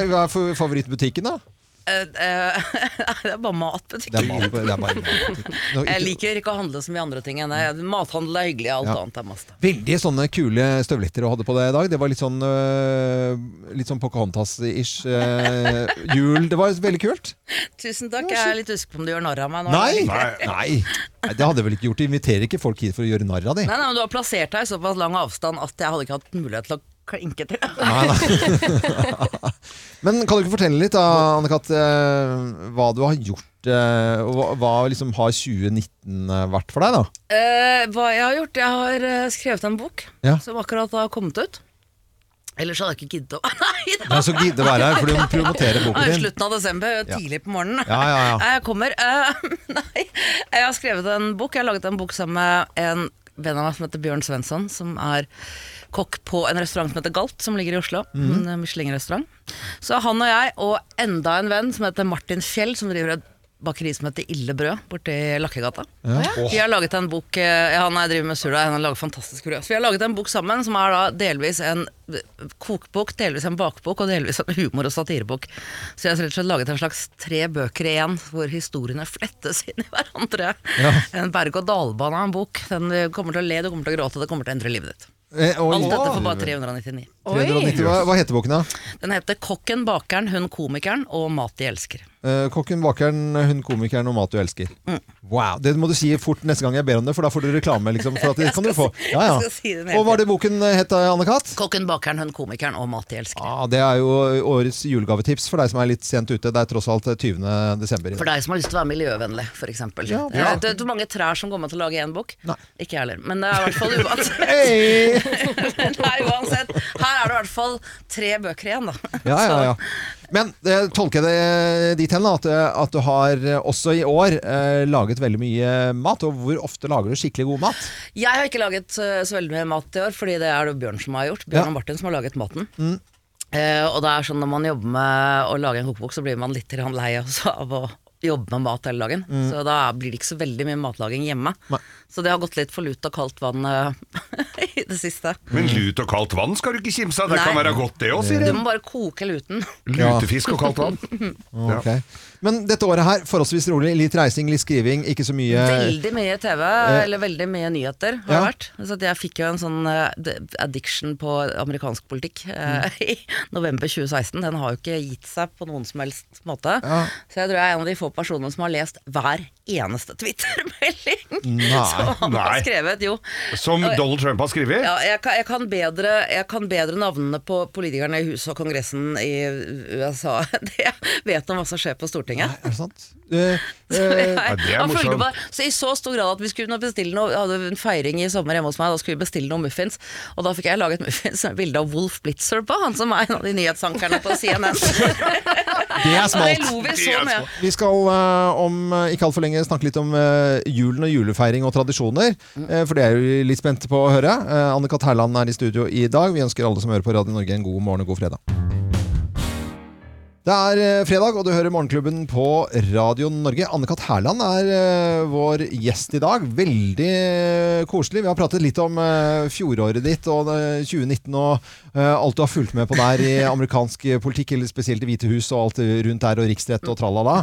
Speaker 1: er- hva er for- favorittbutikken, da?
Speaker 10: Eh, eh, det er bare
Speaker 1: Det er
Speaker 10: matbutikk.
Speaker 1: mat. Det er bare mat. Nå,
Speaker 10: Jeg
Speaker 1: ikke-
Speaker 10: liker ikke å handle så mye andre ting. enn det. Mathandel er hyggelig, alt
Speaker 1: Ja.
Speaker 10: annet er masta.
Speaker 1: Veldig sånne kule støvletter du hadde på deg i dag. Det var litt sånn, øh, litt sånn Pocahontas-ish øh, jul. Det var veldig kult.
Speaker 10: Tusen takk. Jeg er litt usikker på om du gjør narr av meg nå.
Speaker 1: Nei!
Speaker 10: Nei,
Speaker 1: Nei. Nei, Det hadde jeg vel ikke gjort. Inviterer ikke folk hit for å gjøre narr av dem.
Speaker 10: nei, men Du har plassert deg i såpass lang avstand at jeg hadde ikke hatt mulighet til å klinke til.
Speaker 1: Men kan du ikke fortelle litt, da, Anne-Kat., øh, hva du har gjort? øh, og hva, hva liksom har 2019 vært for deg, da?
Speaker 10: Eh, hva jeg har gjort? Jeg har eh, skrevet en bok
Speaker 1: Ja.
Speaker 10: som akkurat har kommet ut. Ellers hadde jeg ikke giddet å Nei da!
Speaker 1: Nei, så gidde å være her, for du må promotere boken
Speaker 10: Ja, i
Speaker 1: din.
Speaker 10: Slutten av desember,
Speaker 1: Ja.
Speaker 10: tidlig på morgenen.
Speaker 1: Ja, ja, ja.
Speaker 10: Nei, Jeg kommer. Eh, nei, jeg har skrevet en bok. Jeg har laget en bok sammen med en venn av meg som heter Bjørn Svensson, som er kokk på en restaurant som heter Galt, som ligger i Oslo.
Speaker 11: Mhm.
Speaker 10: En eh, Michelin-restaurant. Så han og jeg, og enda en venn som heter Martin Fjell, som driver et bakeri som heter Illebrød, borti Lakkegata.
Speaker 11: Ja.
Speaker 10: Vi har laget en bok eh, ja, Han jeg driver med surdeig, han lager fantastisk brød. Så vi har laget en bok sammen som er da delvis en kokebok, delvis en bakbok og delvis en humor- og satirebok. Så jeg har rett og slett laget en slags tre bøker i én, hvor historiene flettes inn i hverandre. En berg-og-dal-bane av en bok. Den eh, kommer til å le, du kommer til å gråte, det kommer til å endre livet ditt.
Speaker 1: Eh, oi.
Speaker 10: Alt dette for bare 399.
Speaker 1: 390. Hva, hva heter boken, da?
Speaker 10: Den heter 'Kokken, bakeren, hun komikeren og mat de elsker'.
Speaker 1: Eh, kokken, bakeren, hun komikeren og mat du elsker. Wow, Det må du si fort neste gang jeg ber om det, for da får du reklame. liksom For at det kan du få ja,
Speaker 10: Jeg skal si det
Speaker 1: ja.
Speaker 10: med
Speaker 1: Og hva er det boken het, Anne-Kat? Ah,
Speaker 10: 'Kokken, bakeren, hun komikeren og mat de elsker'.
Speaker 1: Ja, det er jo årets julegavetips for deg som er litt sent ute. Det er tross alt 20. desember. i
Speaker 10: For
Speaker 1: dag.
Speaker 10: deg som har lyst til å være miljøvennlig, f.eks. Ja,
Speaker 1: Ja.
Speaker 10: Jeg vet ikke hvor mange trær som går med til å lage én bok. Ikke jeg heller, men det er i hvert fall
Speaker 1: Hey!
Speaker 10: uansett. Nei, uansett. Her er det i hvert fall tre bøker igjen, da.
Speaker 1: Ja, ja, ja. Men eh, tolker jeg det dit hen da, at, eh, at du har eh, også i år eh, laget veldig mye mat. Og hvor ofte lager du skikkelig god mat?
Speaker 10: Jeg har ikke laget eh, så veldig mye mat i år, fordi det er det Bjørn som har gjort. Bjørn
Speaker 1: Ja.
Speaker 10: og Martin som har laget maten. Eh, og det er sånn når man jobber med å lage en kokebok, så blir man litt grann lei også av å jobbe med mat hele dagen.
Speaker 11: Mm.
Speaker 10: Så da blir det ikke så veldig mye matlaging hjemme. Så det har gått litt for lut og kaldt vann eh, i det siste.
Speaker 3: Men lut og kaldt vann skal du ikke kimse av. Det kan
Speaker 10: Nei.
Speaker 3: være godt, det òg, sier
Speaker 10: Du
Speaker 3: de.
Speaker 10: må bare koke luten.
Speaker 3: Lutefisk og kaldt vann.
Speaker 1: Ok. Men dette året her, forholdsvis rolig. Litt reising, litt skriving, ikke så mye
Speaker 10: Veldig mye TV, eller veldig mye nyheter har det
Speaker 1: Eh, Ja.
Speaker 10: vært. Så at jeg fikk jo en sånn eh, d- addiction på amerikansk politikk
Speaker 1: Mm.
Speaker 10: eh, i november 2016. Den har jo ikke gitt seg på noen som helst måte. Så jeg tror jeg er en av de få personene som har lest hver eneste Twitter-melding som han har skrevet. Jo.
Speaker 3: Som
Speaker 10: Og-
Speaker 3: Donald Trump har skrevet?
Speaker 10: Ja, jeg kan, jeg, kan bedre, jeg kan bedre navnene på politikerne i huset og kongressen i USA. Det jeg vet om hva som skjer på Stortinget.
Speaker 1: Er det sant? Eh,
Speaker 10: Så,
Speaker 1: eh,
Speaker 10: jeg, han fulgte bare, så I så stor grad at vi skulle nå bestille noe Jeg hadde en feiring i sommer hjemme hos meg, da skulle vi bestille noen muffins. Og da fikk jeg laget muffins med bilde av Wolf Blitzer på, han som er en av de nyhetsankerne på CNN.
Speaker 1: Det er
Speaker 10: Og
Speaker 1: smalt.
Speaker 10: det lo vi så med.
Speaker 1: Vi skal eh, om eh, ikke altfor lenge snakke litt om eh, julen og julefeiring og tradisjoner. eh, for det er jo litt spent på å høre. Uh, Anne-Kat. Herland er i studio i dag. Vi ønsker alle som hører på Radio Norge en god morgen og god fredag. Det er eh, fredag, og du hører Morgenklubben på Radio Norge. Anne-Kat. Herland er eh, vår gjest i dag. Veldig eh, koselig. Vi har pratet litt om eh, fjoråret ditt og eh, 2019 og eh, alt du har fulgt med på der i amerikansk eh, politikk, eller spesielt Det hvite hus og alt rundt der, og riksrett og tralala.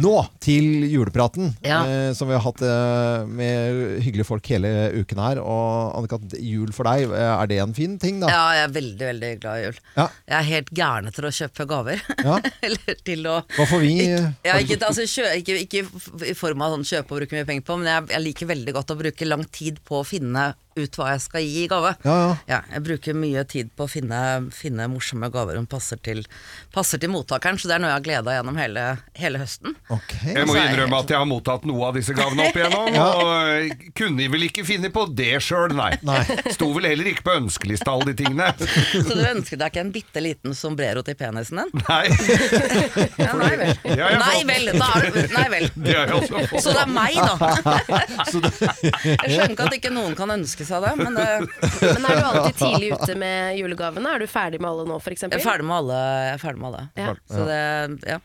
Speaker 1: Nå til julepraten,
Speaker 10: Ja.
Speaker 1: eh, som vi har hatt eh, med hyggelige folk hele uken her. Og Anne-Kat., jul for deg, eh, er det en fin ting, da?
Speaker 10: Ja, jeg er veldig, veldig glad i jul.
Speaker 1: Ja.
Speaker 10: Jeg er helt gæren etter å kjøpe gaver.
Speaker 1: Ja.
Speaker 10: Eller til å
Speaker 1: Hva får vi? eh,
Speaker 10: Ja, ikke, altså, kjø, ikke, ikke f- i form av sånn kjøpe og bruke mye penger på, men jeg, jeg liker veldig godt å bruke lang tid på å finne ut hva jeg skal gi i gave.
Speaker 1: Ja,
Speaker 10: jeg bruker mye tid på å finne, finne morsomme gaver som passer til, passer til mottakeren, så det er noe jeg har gleda gjennom hele, hele høsten.
Speaker 3: Jeg
Speaker 1: altså,
Speaker 3: må innrømme at jeg har mottatt noe av disse gavene opp igjennom,
Speaker 10: Ja.
Speaker 3: og kunne vel ikke finne på det sjøl, nei. Sto vel heller ikke på ønskelista, alle de tingene.
Speaker 10: Så du ønsker deg ikke en bitte liten sombrero til penisen din?
Speaker 3: Nei.
Speaker 10: ja, nei vel.
Speaker 3: Ja, jeg
Speaker 10: Nei
Speaker 3: får-
Speaker 10: vel, da er du Nei vel.
Speaker 3: Det har jeg også fått.
Speaker 10: Så det er meg, da. Jeg skjønner
Speaker 1: Ja.
Speaker 10: ikke at ikke noen kan ønske seg det, men eh, det
Speaker 1: Men
Speaker 2: eh, Er du alltid tidlig ute med julegavene? Er du ferdig med alle nå, f.eks.?
Speaker 10: Jeg er ferdig med alle. Jeg er ferdig med alle.
Speaker 2: Ja.
Speaker 10: Så det, ja.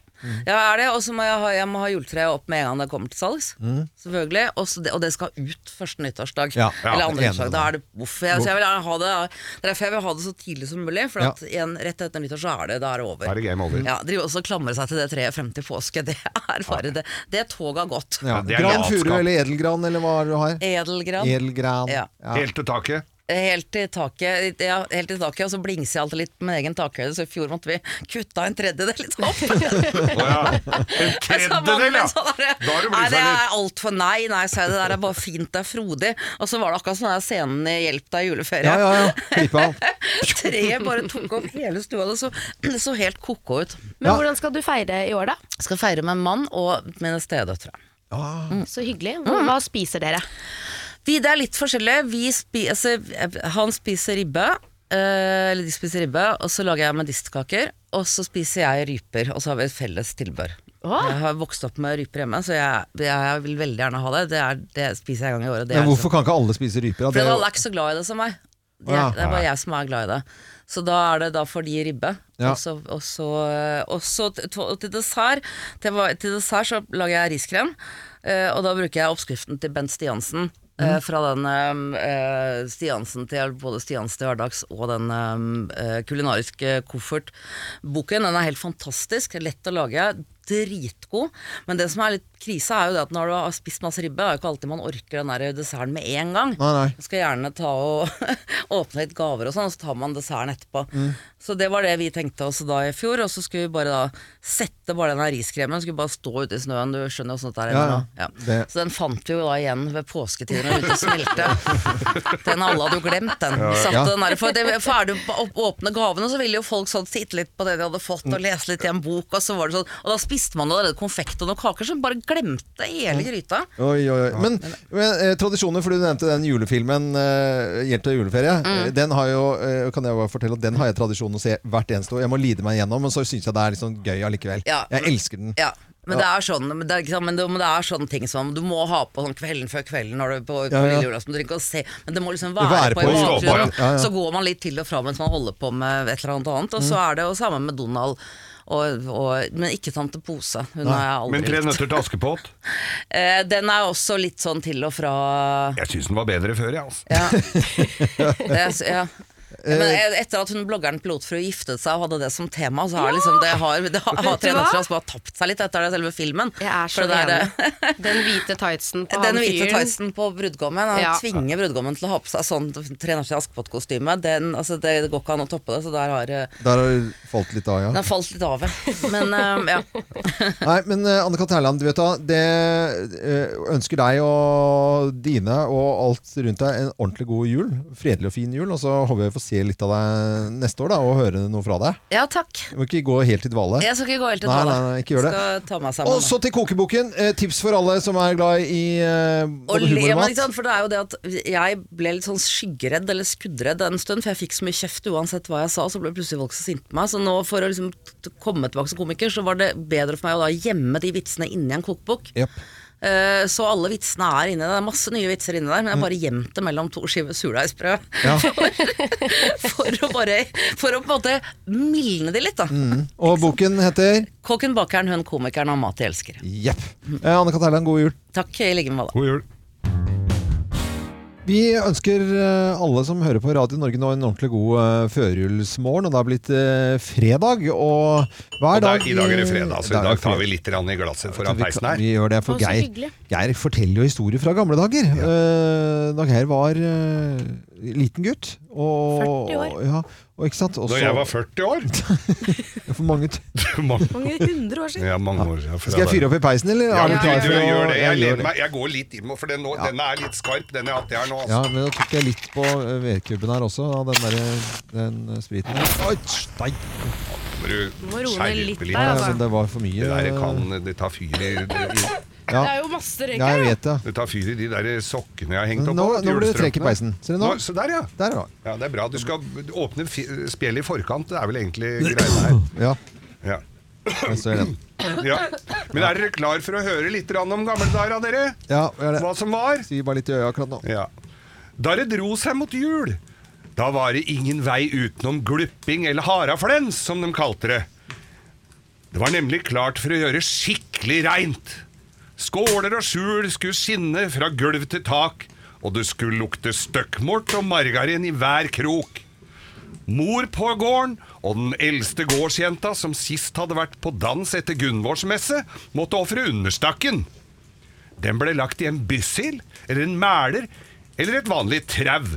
Speaker 10: ja er det. Og så må jeg ha, jeg må ha juletreet opp med en gang det kommer til salgs.
Speaker 11: Mm.
Speaker 10: Selvfølgelig. Og, så det, og det skal ut første nyttårsdag.
Speaker 11: Ja, ja,
Speaker 10: Eller andre
Speaker 11: enig
Speaker 10: nyttårsdag.
Speaker 11: med
Speaker 10: Da
Speaker 11: deg.
Speaker 10: er det uff. Jeg, så jeg vil gjerne ha det Det er derfor jeg vil ha det så tidlig som mulig. For
Speaker 3: Ja.
Speaker 10: at igjen, rett etter nyttår så er det, da er det over.
Speaker 3: Da er det game over.
Speaker 10: Ja, Drive også og klamre seg til det treet frem til påske. Det er bare det. Det toget har gått.
Speaker 1: Ja, gran furu eller edelgran, eller hva er det du har?
Speaker 10: Edelgran.
Speaker 1: Edelgran.
Speaker 10: Ja.
Speaker 3: Helt til taket.
Speaker 10: Helt i taket, ja, helt i taket og så blingser jeg alltid litt på min egen takhøyde, så i fjor måtte vi kutta en tredjedel litt opp.
Speaker 3: En tredjedel, ja! Da har
Speaker 10: Nei,
Speaker 3: du blitt
Speaker 10: det
Speaker 3: seg
Speaker 10: er
Speaker 3: litt.
Speaker 10: altfor Nei, nei, sa jeg, det der er bare fint, det er frodig. Og så var det akkurat sånn der scenen i Hjelp deg i juleferie.
Speaker 1: Ja, ja, ja. Klipp av.
Speaker 10: Treet bare tok opp hele stua, det så, det så helt koko ut.
Speaker 2: Men hvordan skal du feire i år, da?
Speaker 10: Skal feire med en mann og mine stedøtre.
Speaker 1: Ah.
Speaker 10: Mm,
Speaker 2: Så hyggelig. Hva, hva spiser dere?
Speaker 10: Vi, det er litt forskjellig. Vi spi, altså, han spiser ribbe. eh, eh, eller de spiser ribbe, og så lager jeg medistkaker. Og så spiser jeg ryper, og så har vi et felles tilbør.
Speaker 2: Åh.
Speaker 10: Jeg har vokst opp med ryper hjemme, så jeg, jeg vil veldig gjerne ha det. Det, er, det spiser jeg en gang i året. og Det
Speaker 1: Men
Speaker 10: er liksom-
Speaker 1: hvorfor kan ikke alle spise ryper? da?
Speaker 10: Fordi
Speaker 1: Det er jo-
Speaker 10: alle er ikke så glad i det som meg. De
Speaker 1: Ja.
Speaker 10: er, det er bare jeg som er glad i det. Så da er det da for de ribbe.
Speaker 1: Ja.
Speaker 10: Og så, og så, og så til, til dessert til, hva- til dessert så lager jeg riskrem, eh, og da bruker jeg oppskriften til Bent Stiansen. eh,
Speaker 1: Mm.
Speaker 5: Mhm.
Speaker 10: Fra den eh, Stiansen til både Stiansen til hverdags og den eh, kulinariske koffert-boken. Den er helt fantastisk, lett å lage, dritgod. Men det som er litt krise, er jo det at når du har spist masse ribbe, er jo ikke alltid man orker den der desserten med en gang.
Speaker 1: Nei, nei.
Speaker 10: Man skal gjerne ta og åpne litt gaver og sånn, og så tar man desserten etterpå.
Speaker 1: Mm.
Speaker 10: Så det var det vi tenkte oss da i fjor, og så skulle vi bare da sette bare den her riskremen, skulle bare stå ute i snøen, du skjønner jo sånt der.
Speaker 1: Ja,
Speaker 10: inne nå.
Speaker 1: ja.
Speaker 10: Ja.
Speaker 1: Det-
Speaker 10: Så den fant vi jo da igjen ved påsketiden og ute og smelte. Den alle hadde jo glemt, den.
Speaker 5: Ja, ja.
Speaker 10: Satt
Speaker 5: Ja.
Speaker 10: den der, for det, ferdig å åpne gavene, så ville jo folk sånn sitte litt på det de hadde fått, og lese litt i en bok, og så var det sånn. Og da spiste man allerede konfekt og noen kaker, så bare glemte hele gryta.
Speaker 1: Oi, oi, oi. Men, men eh, tradisjoner, for du nevnte den julefilmen eh, 'Hjelp til juleferie'.
Speaker 10: Mm.
Speaker 1: Eh, Den har jo, eh, kan jeg bare fortelle, at den har jeg tradisjon å se hvert eneste år. Jeg må lide meg gjennom, men så syns jeg det er litt sånn gøy allikevel.
Speaker 10: Ja.
Speaker 1: Jeg elsker den.
Speaker 10: Ja, men
Speaker 1: Ja.
Speaker 10: det er sånn men det, er ikke sant, men, det, men det er sånne ting som du må ha på sånn kvelden før kvelden når du er på, på
Speaker 1: Ja, ja.
Speaker 10: lille julaften. Du trenger ikke å se, men det må liksom
Speaker 1: Det
Speaker 10: være,
Speaker 1: være
Speaker 10: på
Speaker 1: på,
Speaker 10: en
Speaker 1: ja.
Speaker 10: bakgrunn.
Speaker 1: Ja, ja.
Speaker 10: Så går man litt til og fra mens man holder på med et eller annet annet. Og så
Speaker 3: Mm.
Speaker 10: er det jo samme med Donald. Og, og, men ikke tante Pose. Hun har jeg
Speaker 3: Men
Speaker 10: aldri
Speaker 3: Tre
Speaker 10: likt.
Speaker 3: nøtter til Askepott?
Speaker 10: Eh, den er også litt sånn til og fra
Speaker 3: Jeg syns den var bedre før, jeg, altså.
Speaker 10: Ja. det, er s- ja. Ja, Men e- etter at hun bloggeren Pilotfrue giftet seg og hadde det som tema, så har liksom det har, det har,
Speaker 2: Vet
Speaker 10: har
Speaker 2: du hva?
Speaker 10: Trenerstrand bare tapt seg litt etter det selve filmen. Jeg er
Speaker 2: så Den hvite tightsen på
Speaker 10: Den
Speaker 2: han
Speaker 10: hvite
Speaker 2: fyren.
Speaker 10: tightsen på brudgommen. Han
Speaker 2: Ja.
Speaker 10: tvinger brudgommen til å ha på seg sånn Trenerstrand Askepott-kostyme. Den- Altså, det, det går ikke an å toppe det, så der har eh,
Speaker 1: Der har det falt litt av, ja.
Speaker 10: Den har falt litt av, ja. Men eh, ja.
Speaker 1: Nei, men eh, Anne-Kat. Herland, du vet da, det eh, ønsker deg og dine og alt rundt deg en ordentlig god jul. Fredelig og fin jul. Og så håper jeg får se litt av deg neste år da, og høre noe fra deg.
Speaker 10: ja, takk.
Speaker 1: Du må ikke gå helt i dvale.
Speaker 10: Jeg skal ikke gå helt til
Speaker 1: Nei,
Speaker 10: tale.
Speaker 1: nei, nei, ikke gjør det.
Speaker 10: Skal ta meg sammen.
Speaker 1: Og så til kokeboken. Eh, tips for alle som er glad i eh,
Speaker 10: Og
Speaker 1: både
Speaker 10: le,
Speaker 1: humor og
Speaker 10: men,
Speaker 1: mat.
Speaker 10: ikke sant, for det er jo det at jeg ble litt sånn skyggeredd eller skuddredd en stund, for jeg fikk så mye kjeft uansett hva jeg sa, så ble plutselig folk så sinte på meg. Så nå for å liksom t- komme tilbake som komiker, så var det bedre for meg å da gjemme de vitsene inni en kokebok. Eh, Så alle vitsene er inni der. Det er masse nye vitser inni der, men jeg har bare gjemt det mellom to skiver surdeigsbrød.
Speaker 1: Mm. Ja.
Speaker 10: For, for å bare For å på en måte mildne de litt, da.
Speaker 1: Mm.
Speaker 10: liksom-
Speaker 1: Og boken heter
Speaker 10: Kokken, bakeren, hun, komikeren og mat de elsker.
Speaker 1: Jepp. Eh, Anne-Kat. Herland, god jul.
Speaker 10: Takk i like måte.
Speaker 3: God jul.
Speaker 1: Vi ønsker eh, alle som hører på Radio Norge nå en ordentlig god eh, førjulsmorgen. Og det har blitt eh, fredag, og
Speaker 3: Og det
Speaker 1: hver
Speaker 3: er,
Speaker 1: dag
Speaker 3: I dag er det fredag, så i dag tar vi
Speaker 1: fredag.
Speaker 3: litt grann i glasset foran
Speaker 1: vi,
Speaker 3: peisen her.
Speaker 1: vi gjør det,
Speaker 3: Å,
Speaker 1: for
Speaker 3: så
Speaker 1: Geir,
Speaker 3: hyggelig.
Speaker 1: Geir forteller jo historier fra gamle dager. Eh, da Geir var eh, liten gutt. Og, 40 år. Ja, og, ikke sant? Og
Speaker 3: Når
Speaker 1: så-
Speaker 3: jeg var 40 år
Speaker 1: For mange, t-
Speaker 8: Mange hundre år siden.
Speaker 3: Ja, mange år ja, fra
Speaker 1: Skal jeg fyre opp i peisen, eller?
Speaker 3: Ja, du,
Speaker 1: Er du klar
Speaker 3: du,
Speaker 1: for å-
Speaker 3: gjør det. Jeg,
Speaker 1: Jeg gjør
Speaker 3: lener meg, jeg går litt inn, for den, nå, denne er litt skarp, den jeg har hatt jeg her nå.
Speaker 1: Ja,
Speaker 3: Altså.
Speaker 1: men da tok jeg litt på eh, vedkubben her også, av den der den eh, spriten der. Oi, stein!
Speaker 3: Må Du
Speaker 2: Du må roe ned litt der,
Speaker 3: skjerpe
Speaker 1: Ja, men
Speaker 2: altså.
Speaker 1: det var for mye. eh,
Speaker 3: Det der kan Det tar fyr i, i
Speaker 1: Ja.
Speaker 2: Det er jo masse røyk
Speaker 1: Ja, jeg
Speaker 2: her.
Speaker 1: vet det.
Speaker 3: Det tar fyr i de der sokkene jeg har hengt
Speaker 1: Men
Speaker 3: opp
Speaker 1: nå-
Speaker 3: på,
Speaker 1: nå burde du
Speaker 3: julestrømpene.
Speaker 1: trekke peisen. Ser du nå?
Speaker 3: Så der, ja.
Speaker 1: Der, ja.
Speaker 3: ja. Det er bra. Du skal åpne fi- spjeldet i forkant. Det er vel egentlig greia her.
Speaker 1: Ja.
Speaker 3: Ja.
Speaker 1: Jeg ser den.
Speaker 3: Ja. Men er dere klar for å høre litt grann om gamle dager, av dere?
Speaker 1: Ja, hva er det?
Speaker 3: Hva som var?
Speaker 1: Si bare litt i øya akkurat nå.
Speaker 3: Ja. Da det dro seg mot jul, da var det ingen vei utenom glupping eller haraflens, som de kalte det. Det var nemlig klart for å gjøre skikkelig reint. Skåler og skjul skulle skinne fra gulv til tak, og det skulle lukte støkkmort og margarin i hver krok. Mor på gården og den eldste gårdsjenta som sist hadde vært på dans etter Gunvorsmesse, måtte ofre understakken. Den ble lagt i en byssel, eller en mæler, eller et vanlig trau,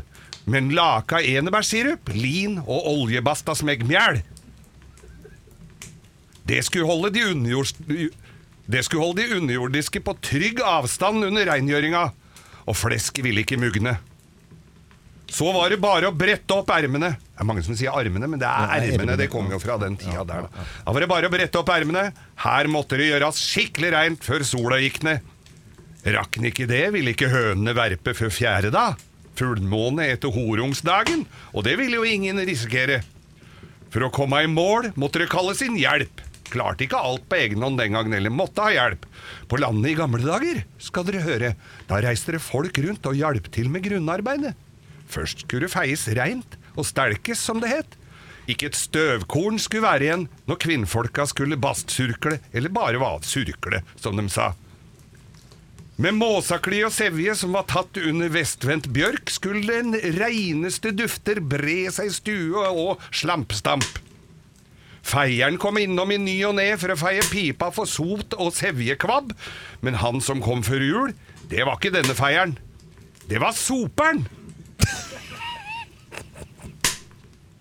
Speaker 3: men laka enebærsirup, lin og oljebasta smeggmjæl. Det skulle holde de underjords... Det skulle holde de underjordiske på trygg avstand under rengjøringa, og flesk ville ikke mugne. Så var det bare å brette opp ermene. Det er mange som sier armene, men det er
Speaker 1: det er
Speaker 3: ermene.
Speaker 1: ermene.
Speaker 3: Det kommer jo fra den tida der, da. Da var det bare å brette opp ermene. Her måtte det gjøres skikkelig reint før sola gikk ned. Rakk den ikke det, ville ikke hønene verpe før fjerde da. fullmåne etter horungsdagen, og det ville jo ingen risikere. For å komme i mål måtte det kalles inn hjelp. Klarte ikke alt på egen hånd den gangen, eller måtte ha hjelp. På landet i gamle dager, skal dere høre, da reiste det folk rundt og hjalp til med grunnarbeidet. Først skulle det feies reint og stelkes, som det het. Ikke et støvkorn skulle være igjen når kvinnfolka skulle bastsurkle, eller bare hva, surkle, som de sa. Med måsakli og sevje som var tatt under vestvendt bjørk, skulle den reineste dufter bre seg i stue og slampstamp. Feieren kom innom i ny og ne for å feie pipa for sot og sevjekvabb, men han som kom før jul, det var ikke denne feieren. Det var soperen!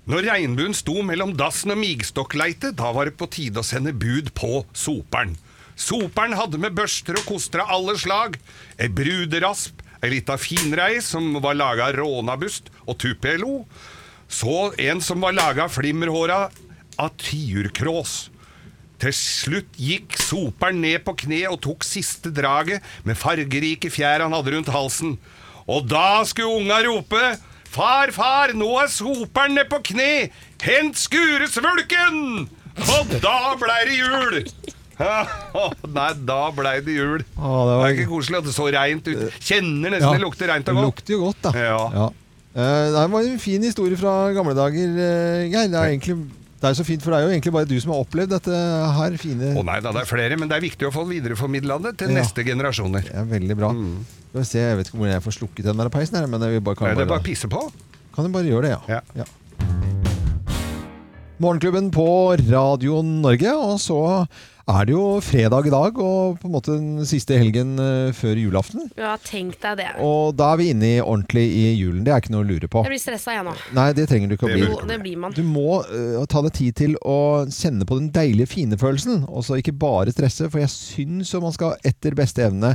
Speaker 3: Når regnbuen sto mellom dassen og migstokkleitet, da var det på tide å sende bud på soperen. Soperen hadde med børster og koster av alle slag. Ei bruderasp, ei lita finrei som var laga av rånabust og tupelo. Så en som var laga av flimmerhåra av tiurkrås. Til slutt gikk soperen ned på kne og tok siste draget med fargerike fjær han hadde rundt halsen. Og da skulle unga rope Far, far, nå er soperen ned på kne! Hent skuresvulken! Og da blei det jul! Nei, da blei det jul.
Speaker 1: Å, det
Speaker 3: det,
Speaker 1: var-
Speaker 3: er ikke koselig at det er så reint ut. Kjenner nesten det lukter reint og
Speaker 1: det
Speaker 3: godt.
Speaker 1: lukter jo godt, da. Ja. Eh, det var en fin historie fra gamle dager, eh, Geir. Det er, egentlig, det er så fint, for det er jo egentlig bare du som har opplevd dette her fine
Speaker 3: Å nei da, det er flere, men det er viktig å få videreformidla det til
Speaker 1: Ja.
Speaker 3: neste generasjoner. Mm.
Speaker 1: Det er veldig bra. Skal vi se, Jeg vet ikke hvor jeg får slukket den der peisen her, men jeg vil bare, kan
Speaker 3: Nei, det
Speaker 1: jeg
Speaker 3: er bare å pisse på.
Speaker 1: Kan du bare gjøre det, ja. ja. Morgenklubben på Radio Norge, og så er det jo fredag i dag, og på en måte den siste helgen eh, før julaften.
Speaker 2: Ja, tenk deg det.
Speaker 1: Og da er vi inne i ordentlig i julen. Det er ikke noe å lure på.
Speaker 2: Jeg blir stressa, jeg nå.
Speaker 1: Nei, det trenger du ikke å bli.
Speaker 2: Jo, det blir man.
Speaker 1: Du må eh, ta deg tid til å kjenne på den deilige, fine følelsen. Og så ikke bare stresse, for jeg syns jo man skal etter beste evne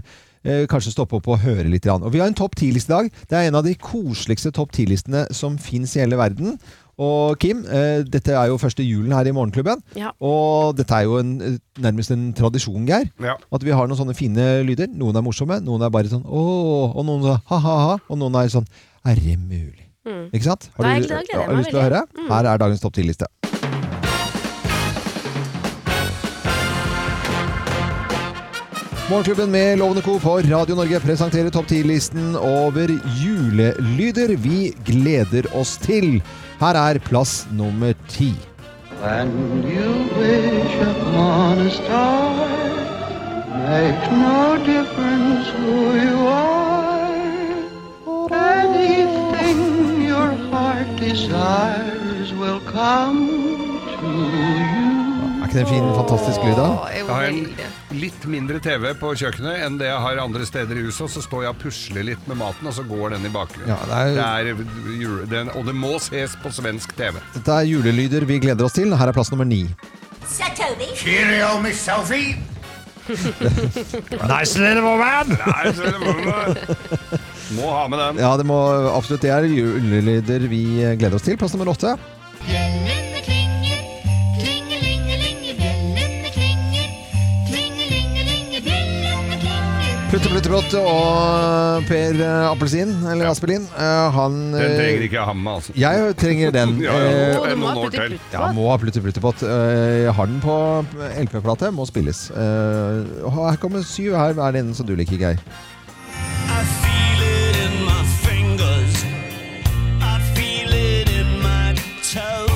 Speaker 1: eh, kanskje stoppe opp og høre litt. grann. Og vi har en topp 10-liste i dag. Det er en av de koseligste topp 10-listene som fins i hele verden. Og Kim, eh, dette er jo første julen her i Morgenklubben.
Speaker 2: Ja.
Speaker 1: Og dette er jo en, eh, nærmest en tradisjon, Geir.
Speaker 3: Ja.
Speaker 1: At vi har noen sånne fine lyder. Noen er morsomme, noen er bare sånn ååå, og noen sånn ha-ha-ha, og noen er sånn er det mulig?
Speaker 2: Mm.
Speaker 1: Ikke sant? Har
Speaker 2: Da
Speaker 1: du,
Speaker 2: gleder jeg meg
Speaker 1: har du lyst til å høre?
Speaker 2: veldig. Mm.
Speaker 1: Her er dagens topp 10-liste. Morgenklubben med Lovende Co. på Radio Norge presenterer topp 10-listen over julelyder vi gleder oss til. Her er plass nummer ti.
Speaker 11: When you wish upon a star, makes no difference who you are. Anything your heart desires will come to you.
Speaker 1: Er ikke det en fin, fantastisk lyd, da?
Speaker 3: Jeg har en litt mindre TV på kjøkkenet enn det jeg har andre steder i huset. og Så står jeg og pusler litt med maten, og så går den i bakgrunnen.
Speaker 1: Ja, det
Speaker 3: det er jule, den, og det må ses på svensk TV.
Speaker 1: Dette er julelyder vi gleder oss til. Her er plass nummer ni.
Speaker 12: Sir Toby.
Speaker 13: Cheerio, Miss Sophie.
Speaker 1: Nice little woman.
Speaker 3: Nice little woman. Må ha med den.
Speaker 1: Ja, det må absolutt. Det er julelyder vi gleder oss til. Plass nummer åtte.
Speaker 12: Bjellene klinger, klingelingelinge, bjellene klinger, klingelingelinge, bjellene klinger.
Speaker 1: Putte Plutteplott og Per eh, Appelsin, eller Aspelin, eh, han
Speaker 3: Den
Speaker 1: eh,
Speaker 3: trenger ikke jeg ha med, altså.
Speaker 1: Jeg trenger den.
Speaker 3: Ja, ja,
Speaker 1: eh,
Speaker 3: og noen år til.
Speaker 1: Ja, må ha Plutte Pluttepott. Eh, Jeg har den på LP-plate, må spilles. Eh, og Her kommer syv. Her er det en som du liker, Geir.
Speaker 14: I feel it in my fingers. I feel it in my toes.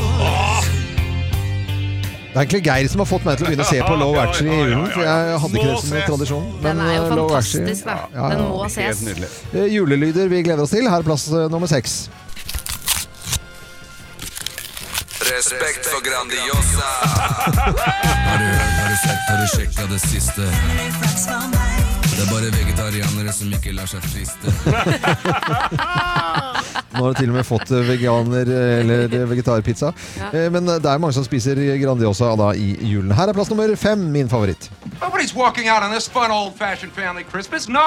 Speaker 1: Det er egentlig Geir som har fått meg til å begynne å se på Low Actually i julen, for jeg hadde ikke det som en tradisjon.
Speaker 2: Den er jo
Speaker 1: eh, Love
Speaker 2: fantastisk,
Speaker 1: Actually-
Speaker 2: da.
Speaker 1: Ja, ja,
Speaker 2: Den
Speaker 1: ja.
Speaker 2: må ses.
Speaker 1: Eh, Julelyder vi gleder oss til. Her er plass eh, nummer seks.
Speaker 15: Respekt for Grandiosa. Har du hørt, har du sett, har du sjekka det siste? Det er bare vegetarianere som ikke lar seg friste.
Speaker 1: Nå har du til og med fått eh, veganer eh, eller eh, vegetarpizza.
Speaker 15: Ja.
Speaker 1: Eh, Men eh, det er mange som spiser Grandiosa da i julen. Her er plass nummer fem, min favoritt.
Speaker 16: Nobody's walking out on this fun, old fashioned family Christmas. No,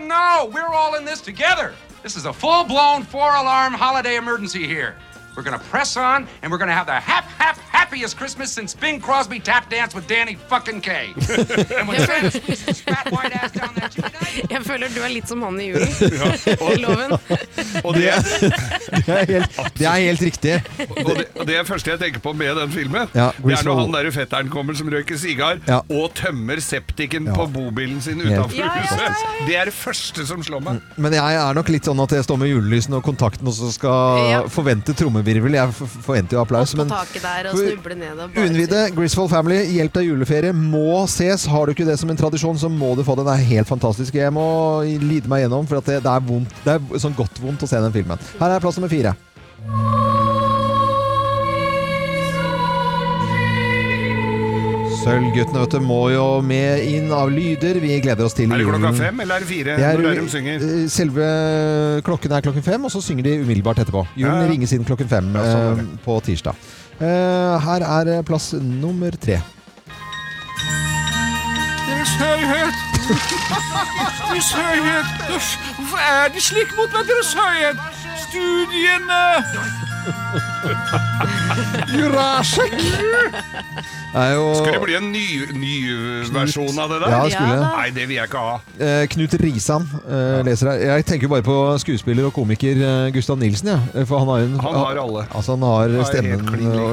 Speaker 16: no, we're all in this together. This is a full blown four alarm holiday emergency here. We're gonna press on, and we're gonna have the hap, hap, happiest Christmas since Bing Crosby tap danced with Danny fucking K. and when Santa's fat white ass down that
Speaker 2: Jeg føler du er litt som han i julen.
Speaker 1: Ja, og-
Speaker 2: I loven.
Speaker 3: Og det,
Speaker 1: Det er helt, det er helt riktig.
Speaker 3: og det, og det er første jeg tenker på med den filmen,
Speaker 1: Ja,
Speaker 3: det er
Speaker 1: Griswold.
Speaker 3: når han der fetteren kommer som røyker sigar,
Speaker 1: Ja.
Speaker 3: og tømmer septiken på bobilen sin
Speaker 1: Helt
Speaker 3: utenfor
Speaker 1: Ja, ja, ja, ja,
Speaker 3: huset. Det er det første som slår meg.
Speaker 1: Men jeg er nok litt sånn at jeg står med julelysene og kontakten og så skal
Speaker 2: Ja.
Speaker 1: forvente trommevirvel. Jeg f- forventer jo applaus.
Speaker 2: På
Speaker 1: Men
Speaker 2: taket der og
Speaker 1: For-
Speaker 2: snuble ned og bare
Speaker 1: Unnvide, Griswold Family, hjelp deg juleferie, må ses. Har du ikke det som en tradisjon, så må du få den. Det er helt fantastisk. Jeg må lide meg gjennom, for at det, det er vondt. Det er sånn godt vondt å se den filmen. Her er plass nummer fire. Sølvguttene vet du, må jo med inn av lyder. Vi gleder oss til
Speaker 3: Er det
Speaker 1: julen.
Speaker 3: klokka fem, eller er det fire?
Speaker 1: Mm. Det er-
Speaker 3: når det er de synger?
Speaker 1: eh, Selve klokken er klokken fem, og så synger de umiddelbart etterpå.
Speaker 3: Ja,
Speaker 1: Julen
Speaker 3: sånn ja.
Speaker 1: ringes inn klokken fem eh, på tirsdag. Eh, her er eh, plass nummer tre.
Speaker 13: Deres høyhet! Deres høyhet! Uff, Hvorfor er de slik mot meg, Deres høyhet? Studiene
Speaker 1: Jurasjek! Er jo,
Speaker 3: Skulle det bli en ny, ny versjon av det der?
Speaker 1: Ja, det skulle det.
Speaker 3: Nei, det vil jeg ikke ha.
Speaker 1: Eh, Knut Risan eh, leser her. Jeg tenker bare på skuespiller og komiker eh, Gustav Nilsen. Ja. Eh, For han har, en,
Speaker 3: Han har alle.
Speaker 1: Altså, han har
Speaker 3: helt
Speaker 1: stemmen
Speaker 3: klin lik.
Speaker 1: og,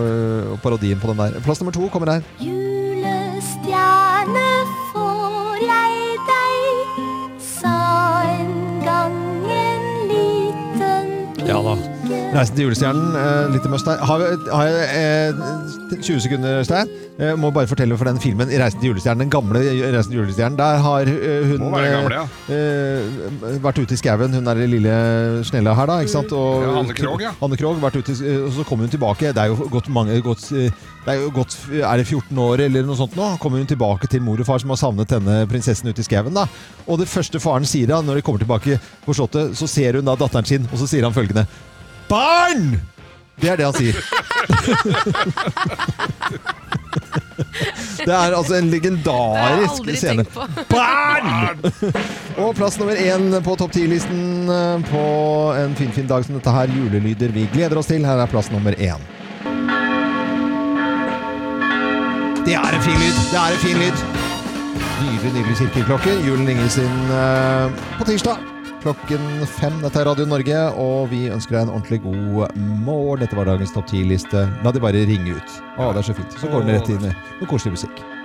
Speaker 1: og parodien på den der. Plass nummer to kommer her.
Speaker 12: Julestjerne får jeg deg, sa en gang en liten
Speaker 1: Ja da. Reisen til julestjernen. Eh, litt must der. Har, vi- har jeg eh, 20 sekunder, Stein? Eh, må bare fortelle for den filmen Reisen til julestjernen, den gamle Reisen til julestjernen. Der har eh, hun
Speaker 3: Må være gamle, ja.
Speaker 1: eh, eh, vært ute i skauen. Hun er den lille snella her, da. Ikke sant? Og,
Speaker 3: Ja, Anne Krogh, ja.
Speaker 1: Anne Krogh, vært ute, i- eh, og så kommer hun tilbake. Det er jo gått mange gått, eh, det er, jo gått, er det 14 år eller noe sånt nå? Kommer hun tilbake til mor og far som har savnet denne prinsessen ute i skauen. da. Og det første faren sier da, når de kommer tilbake på slottet, så ser hun da datteren sin, og så sier han følgende Barn! Det er det han sier. Det er altså en legendarisk
Speaker 12: Det har jeg
Speaker 1: scene.
Speaker 12: aldri tenkt på.
Speaker 1: Barn! Og plass nummer én på topp ti-listen eh, på en finfin fin dag som dette her. Julelyder vi gleder oss til. Her er plass nummer én. Det er en fin lyd. Det er en fin lyd. Nydelig, nydelig kirkeklokke. Julen ringes inn eh, på tirsdag klokken fem. Dette er Radio Norge, og vi ønsker deg en ordentlig god morgen. Dette var dagens topp ti-liste. La de bare ringe ut. Å, det er så fint. Så går den rett inn i noe koselig musikk.